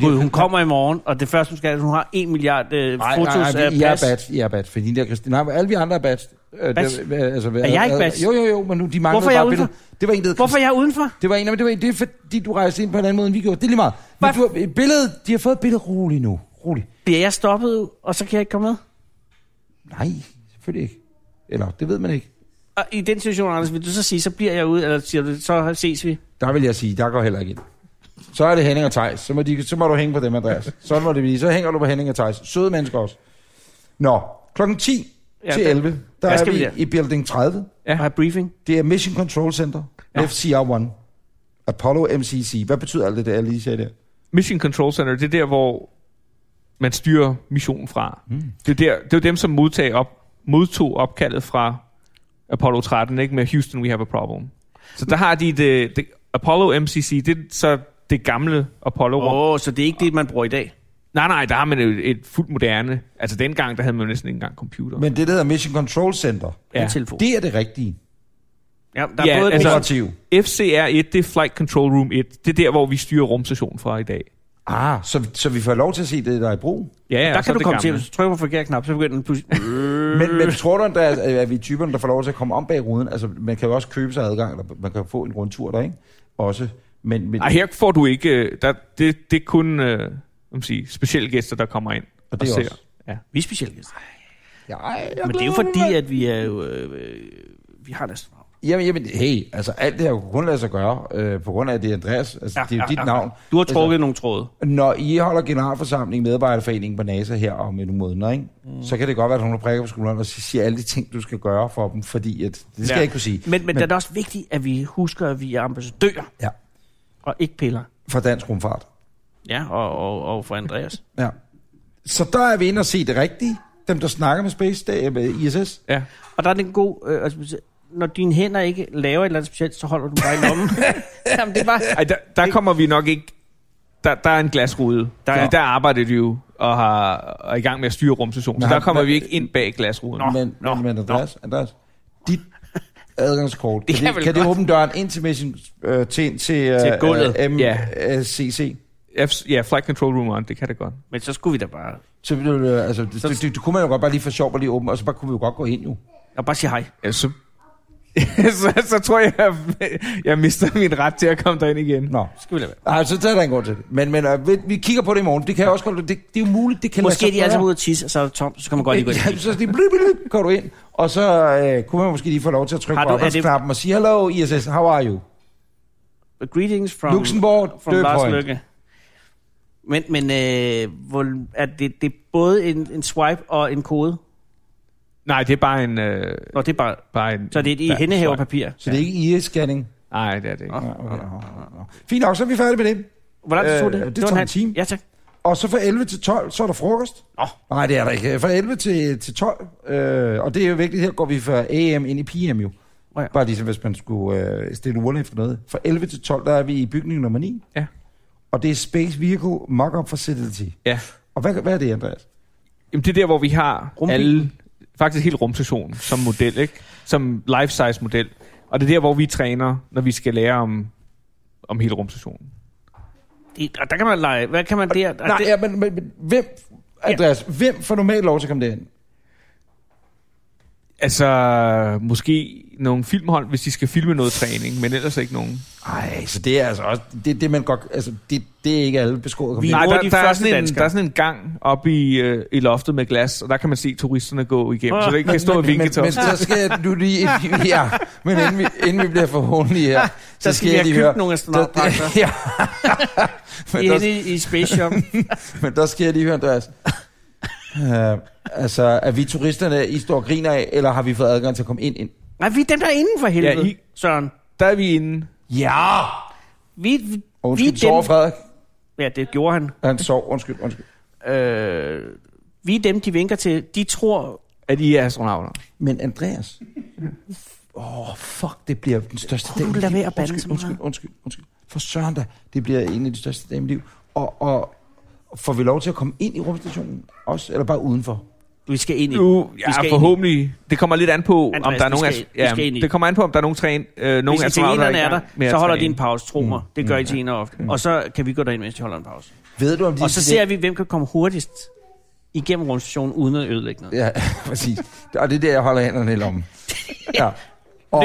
S2: Gud, hun kommer i morgen, og det første, hun skal, er, at hun har en milliard øh,
S3: Nej,
S2: fotos
S3: nej, nej,
S2: af
S3: vi- I er
S2: pas.
S3: bat, I er bat, fordi der Christina, nej, men alle vi andre er bat. Øh,
S2: Bats?
S3: der- øh, altså,
S2: Er jeg ikke bats?
S3: Jo, jo, jo, men nu, de mangler
S2: Hvorfor er jeg
S3: bare
S2: udenfor?
S3: billedet. Det var en, der hed
S2: Hvorfor er jeg udenfor?
S3: Christ- Det var en, men det var en, det er fordi, du rejste ind på en anden måde, end vi gjorde. Det er lige meget. Men
S2: Hvad?
S3: du, har- et billede, de har fået et billede roligt nu. Roligt.
S2: Bliver jeg stoppet, og så kan jeg ikke komme med?
S3: Nej, selvfølgelig ikke. Eller, det ved man ikke.
S2: Og i den situation, Anders, vil du så sige, så bliver jeg ude, eller siger du, så ses vi?
S3: Der vil jeg sige, der går heller ikke ind. Så er det Henning og Thijs. Så må, de, så må du hænge på dem, Andreas. Sådan må det blive. Så hænger du på Henning og Thijs. Søde mennesker også. Nå, klokken 10
S2: Ja,
S3: til
S2: der-
S3: 11, der, Der
S2: Hvad
S3: er
S2: skal
S3: vi
S2: vi der?
S3: i Building 30.
S2: Og have briefing.
S3: Det er Mission Control Center,
S5: Ja.
S3: FCR-1, Apollo MCC. Hvad betyder alt det der, jeg lige sagde der?
S5: Mission Control Center, det er der, hvor man styrer missionen fra. Mm. Det, er der, det er jo dem, som modtog, op, modtog opkaldet fra Apollo 13, ikke? Med Houston, we have a problem. Så der har de det, det Apollo MCC, det er så det gamle apollo oh.
S2: Åh, oh, så det er ikke det, man bruger i dag.
S5: Nej, nej, der har man jo et, et fuldt moderne... Altså dengang, der havde man jo næsten ikke engang computer.
S3: Men det, der hedder Mission Control Center,
S2: Ja. En telefon.
S3: det er det rigtige.
S2: Ja, der er
S5: Ja,
S2: både
S5: altså-
S2: altså,
S3: Operativ.
S5: FCR1, det er Flight Control Room 1. Det er der, hvor vi styrer rumstationen fra i dag.
S3: Ah, så, så vi får lov til at se det, der er i brug.
S5: Ja, ja,
S2: der
S5: så
S2: kan
S5: er
S2: du
S5: det
S2: komme til,
S5: gamle.
S2: hvis du trykker på forkert knap, så begynder den pludselig...
S3: Men, men tror du, at, der er, at vi er typerne, der får lov til at komme om bag ruden? Altså, man kan jo også købe sig adgang, eller man kan jo få en rundtur der, ikke? Også. Men, men
S5: Ej, her får du ikke... øh, Der, det, det er kun øh, hvad man siger, specielle gæster, der kommer ind og,
S3: det er
S5: ser.
S3: os.
S5: Ja.
S2: Vi er specielt gæster.
S3: Ja, ej, jeg
S2: Men det er jo
S3: glæder mig.
S2: fordi, at vi er jo... Øh, øh, vi har en astronaut.
S3: Jamen, jamen, hey, altså alt det her kunne kun lade sig gøre, øh, på grund af at det er Andreas. Altså, ja, det er jo ja, dit ja, navn. Altså-
S2: Du har trukket nogle tråde.
S3: Når I holder generalforsamling i medarbejderforeningen på NASA her om en måned, ikke? Mm. så kan det godt være, at hun prikker på skulderen og siger alle de ting, du skal gøre for dem, fordi at, det skal ja. jeg ikke kunne sige.
S2: Men, men, men det er da også vigtigt, at vi husker, at vi er ambassadører
S3: Ja,
S2: og ikke piller.
S3: for dansk rumfart.
S2: Ja, og, og, og for Andreas.
S3: Ja. Så der er vi inde og se det rigtige. Dem, der snakker med Space, det er med ISS.
S5: Ja.
S2: Og der er den god... Øh, altså, når dine hænder ikke laver et eller andet specielt, så holder du bare i lommen. Jamen, det er bare...
S5: Ej, der, der kommer vi nok ikke... Der, der er en glasrude. Der, ja. der arbejder de jo og har, og er i gang med at styre rumstationen. Så
S3: Men
S5: der
S3: har-
S5: kommer
S3: hvad-
S5: vi ikke ind bag glasruden.
S3: Nå, men,
S2: nå,
S3: nå, men Andreas, nå. Andreas, dit adgangskort, det
S2: kan
S3: kan,
S2: vel
S3: det, kan det
S2: godt.
S3: åbne døren ind til, mission, øh, til, til, øh,
S2: Til gulvet.
S3: Øh,
S5: Ja.
S3: MCC?
S5: F- ja, Flight Control Room on, det kan det godt.
S2: Men så skulle vi da bare...
S3: Så, ville du, øh, altså, det, det, det, det, kunne man jo godt bare lige for sjov bare lige åbne, og så bare kunne vi jo godt gå ind jo.
S2: Og bare sige hej.
S5: Ja, så, så, så tror jeg, jeg, jeg mister min ret til at komme derind igen.
S3: Nå.
S2: Skal vi lade være.
S3: Ej, så tager der en grund til Altså, det. Men, men øh, vi, vi kigger på det i morgen. Det kan jeg også godt, det, det er jo muligt, det kan
S2: Måske er de altså
S3: gøre.
S2: ude at tisse, og så er det tomt, så kan man godt lige gå ind.
S3: Ja, så lige blip, blip, går du ind, og så øh, kunne man måske lige få lov til at trykke
S2: Har
S3: på
S2: du- er det-
S3: opholdsknappen og sige, Hello ISS, how are you?
S2: Greetings from,
S3: Luxembourg,
S2: from Lars
S3: Døbhøj.
S2: Løkke. Men, men øh, hvor, er det, det er både en, en swipe og en kode?
S5: Nej, det er bare en... Øh,
S2: Nå, det er bare...
S5: bare en
S2: Så det er et i
S5: ja,
S2: hændehæverpapir.
S3: Så det er ikke IS-scanning.
S5: Nej, det er det ikke.
S3: Ja, okay, ja, ja. Fint nok, så er vi færdige med det.
S2: Hvor lang tid tog
S3: Øh,
S2: det?
S3: det
S2: var
S3: tager en
S2: halv-
S3: time.
S2: Ja, tak.
S3: Og så fra 11 til 12, så er der frokost.
S2: Nå.
S3: Nej, det er der ikke. Fra 11 til, til 12, øh, og det er jo vigtigt, her går vi fra AM ind i PM jo.
S2: Nå ja.
S3: Bare ligesom, hvis man skulle øh, stille urene efter noget. Fra 11 til 12, der er vi i bygning nummer 9.
S5: Ja.
S3: Og det er Space Vehicle Mock-up Facility.
S5: Ja.
S3: Og hvad, hvad er det, Andreas?
S5: Jamen, det er der, hvor vi har
S2: Rumbilen.
S5: alle, faktisk hele rumstationen som model, ikke? Som life-size model. Og det er der, hvor vi træner, når vi skal lære om, om hele rumstationen.
S2: Det, og der kan man lege. Hvad kan man der? Og
S3: Nej,
S2: det,
S3: ja, men, men, men hvem, Andreas, hvem får normalt lov til at komme derind?
S5: Altså, måske nogle filmhold, hvis de skal filme noget træning, men ellers ikke nogen.
S3: Nej, så det er altså også, det, det man godt, altså, det, det er ikke alle beskåret.
S2: Vi-
S3: Vi...
S5: Nej,
S2: nogle af de
S5: der, der, er
S2: første
S5: sådan en,
S2: danskere.
S5: der er sådan en gang oppe i, øh, i loftet med glas, og der kan man se turisterne gå igennem, så det ikke kan stå og
S3: men,
S5: vinke
S3: men,
S5: til
S3: men
S5: os.
S3: så skal jeg nu lige, inden vi, ja, men inden vi, inden vi bliver forhåndelig her, så
S2: der skal vi
S3: jeg
S2: have
S3: lige
S2: købt
S3: høre-
S2: nogle astronautdragter.
S3: Der- Ja. men,
S2: det
S3: der,
S2: er i, i Space Shop.
S3: men der skal jeg lige høre, Andreas. Uh, altså, er vi turisterne, I står og griner af, eller har vi fået adgang til at komme ind? ind?
S2: Nej, vi er dem, der er inden for helvede,
S5: Ja, I-
S2: Søren.
S5: Der er vi inde.
S3: Ja!
S2: Vi, vi, vi
S3: Undskyld,
S2: er
S3: sover
S2: dem...
S3: Frederik.
S2: Ja, det gjorde han.
S3: Han sov, undskyld, undskyld.
S2: Øh, vi er dem, de vinker til. De tror...
S5: At I er astronauter.
S3: Men Andreas... Åh, oh, fuck, det bliver den største
S2: Prøv nu
S3: i mit
S2: lad
S3: liv.
S2: være at bande så
S3: undskyld,
S2: meget.
S3: undskyld, undskyld, undskyld. For søren da, det bliver en af de største dage i mit liv. Og, og får vi lov til at komme ind i rumstationen også, eller bare udenfor?
S2: Vi skal ind i...
S5: Nu,
S2: vi
S5: ja,
S2: skal
S5: forhåbentlig. Det kommer lidt an på,
S2: Andreas,
S5: om der er
S2: vi
S5: nogen...
S2: skal-
S5: ast-
S2: vi skal ind i.
S5: det kommer an på, om der er nogen træn... Øh, nogen
S2: Hvis
S5: astronauter,
S2: italienerne
S5: i
S2: er der,
S5: gang med at
S2: så holder de
S5: træne.
S2: en pause, tro mig. Det gør italiener ofte. Og så kan vi gå derind, mens de holder en pause.
S3: Ved du, om de
S2: Og så ser vi, hvem kan komme hurtigst igennem rumstationen uden at ødelægge noget.
S3: Ja, præcis. Og det er der, jeg holder hænderne i lommen. Ja. Og,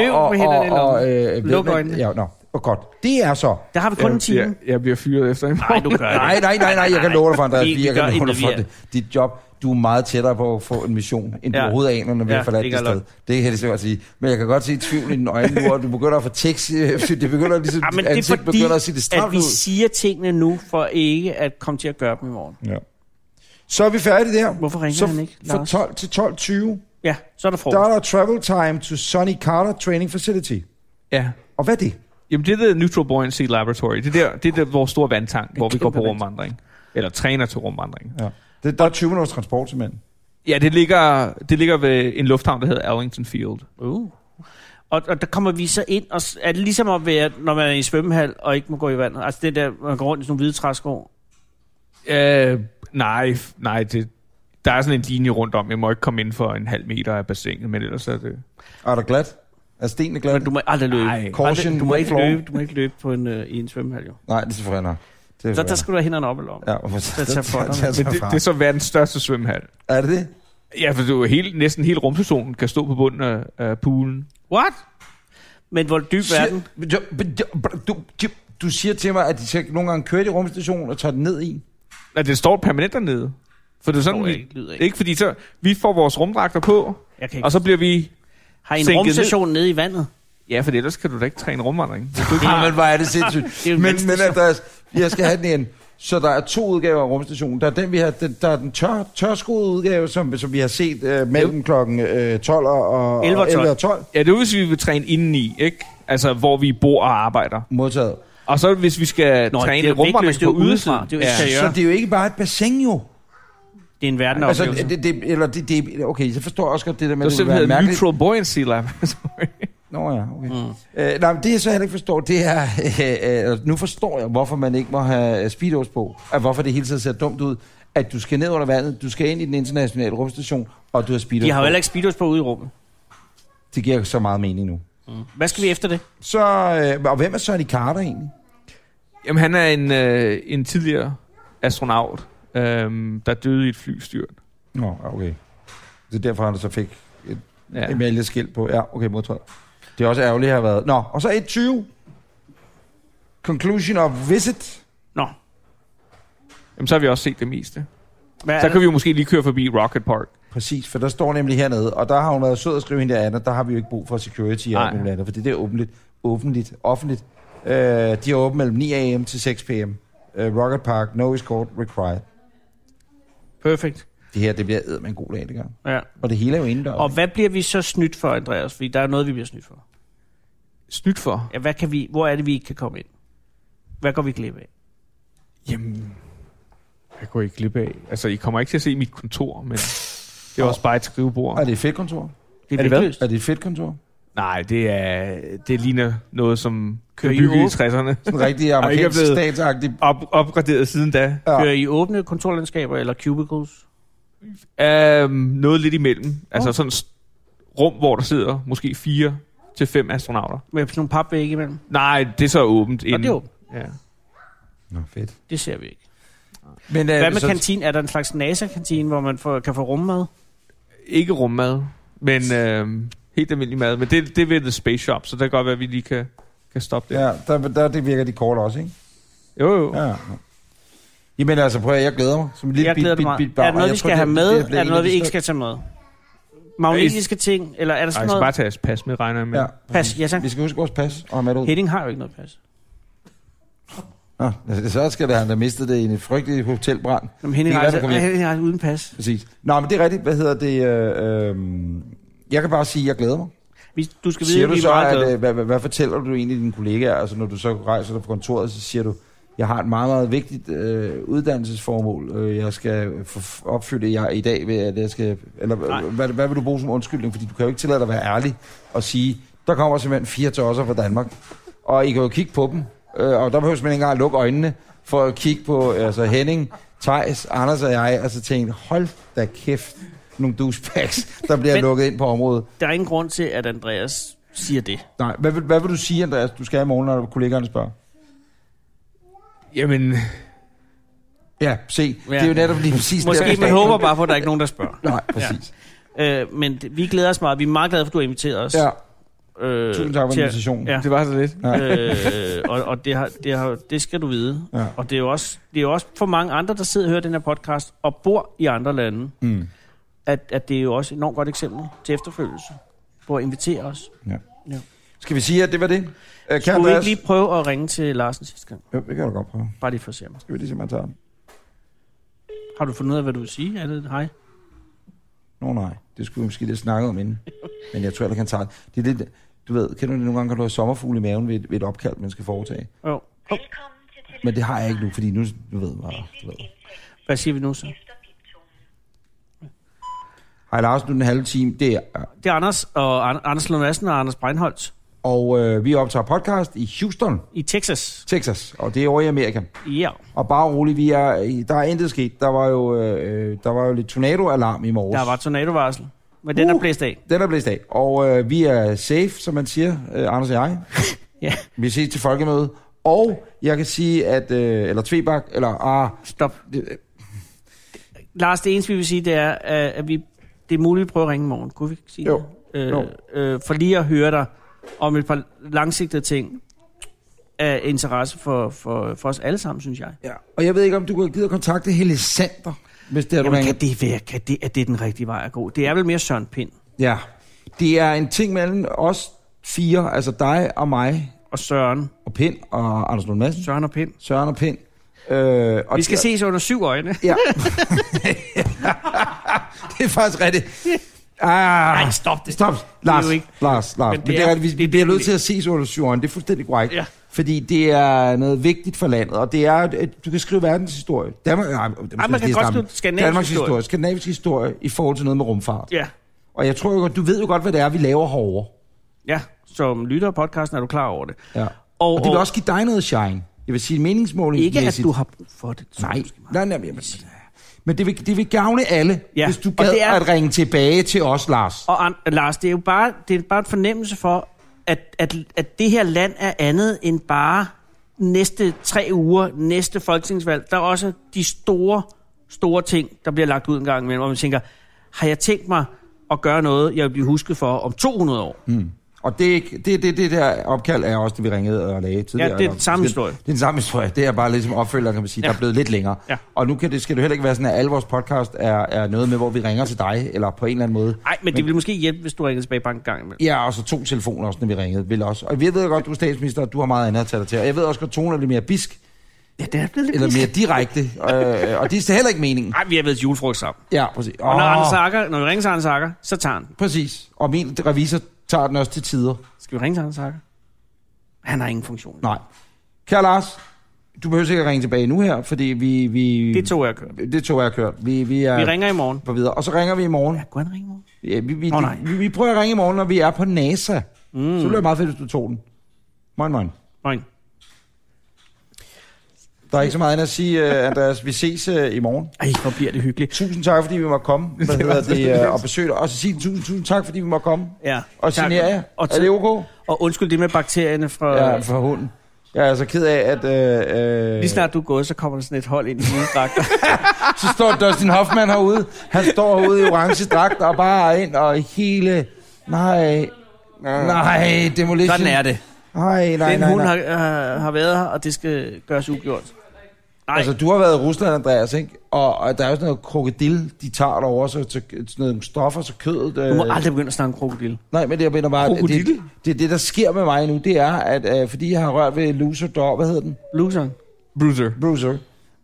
S2: Løb med hænderne i lommen.
S3: øh, ved
S2: Luk
S3: man-
S2: øjnene.
S3: Ja, nå. Og godt. Det er så.
S2: Der har vi kun en time.
S5: Jeg, jeg bliver fyret efter i morgen.
S2: Nej, du gør det.
S3: Nej, nej, nej, nej, jeg kan love dig for, Andreas,
S2: Vi- vi
S3: vi, jeg
S2: gør
S3: kan love dig
S2: intet,
S3: for
S2: vi er-
S3: det. Dit job, du er meget tættere på at få en mission, end du
S2: Ja.
S3: overhovedet aner, når vi
S2: Ja,
S3: har forladt
S2: det
S3: det
S2: kan jeg
S3: sted. Det kan jeg lige så godt sige. Men jeg kan godt se tvivl i dine øjne nu, og du begynder at få tekst. øh, Det begynder ligesom,
S2: Ja, Ah, men det er
S3: ansigt
S2: fordi,
S3: begynder at se det
S2: at
S3: stramt
S2: vi
S3: ud.
S2: siger tingene nu, for ikke at komme til at gøre dem i morgen.
S3: Ja. Så er vi færdige der.
S2: Hvorfor ringer
S3: så
S2: han ikke,
S3: Fra
S2: Lars?
S3: 12 til 12.20,
S2: Ja, så er der
S3: Der
S2: frokost.
S3: er der travel time to Sonny Carter Training Facility.
S5: Ja.
S3: Og hvad er det?
S5: Jamen, det der Neutral Buoyancy Laboratory, det er der, det er der, vores store vandtank, hvor vi går på
S2: kæmpe
S5: rumvandring. Eller træner til rumvandring.
S3: Ja. det der er 20 minutters transport til mænd.
S5: Ja, det ligger, det ligger ved en lufthavn, der hedder Arlington Field.
S2: Uh. Og, og der kommer vi så ind, og s- er det ligesom at være, når man er i en svømmehal og ikke må gå i vandet? Altså det der, man går rundt i sådan nogle hvide træsko.
S5: Øh, nej, f- nej, det, der er sådan en linje rundt om. Jeg må ikke komme inden for en halv meter af bassinet, men ellers er det...
S3: Er der glat? Er stenene glat?
S2: Men du må aldrig løbe.
S5: Ej.
S3: Caution,
S2: aldrig, du må ikke
S3: floor.
S2: løbe, du må ikke løbe på en, øh, i en svømmehal, jo.
S3: Nej, det er selvfølgelig nok. Det er
S2: Så der
S3: selvfølgelig
S2: skal du have hænderne op i lommen.
S3: nok. Ja, men så,
S2: der tager folderne.
S3: tager
S5: Men det,
S3: fra.
S5: det er så verdens største svømmehal.
S3: Er det det?
S5: Ja, for du er hele, næsten hele rumstationen kan stå på bunden af, af poolen.
S2: What? Men hvor dyb er den?
S3: Shit. Jo, men jo, Du, du, du siger til mig, at de skal nogle gange køre i rumstationen og tage den ned i.
S5: Nej, det står permanent dernede. For det er sådan,
S2: Nå,
S5: vi,
S2: jeg ikke lyder ikke.
S5: ikke fordi så, vi får vores rumdragter på,
S2: Jeg kan ikke.
S5: og så bliver vi...
S2: har I en
S5: sænket
S2: rumstation nede i vandet?
S5: Ja, for ellers kan du da ikke træne rumvandring.
S3: Ja, men hvor er det sindssygt.
S2: Det er jo
S3: men,
S2: en
S3: men
S2: vandstation.
S3: Andreas, jeg skal have den igen. Så der er to udgaver af rumstationen. Der er den, vi har, den, der er den tør, tørskoede udgave, som, som vi har set øh, mellem klokken øh, 12 og, og
S2: 11 og 12.
S3: 11 og 12.
S5: Ja, det er jo, hvis vi vil træne indeni, ikke? Altså, hvor vi bor og arbejder.
S3: Modtaget.
S5: Og så hvis vi skal
S2: Nå,
S5: Nå,
S2: det er
S5: træne
S2: jo vægtløst,
S5: rumvandring
S2: det er
S5: på
S2: jo udefra.
S5: udefra.
S2: Det er jo ikke
S3: Så det er jo ikke bare et bassin, jo.
S2: Det er en verden
S3: Altså,
S2: altså,
S3: det, det, eller det, det, okay, så forstår jeg også godt det der med,
S5: Det
S3: at
S5: var
S3: det vil være
S5: simpelthen
S3: mærkeligt.
S5: Neutral Buoyancy Laboratory.
S3: Nå ja, okay. Mm. Øh, nej, men det jeg så heller ikke forstår, det er, øh, øh, nu forstår jeg, hvorfor man ikke må have øh, speedos på, og hvorfor det hele tiden ser dumt ud, at du skal ned under vandet, du skal ind i den internationale rumstation, og du har speedos
S2: De har jo
S3: på.
S2: heller ikke speedos på ude i rummet.
S3: Det giver så meget mening nu.
S2: Hvad skal vi efter det?
S3: Så, øh, og hvem er Sonny Carter egentlig?
S5: Jamen, han er en, øh, en tidligere astronaut, øhm, der døde i et flystyrt.
S3: Nå, okay. Det er derfor, han så fik et
S5: Ja.
S3: ja. emaljeskilt på. Ja, okay, modtaget. Det er også ærgerligt at have været. Nå, og så 1.20. Conclusion of visit.
S2: Nå.
S5: Jamen, så har vi også set det meste.
S2: Hvad er
S5: Så
S2: det?
S5: kan vi jo måske lige køre forbi Rocket Park.
S3: Præcis, for der står nemlig hernede, og der har hun været sød at skrive hende der, Anna, der har vi jo ikke brug for security og
S5: Nej.
S3: alt muligt andet, for det der er åbenligt, åbenligt, offentligt. Øh, de er åbent mellem 9 a.m. til 6 p.m. Øh, Rocket Park, no escort required.
S2: Perfekt.
S3: Det her, det bliver æd med en god dag, det gør.
S2: Ja.
S3: Og det hele er jo indendørs.
S2: Og hvad bliver vi så snydt for, Andreas? Fordi der er noget, vi bliver snydt for.
S5: Snydt for.
S2: Ja, hvad kan vi, hvor er det, vi ikke kan komme ind? Hvad går vi glip af?
S5: Jamen, jeg går ikke glip af. Altså, I kommer ikke til at se mit kontor, men det er også bare et skrivebord.
S3: Er det et fedt kontor?
S2: Det
S5: Er det
S2: vægtløst.
S3: Er det et fedt kontor?
S5: Nej, det er det ligner noget, som
S2: Kører
S5: kører
S2: I
S5: bygget i
S2: åben?
S5: 60'erne.
S3: En rigtig
S5: ikke er
S3: amerikansk
S5: blevet-
S3: statsagtig...
S5: Op, opgraderet siden da.
S2: Kører
S3: Ja.
S2: I åbne kontorlandskaber eller cubicles?
S5: Um, noget lidt imellem. Altså sådan et rum, hvor der sidder måske fire til fem astronauter.
S2: Med sådan nogle papvægge imellem?
S5: Nej, det er så åbent.
S2: Og det er
S5: inden.
S2: åbent.
S5: Ja.
S3: Nå, fedt.
S2: Det ser vi ikke.
S3: Men, øh,
S2: Hvad med
S3: så-
S2: kantinen? Er der en slags NASA-kantine, hvor man får, kan få rummad?
S5: Ikke rummad, men øhm, helt almindelig mad. Men det, det er ved The Space Shop, så det kan godt være, at vi lige kan, kan stoppe det.
S3: Ja, der, der det virker de kort også, ikke?
S5: Jo, jo.
S3: Ja. Jamen altså, prøv at jeg glæder mig. Som en lille
S2: Jeg glæder
S3: bit,
S2: mig.
S3: bit,
S2: meget.
S3: bit,
S2: Er
S3: barn,
S2: der
S3: og
S2: noget,
S3: jeg
S2: vi
S3: tror,
S2: skal have
S3: det-
S2: med?
S3: det bliver
S2: Er der
S3: en af
S2: noget, vi
S3: de
S2: ikke
S3: største-
S2: skal tage med? Magnetiske ting? Eller er der
S5: Ej,
S2: sådan
S5: jeg skal bare
S2: noget?
S5: tage jeres pas med, regner jeg med.
S3: Ja.
S2: Pas, ja tak.
S3: Vi skal huske vores pas og have med det ud.
S2: Henning har jo ikke noget pas.
S3: Nå, altså, så skal det han der mistede det i en frygtelig hotelbrand.
S2: Jamen, Henning,
S3: Det
S2: har,
S3: er godt,
S2: altså,
S3: du kom hjem.
S2: Henning har uden pas.
S3: Præcis. Nå, men det er rigtigt. Hvad hedder det? Øh, øh, jeg kan bare sige, at jeg glæder mig.
S2: Vi, du skal
S3: Siger
S2: vide,
S3: du
S2: vi er
S3: så,
S2: meget
S3: at,
S2: glade.
S3: øh, hvad, hvad, hvad fortæller du egentlig dine kollegaer? Altså, når du så rejser dig fra kontoret, så siger du, jeg har et meget, meget vigtigt øh, uddannelsesformål. Øh, Jeg skal få- opfylde jer i dag ved, at jeg skal... Eller øh,
S2: Nej.
S3: hvad, hvad vil du bruge som undskyldning? Fordi du kan jo ikke tillade dig at være ærlig og sige, der kommer simpelthen fire tosser fra Danmark. Og I kan jo kigge på dem. Øh, og der behøver man ikke engang at lukke øjnene for at kigge på altså Henning, Tejs, Anders og jeg, og så tænke, hold da kæft, nogle douchebags, der
S2: Men-
S3: bliver Men... lukket ind på området.
S2: Der er ingen grund til, at Andreas siger det.
S3: Nej, hvad vil, hvad vil du sige, Andreas, du skal have i morgen, når kollegaerne spørger?
S5: Jamen,
S3: Ja, se, ja. det er jo netop lige præcis
S2: Måske
S3: derfor-
S2: man håber bare på, at der ikke er nogen, der spørger.
S3: Nej, præcis.
S2: Øh, men d- vi glæder os meget. Vi er meget glade for, at du har inviteret os.
S3: Ja,
S2: øh,
S3: tusind tak for
S2: til at-
S3: invitationen.
S2: Ja.
S5: det var så lidt.
S2: øh, og og det, har, det, har, det skal du vide.
S3: Ja.
S2: Og det er, jo også, det er jo også for mange andre, der sidder og hører den her podcast og bor i andre lande,
S3: Mm.
S2: at, at det er jo også et enormt godt eksempel til efterfølgelse på at invitere os.
S3: Skal vi sige, at det var det? Øh, Kan
S2: Kan du ikke
S3: Andreas?
S2: lige prøve at ringe til Larsen sidste gang?
S3: Jo, det kan du godt prøve.
S2: Bare lige for at se mig.
S3: ligesom, Skal vi lige se, om han tager den?
S2: Har du fundet ud af, hvad du vil sige? Er det et hej?
S3: Nå nej, det skulle vi måske lidt snakke om inden. Men jeg tror heller ikke, han tager det. Det er lidt, du ved, kender du det nogle gange, kan du have sommerfugl i maven ved et, ved et opkald, man skal foretage.
S2: Jo.
S7: Velkommen til telefonen.
S3: Men det har jeg ikke nu, fordi nu, du ved bare, du ved.
S2: Hvad siger vi nu så?
S7: Efter piptonen.
S3: Hej Lars, nu er den halve time, det er,
S2: Det er Anders, og An- Anders Lund Madsen og Anders Breinholt
S3: og øh, vi optager podcast i Houston,
S2: i Texas.
S3: Texas, og det er over i Amerika.
S2: Ja.
S3: Og bare rolig, vi er, der er intet sket. Der var jo, øh, der var jo lidt tornado-alarm i morges.
S2: Der var tornadovarsel, men den er
S3: Uh.
S2: blæst af.
S3: Den er blæst af, og øh, vi er safe, som man siger, øh, Anders og jeg.
S2: Ja,
S3: Vi ses til folkemødet. Og jeg kan sige, at... Øh, eller Tvebak, eller... Ah,
S2: stop.
S3: det,
S2: Lars, det eneste, vi vil sige, det er, at at vi, det er muligt, at prøve at ringe i morgen. Kunne vi ikke sige
S3: Jo.
S2: det?
S3: Jo.
S2: Øh, øh, for lige at høre dig om et par langsigtede ting af interesse for, for, for os alle sammen, synes jeg.
S3: ja. Og jeg ved ikke, om du kunne give at kontakte Helle Sander, hvis det er, du
S2: Jamen, kan
S3: ringer.
S2: det være, kan det, at det er den rigtige vej at gå? Det er vel mere Søren Pind
S3: Ja. Det er en ting mellem os fire, altså dig og mig,
S2: og Søren.
S3: og Pind og Anders Lund Madsen,
S2: Søren og Pind.
S3: Søren og Pind. Øh, og
S2: Vi skal
S3: det-
S2: ses under syv øjne.
S3: Ja. det er faktisk rigtigt. Ah, Nej,
S2: stop det.
S3: Stop. Lars,
S2: jo ikke-
S3: Lars, Lars. Men det, er, rigtigt, vi, vi
S2: det-
S3: bliver
S2: det-
S3: nødt til at ses under syvåren. Det er fuldstændig korrekt.
S2: Ja.
S3: Fordi det er noget vigtigt for landet, og det er, at du kan skrive verdenshistorie. Danmark, nej, nej,
S2: kan godt skrive skandinavisk
S3: Danmarks
S2: historie.
S3: historie. Skandinavisk historie i forhold til noget med rumfart.
S2: Ja.
S3: Og jeg tror jo godt, du ved jo godt, hvad det er, vi laver herovre.
S2: Ja, som lytter af podcasten er du klar over det.
S3: Ja.
S2: Og,
S3: Og det vil også give dig noget shine. Jeg vil sige meningsmåling.
S2: ikke, at du har brug for det. så
S3: Nej,
S2: måske meget.
S3: nej, nej, nej. Men det vil, det vil gavne alle,
S2: Ja,
S3: ja. hvis du
S2: og
S3: gad
S2: det er-
S3: er... at ringe tilbage til os, Lars.
S2: Og An- Lars, det er jo bare, det er bare en fornemmelse for, at, at, at det her land er andet end bare næste tre uger, næste folketingsvalg. Der er også de store, store ting, der bliver lagt ud en gang imellem, hvor man tænker, har jeg tænkt mig at gøre noget, jeg vil blive husket for om 200 år? Mm.
S3: Og det, er ikke- det, det, det der opkald er også det, vi ringede og lagde tidligere.
S2: Ja, det er
S3: Eller-
S2: den samme historie.
S3: Det er den samme historie. Det er bare ligesom opfølger, kan man sige, ja. der er blevet lidt længere.
S2: Ja.
S3: Og nu kan det, skal det heller ikke være sådan, at alle vores podcast er, er noget med, hvor vi ringer til dig, eller på en eller anden måde.
S2: Nej, men, men det ville måske hjælpe, hvis du ringede tilbage bare en gang imellem.
S3: Ja, og så to telefoner også, når vi ringede, vil også. Og vi ved godt, du er statsminister, og du har meget andet at tage dig til. Og jeg ved også godt, tonen er lidt mere bisk,
S2: Ja, det er blevet lidt
S3: eller
S2: eller
S3: mere direkte. øh, og det er heller ikke meningen.
S2: Nej, vi har været til julefrokost sammen.
S3: Ja, præcis.
S2: Og når,
S3: Åh.
S2: Anders Akker, når vi ringer til Anders Akker, så tager han den.
S3: Præcis. Og min revisor tager den også til tider.
S2: Skal vi ringe til Anders Akker? Han har ingen funktion.
S3: Nej. Kære Lars, du behøver sikkert ringe tilbage nu her, fordi vi... vi
S2: Det tog jeg kørt.
S3: det tog jeg har kørt. Vi, vi, er
S2: Vi ringer i morgen.
S3: på videre. Og så ringer vi i morgen.
S2: Ja, kunne han ringe i morgen?
S3: Ja, vi, vi,
S2: Åh, nej.
S3: vi, vi, prøver at ringe i morgen, når vi er på NASA. Mm. Så bliver det meget fedt, hvis du tog den. Moin, moin.
S2: Morgen.
S3: Der er ikke så meget andet at sige, uh, Andreas. Vi ses uh, i morgen.
S2: Ej, hvor bliver det hyggeligt.
S3: Tusind tak, fordi vi måtte komme. Hvad hedder det? Uh, og besøge dig. Og så sige tusind, tusind tak, fordi vi måtte komme.
S2: Ja.
S3: Og
S2: tak.
S3: signere jer.
S2: Og,
S3: Er det okay?
S2: og undskyld det med bakterierne fra...
S3: Ja,
S2: Ja.
S3: for hunden. Jeg er så ked af, at... Uh, uh,
S2: Lige snart du er gået, så kommer der sådan et hold ind i dine dragter.
S3: Så står Dustin Hoffman herude. Han står herude i orange dragt og bare er ind og hele... Nej, nej, demolition.
S2: Sådan er det.
S3: Nej, nej,
S2: Den
S3: nej,
S2: hund har,
S3: nej.
S2: øh, har været her, og det skal gøres ugjort. Nej,
S3: Altså,
S2: altså,
S3: du har været i Rusland, Andreas, ikke? Og, og der er jo sådan noget krokodil, de tager derovre, så, så sådan noget stoffer, så kødet... Øh...
S2: du må aldrig begynde at snakke om krokodil.
S3: Nej, men det, jeg mener bare... at
S2: Krokodil?
S3: Det, det, det, der sker med mig nu, det er, at øh, fordi jeg har rørt ved loser dog, hvad hedder den?
S2: Luseren.
S5: Bruiser.
S3: Bruiser.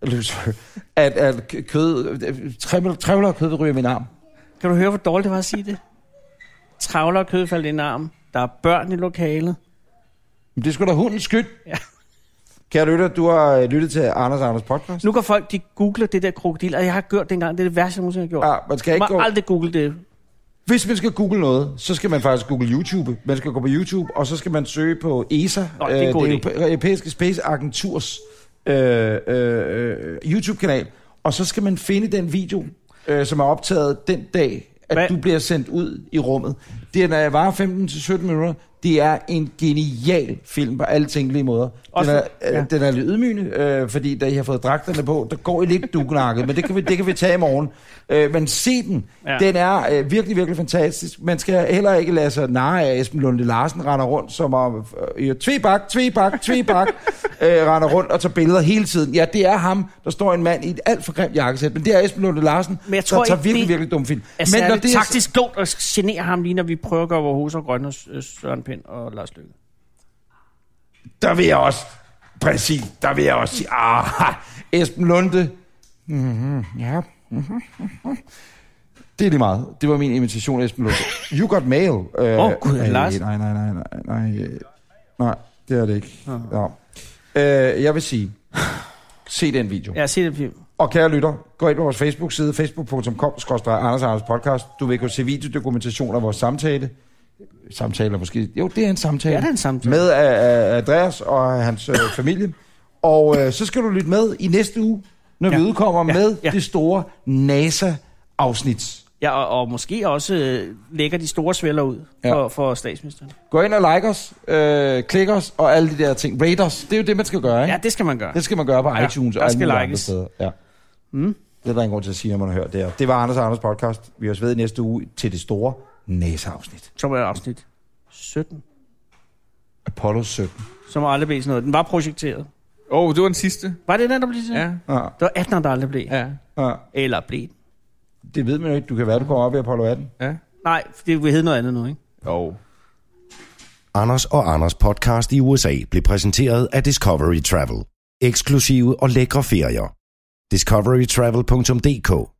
S3: Loser. At, at k- kød... Trævler, trævler kød ryger i min arm.
S2: Kan du høre, hvor dårligt det var at sige det? Travler og kød faldt i en arm. Der er børn i lokalet.
S3: Men det er sgu da hundens skyld.
S2: Ja.
S3: Kære lytter, du har øh, lyttet til Anders og Anders podcast.
S2: Nu går folk, de googler det der krokodil, og jeg har gjort det engang. Det er det værste, jeg nogensinde har gjort.
S3: Ja, man skal
S2: jeg
S3: Ah, ikke
S2: må
S3: gå...
S2: aldrig google det.
S3: Hvis man skal google noget, så skal man faktisk google YouTube. Man skal gå på YouTube, og så skal man søge på ESA, øh,
S2: Nå, det er en god
S3: det
S2: idé.
S3: Europ- europæiske Space Agenturs øh, øh, øh, YouTube-kanal. Og så skal man finde den video, øh, som er optaget den dag, at
S2: Hvad?
S3: du bliver sendt ud i rummet. Det er, når jeg var 15-17 minutter. Det er en genial film på alle tænkelige måder. Den
S2: Også-
S3: er, øh,
S2: ja.
S3: den er lidt ydmygende, øh, fordi da I har fået dragterne på, der går I lidt duknakket, men det kan vi, det kan vi tage i morgen. Øh, men se den.
S2: Ja.
S3: Ja. Den er øh, virkelig, virkelig fantastisk. Man skal heller ikke lade sig narre af, at Esben Lunde Larsen render rundt som om... Øh, tvebak, tvebak, tvebak, øh, render rundt og tager billeder hele tiden. Ja, det er ham, der står en mand i et alt for grimt jakkesæt, men det er Esben Lunde Larsen,
S2: Men jeg tror
S3: der tager
S2: ikke,
S3: virkelig,
S2: det
S3: virkelig dum film.
S2: er
S3: men
S2: særligt
S3: det er,
S2: taktisk klogt at genere ham lige, når vi prøver at gøre vores hos og grønne hos øh, Søren Pind og Lars Løkke.
S3: der vil jeg også... Præcis, der vil jeg også sige... Ah, Esben Lunde... Mm-hmm, ja. Mm-hmm. Det er lige meget. Det var min invitation, Esben Lunde. You got mail. Åh, øh,
S2: Åh, Gud, Lars.
S3: Nej, nej, nej, nej, nej. øh, Nej, det er det ikke. Ja. Øh, jeg vil sige, se den video.
S2: Ja, se det film.
S3: Og kære lytter, gå ind på vores Facebook-side, facebook.com Anders Anders Podcast. Du vil kunne se videodokumentation af vores samtale. Samtaler måske. Jo, det er en samtale.
S2: Ja, det er en samtale.
S3: Med øh, øh, Andreas og hans øh, familie. Og øh, så skal du lytte med i næste uge, når ja.
S2: Ja.
S3: vi udkommer
S2: Ja.
S3: ja. med ja.
S2: Ja.
S3: det store NASA-afsnit.
S2: Ja, og, og måske også øh, lægger de store svæller ud
S3: Ja.
S2: ja. for, for statsministeren.
S3: Gå ind og like os, øh, klik os og alle de der ting. Rate os. Det er jo det, man skal gøre, ikke?
S2: Ja, det skal man gøre.
S3: Det skal man gøre på
S2: Ja,
S3: iTunes
S2: der
S3: og alle
S2: skal
S3: mulige andre
S2: likes.
S3: steder. Ja.
S2: Mm.
S3: Det er der ingen grund til at sige, når man har hørt det her. Det var Anders og Anders podcast. Vi høres ved i næste uge til det store næseafsnit.
S2: Som er afsnit 17,
S3: Apollo 17.
S2: som aldrig blev sådan noget. Den var projekteret.
S5: Åh, oh, det var den sidste.
S2: Var det den, der blev sådan?
S5: Ja,
S3: Ja,
S2: Det var 18, der aldrig blev. Ja.
S5: ja,
S3: ja.
S2: Eller blev den.
S3: Det ved man jo ikke. Du kan være, du kommer op i Apollo 18.
S5: ja.
S2: Nej, for det vil hedde noget andet nu, ikke?
S5: Jo.
S1: Anders og Anders podcast i USA blev præsenteret af Discovery Travel. Eksklusive og lækre ferier. discoverytravel.dk